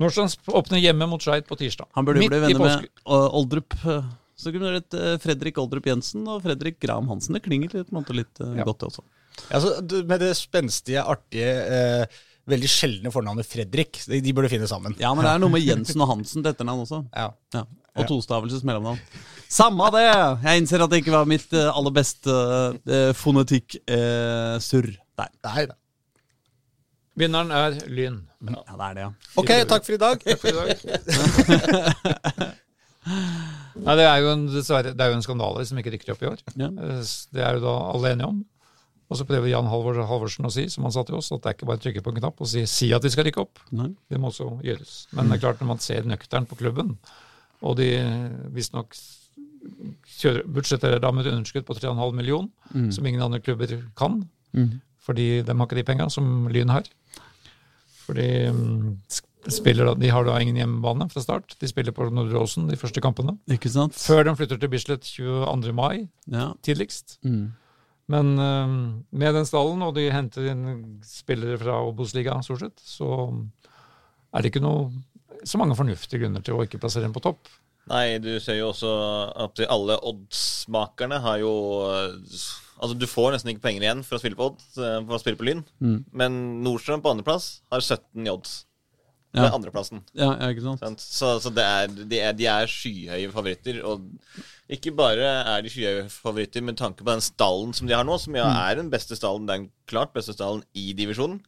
[SPEAKER 4] Nordstrand åpner hjemme mot Skeid på tirsdag.
[SPEAKER 2] Han burde jo
[SPEAKER 4] Midt
[SPEAKER 2] bli
[SPEAKER 4] i
[SPEAKER 2] venner med
[SPEAKER 4] påske-
[SPEAKER 2] eh, Oldrup. eh, Så kunne det vært eh, Fredrik Oldrup Jensen og Fredrik Graham Hansen. Det klinger litt, på en måte litt eh,
[SPEAKER 4] Ja.
[SPEAKER 2] godt, det også.
[SPEAKER 1] Altså, du- med det spenstige, artige eh, veldig sjeldne fornavnet Fredrik. De, de burde finne sammen.
[SPEAKER 2] Ja, men det er noe med Jensen og Hansen til etternavn også.
[SPEAKER 1] Ja.
[SPEAKER 2] Ja. Og tostavelses mellomnavn. Samme det! Jeg innser at det ikke var mitt eh, aller beste eh, fonetikk-surr der.
[SPEAKER 1] Nei, nei.
[SPEAKER 4] Vinneren er Lyn.
[SPEAKER 2] Ja, det er det, ja.
[SPEAKER 1] Ok, takk for i dag.
[SPEAKER 4] for i dag. Nei, det er jo en, dessverre, det er jo en skandale som ikke rykker opp i år.
[SPEAKER 2] Ja.
[SPEAKER 4] Eh, s- Det er jo da alle enige om. Og så prøver Jan Halvor Halvorsen å si, som han sa til oss, at det er ikke bare å trykke på en knapp og si, si at vi skal rykke opp.
[SPEAKER 2] Nei.
[SPEAKER 4] Det må også gjøres. Men det er klart, når man ser nøktern på klubben, og de visstnok kjører- budsjetterer da med et underskudd på 3,5 million, som ingen andre klubber kan, fordi de har ikke de penga som Lyn har. Fordi mm, sp- spiller, da- De har da ingen hjemmebane fra start. De spiller på Nordre Åsen de første kampene.
[SPEAKER 2] Ikke sant?
[SPEAKER 4] Før de flytter til Bislett 22. mai
[SPEAKER 2] Ja.
[SPEAKER 4] tidligst.
[SPEAKER 2] Mm.
[SPEAKER 4] Men øhm, med den stallen, og de henter inn spillere fra Obos-ligaen stort sett, så er det ikke noe så mange fornuftige grunner til å ikke plassere dem på topp.
[SPEAKER 3] Nei, du ser jo også at de- alle oddsmakerne har jo eh, Altså, du får nesten ikke penger igjen for å spille på odds, eh, for å spille på Lyn, men Nordstrøm på andreplass har 17 i odds. Det
[SPEAKER 2] Ja.
[SPEAKER 3] er andreplassen.
[SPEAKER 2] Ja, ja, ikke sant?
[SPEAKER 3] Sant? Så, så det er, de, er, de er skyhøye favoritter. Og ikke bare er de skyhøye favoritter med tanke på den stallen som de har nå, som ja, er den beste stallen, den klart beste stallen i divisjonen,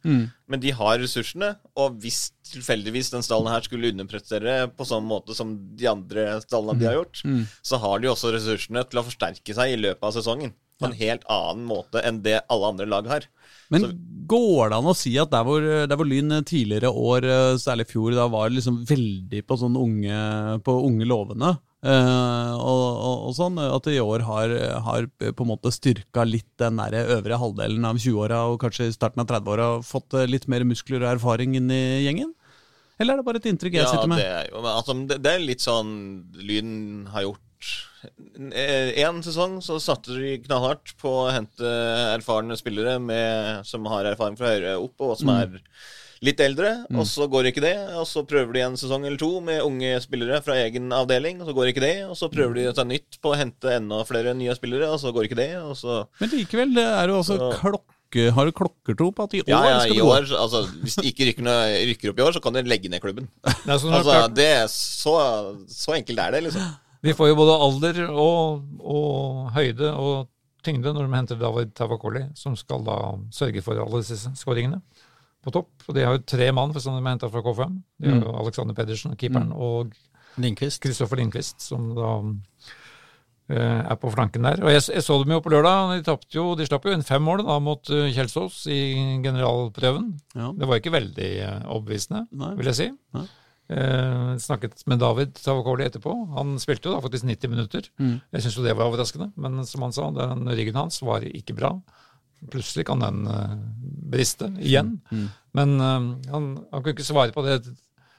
[SPEAKER 3] men de har ressursene. Og hvis tilfeldigvis den stallen her skulle underprestere på samme måte som de andre stallene de har gjort, så har de også ressursene til å forsterke seg i løpet av sesongen. På en helt annen måte enn det alle andre lag har.
[SPEAKER 2] Men går det an å si at der hvor, eh, der hvor Lyn tidligere år, eh, særlig i fjor, da var liksom veldig på sånn unge, på unge lovende eh, og, og, og sånn, at de i år har, har på en måte styrka litt den der øvre halvdelen av 20-åra og kanskje i starten av 30-åra fått eh, litt mer muskler og erfaring inn i gjengen? Eller er det bare et inntrykk jeg
[SPEAKER 3] Ja,
[SPEAKER 2] sitter med?
[SPEAKER 3] Det er, jo, men altså, det, det er litt sånn Lyn har gjort. Én sesong så satte de knallhardt på å hente erfarne spillere med, som har erfaring fra høyere opp, og som er litt eldre. Og så går ikke det, og så prøver de en sesong eller to med unge spillere fra egen avdeling, og så går ikke det. Og så prøver de å ta nytt på å hente enda flere nye spillere, og så går ikke det. Og så
[SPEAKER 2] Men likevel, det er jo også
[SPEAKER 3] Så-
[SPEAKER 2] klokke, har du klokkertro på at i år
[SPEAKER 3] Ja, ja,
[SPEAKER 2] skal
[SPEAKER 3] i
[SPEAKER 2] det gå?
[SPEAKER 3] år, altså, hvis de ikke rykker, noe- rykker opp i år, så kan de legge ned klubben.
[SPEAKER 4] Det er sånn at
[SPEAKER 3] Altså,
[SPEAKER 4] klart,
[SPEAKER 3] det er så, så enkelt er det, liksom.
[SPEAKER 4] de får jo både alder og, og høyde og tyngde når de henter David Tavakoli, som skal da sørge for alle disse skåringene på topp. Og de har jo tre mann for som de har henta fra K5. De har jo Alexander Pedersen, keeperen, og
[SPEAKER 1] Lindqvist.
[SPEAKER 4] Kristoffer Lindqvist, som da eh, er på flanken der. Og jeg, jeg så dem jo på lørdag. De, tapte jo, de slapp jo inn fem mål da mot eh, Kjelsås i generalprøven.
[SPEAKER 2] Ja.
[SPEAKER 4] Det var ikke veldig eh, overbevisende,
[SPEAKER 2] Nei.
[SPEAKER 4] vil jeg si.
[SPEAKER 2] Nei.
[SPEAKER 4] Eh, snakket med David Tavakoli etterpå. Han spilte jo da faktisk 90 minutter.
[SPEAKER 2] Mm.
[SPEAKER 4] Jeg syns jo det var overraskende, men som han sa, den ryggen hans var ikke bra. Plutselig kan den eh, briste igjen.
[SPEAKER 2] Mm.
[SPEAKER 4] Men eh, han, han kunne ikke svare på det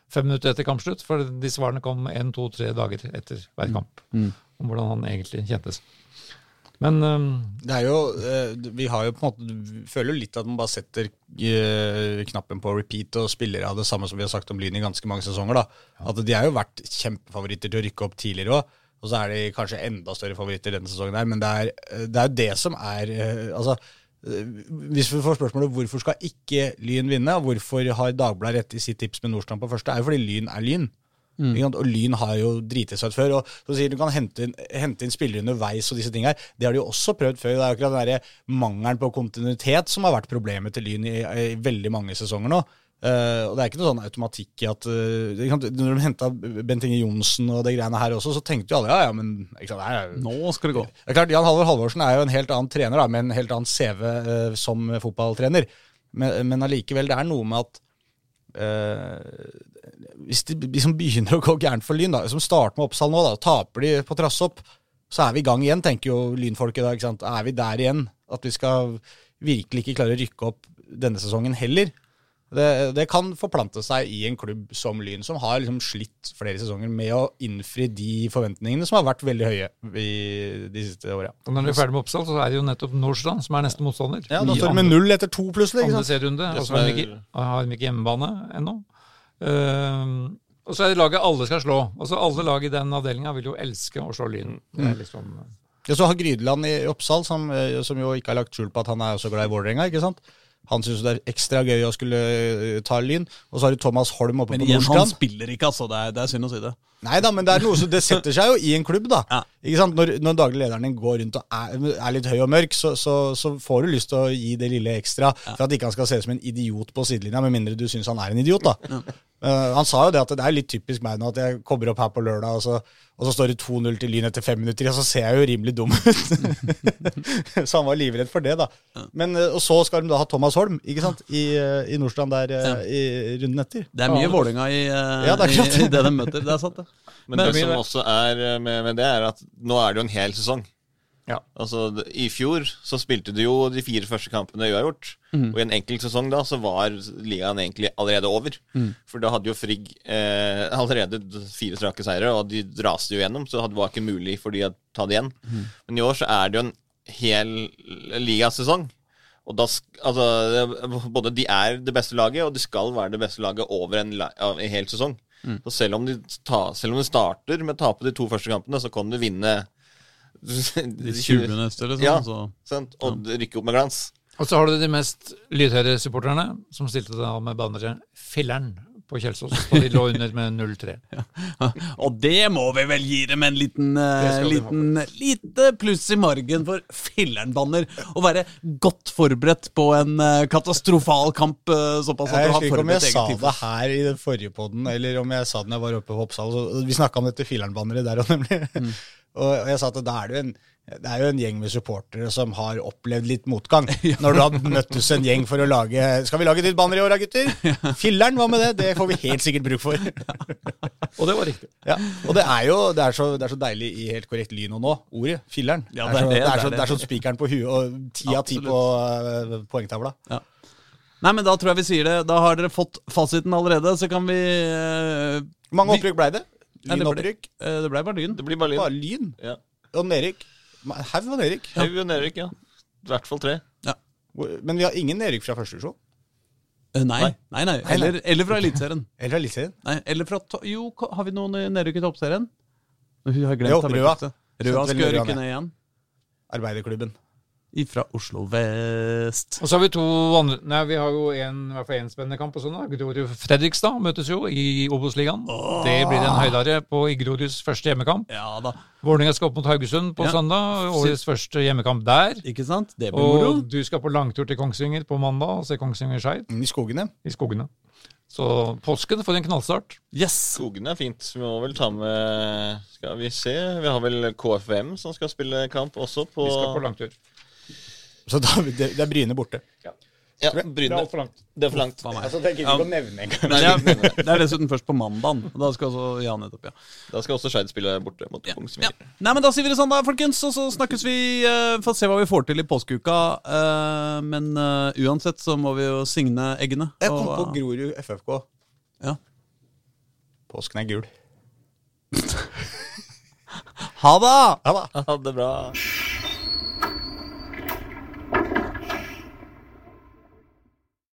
[SPEAKER 4] fem minutter etter kampslutt, for de svarene kom én, to, tre dager etter
[SPEAKER 2] Mm.
[SPEAKER 4] hver kamp. Om hvordan han egentlig kjentes. Men eh,
[SPEAKER 1] Det er jo eh, Vi har jo på en måte vi føler jo litt at man bare setter eh, knappen på repeat og spiller av det samme som vi har sagt om Lyn i ganske mange sesonger. da. At De har jo vært kjempefavoritter til å rykke opp tidligere òg. Og så er de kanskje enda større favoritter denne sesongen her, men det er, eh, det er jo det som er eh, Altså, eh, hvis vi får spørsmålet hvorfor skal ikke Lyn vinne, og hvorfor har Dagbladet rett i sitt tips med Nordstrand på første, er jo fordi Lyn er Lyn. Ikke sant? Og Lyn har jo driti seg ut før. Og så sier du kan hente inn, hente inn spillere underveis og disse ting her. Det har de jo også prøvd før. Det er akkurat den der mangelen på kontinuitet som har vært problemet til Lyn i, i veldig mange sesonger nå. Eh, og det er ikke noe sånn automatikk i at eh, ikke sant, Når de henta Bent Inge Johnsen og det greiene her også, så tenkte jo alle ja, ja, men ikke sant, det er jo
[SPEAKER 2] Nå skal det gå.
[SPEAKER 1] det er klart, Jan Halvor Halvorsen er jo en helt annen trener, da, med en helt annen CV eh, som fotballtrener. Men, men allikevel, det er noe med at eh, Hvis det liksom begynner å gå gærent for Lyn, da, som starter med Oppsal nå, da, og taper de på Trassopp, så er vi i gang igjen, tenker jo lynfolket da. ikke sant? Er vi der igjen? At vi skal virkelig ikke klare å rykke opp denne sesongen heller. Det, det kan forplante seg i en klubb som Lyn, som har liksom slitt flere sesonger med å innfri de forventningene som har vært veldig høye i de siste åra.
[SPEAKER 4] og når de er ferdig med Oppsal, så er det jo nettopp Nordstrand som er neste motstander.
[SPEAKER 1] Ja, da
[SPEAKER 4] I
[SPEAKER 1] står det med
[SPEAKER 4] andre-
[SPEAKER 1] null etter to, plutselig. ikke
[SPEAKER 4] andre
[SPEAKER 1] sant?
[SPEAKER 4] serierunde.
[SPEAKER 3] Det
[SPEAKER 4] Og så
[SPEAKER 3] som
[SPEAKER 4] har
[SPEAKER 3] er-
[SPEAKER 4] de ikke, har de ikke hjemmebane ennå. Ehm, og så er det laget alle skal slå. Altså Alle lag i den avdelinga vil jo elske å slå Lyn. Det er liksom,
[SPEAKER 1] Og så har Grydeland i Oppsal, som, eh, som jo ikke har lagt skjul på at han er også glad i Vålerenga, ikke sant. Han syns det er ekstra gøy å skulle eh, ta Lyn. Og så har du Thomas Holm oppe
[SPEAKER 2] Men
[SPEAKER 1] på
[SPEAKER 2] igjen, han
[SPEAKER 1] Nordstrand.
[SPEAKER 2] spiller ikke, altså. Det er, det er synd å si det.
[SPEAKER 1] Nei da, men det er noe som det setter seg jo i en klubb, da.
[SPEAKER 2] Ja.
[SPEAKER 1] Ikke sant? Når, når daglig lederen din går rundt og er, er litt høy og mørk, så, så, så får du lyst til å gi det lille ekstra for at ikke han skal se ut som en idiot på sidelinja, med mindre du syns han er en idiot, da. Eh, han sa jo det at det er litt typisk meg nå at jeg kommer opp her på lørdag, og så, og så står det 2-0 til Lyn etter fem minutter, og så ser jeg jo rimelig dum ut. så han var livredd for det, da. Men, eh, og så skal de da ha Thomas Holm, ikke sant, i, eh, i Nordstrand der eh, i runden etter.
[SPEAKER 2] Det er mye Vålerenga i, eh,
[SPEAKER 1] Ja, det er
[SPEAKER 2] i,
[SPEAKER 1] klart.
[SPEAKER 2] i det de møter. Det er sant, det.
[SPEAKER 3] Men, det som også er eh, med, med det, er at nå er det jo en hel sesong.
[SPEAKER 4] Ja.
[SPEAKER 3] Altså, d- I fjor så spilte du jo de fire første kampene uavgjort. Og i en enkelt sesong da så var ligaen egentlig allerede over. For da hadde jo Frigg eh, allerede d- fire strake seire, og de raste jo gjennom. Så det var ikke mulig for de å ta det igjen. Men i år så er det jo en hel ligasesong. Og da, sk- altså, det- både de er det beste laget, og de skal være det beste laget over en, la- av en hel sesong.
[SPEAKER 2] Mm.
[SPEAKER 3] Så selv om, de ta, selv om de starter med å tape de to første kampene, så kan de vinne
[SPEAKER 2] De 20 neste, liksom.
[SPEAKER 3] Ja.
[SPEAKER 2] Så.
[SPEAKER 3] sant? og rykke opp med glans.
[SPEAKER 4] Og så har du de mest lydhøre supporterne, som stilte da med banneret 'Filler'n' på Kjelsås. Og de lå under med 0-3.
[SPEAKER 2] Og det må vi vel gi dem en liten, eh,
[SPEAKER 4] Det skal
[SPEAKER 2] liten lite pluss i margen for filleren-banner. Å være godt forberedt på en eh, katastrofal kamp eh, såpass at
[SPEAKER 1] Jeg
[SPEAKER 2] du har
[SPEAKER 1] husker ikke om jeg
[SPEAKER 2] forberedt
[SPEAKER 1] sa
[SPEAKER 2] eget tifo.
[SPEAKER 1] det her i den forrige podden, eller om jeg sa det når jeg var oppe på Hoppsal. Så vi snakka om dette filernbanneret der òg, nemlig. Og og jeg sa at da er det, jo en, det er jo en gjeng med supportere som har opplevd litt motgang. Når du har møttes en gjeng for å lage Skal vi lage et nytt banner i år da, gutter? Filler'n, hva med det? Det får vi helt sikkert bruk for.
[SPEAKER 4] Og det var riktig.
[SPEAKER 1] Ja. Og det er jo det er så, det er så deilig i helt korrekt lino nå, ordet. Filler'n.
[SPEAKER 2] Ja,
[SPEAKER 1] det, er så- det
[SPEAKER 2] det,
[SPEAKER 1] er
[SPEAKER 2] det
[SPEAKER 1] så-
[SPEAKER 2] er
[SPEAKER 1] det er
[SPEAKER 2] det.
[SPEAKER 1] som spikeren på huet, og ti av ti på eh, poengtavla.
[SPEAKER 2] Nei, men da tror jeg vi sier det. Da har dere fått fasiten allerede, så kan vi eh,
[SPEAKER 1] Hvor mange
[SPEAKER 2] vi-
[SPEAKER 1] opprykk blei det?
[SPEAKER 2] Nei, det
[SPEAKER 1] Lyn
[SPEAKER 2] ble-
[SPEAKER 1] opprykk?
[SPEAKER 2] eh, Det ble bare Lyn.
[SPEAKER 3] Det blir bare
[SPEAKER 1] Bare
[SPEAKER 3] lyn.
[SPEAKER 1] lyn?
[SPEAKER 3] Ja.
[SPEAKER 1] Og Nerik. Haug og Nerik.
[SPEAKER 3] Haug og Erik, ja. I hvert fall tre.
[SPEAKER 1] Hvor- Men vi har ingen Nerik fra første divisjon.
[SPEAKER 2] Eh, Nei, nei, nei. Eller, eller fra Eliteserien.
[SPEAKER 1] Eller Eliteserien.
[SPEAKER 2] Nei, eller fra to Jo, ko- har vi noen nedrykk i Toppserien? Nå har jeg glemt
[SPEAKER 1] Jo,
[SPEAKER 2] tabelltipset.
[SPEAKER 1] Røa.
[SPEAKER 2] Røa
[SPEAKER 1] Sendte
[SPEAKER 2] skal
[SPEAKER 1] vel Røa
[SPEAKER 2] rykke
[SPEAKER 1] ned.
[SPEAKER 2] ned igjen.
[SPEAKER 1] Arbeiderklubben.
[SPEAKER 2] Ifra Oslo vest.
[SPEAKER 4] Og så har vi to andre Nei, vi har jo en, i hvert fall en spennende kamp og sånn. da. Grorud Fredrikstad møtes jo i Obos-ligaen. Det blir en høydare på i Groruds første hjemmekamp.
[SPEAKER 2] Ja da,
[SPEAKER 4] Vålerenga skal opp mot Haugesund på
[SPEAKER 2] Ja.
[SPEAKER 4] søndag. Årets første hjemmekamp der.
[SPEAKER 2] ikke sant? Det blir moro.
[SPEAKER 4] Og du skal på langtur til Kongsvinger på mandag og se Kongsvinger Skeid
[SPEAKER 1] Inn i skogene.
[SPEAKER 4] i skogene. Så påsken får en knallstart.
[SPEAKER 2] Yes!
[SPEAKER 3] Skogene er fint. Vi må vel ta med Skal vi se. Vi har vel KFM som skal spille kamp også på,
[SPEAKER 4] Vi skal på langtur.
[SPEAKER 1] Så da, det, det er Bryne borte.
[SPEAKER 3] ja,
[SPEAKER 4] Det er
[SPEAKER 3] Bryne.
[SPEAKER 4] altfor langt.
[SPEAKER 3] Det er for langt.
[SPEAKER 1] Altså, tenker ikke å nevne engang.
[SPEAKER 3] Nei,
[SPEAKER 2] Det
[SPEAKER 3] vi-
[SPEAKER 2] er, det er dessuten først på mandagen. Da skal også Ja, nettopp, ja.
[SPEAKER 3] Da skal også Skeid spille borte mot
[SPEAKER 2] ja. ja.
[SPEAKER 3] Kongsvinger.
[SPEAKER 2] Nei, men da sier vi det sånn, da, folkens. Og så snakkes vi. eh, Får se hva vi får til i påskeuka. eh, Men eh, uansett så må vi jo signe eggene.
[SPEAKER 1] Jeg kom på
[SPEAKER 2] og, eh,
[SPEAKER 1] Grorud FFK.
[SPEAKER 2] ja.
[SPEAKER 1] Påsken er gul.
[SPEAKER 2] Ha det!
[SPEAKER 1] Ja da.
[SPEAKER 3] Ha det bra.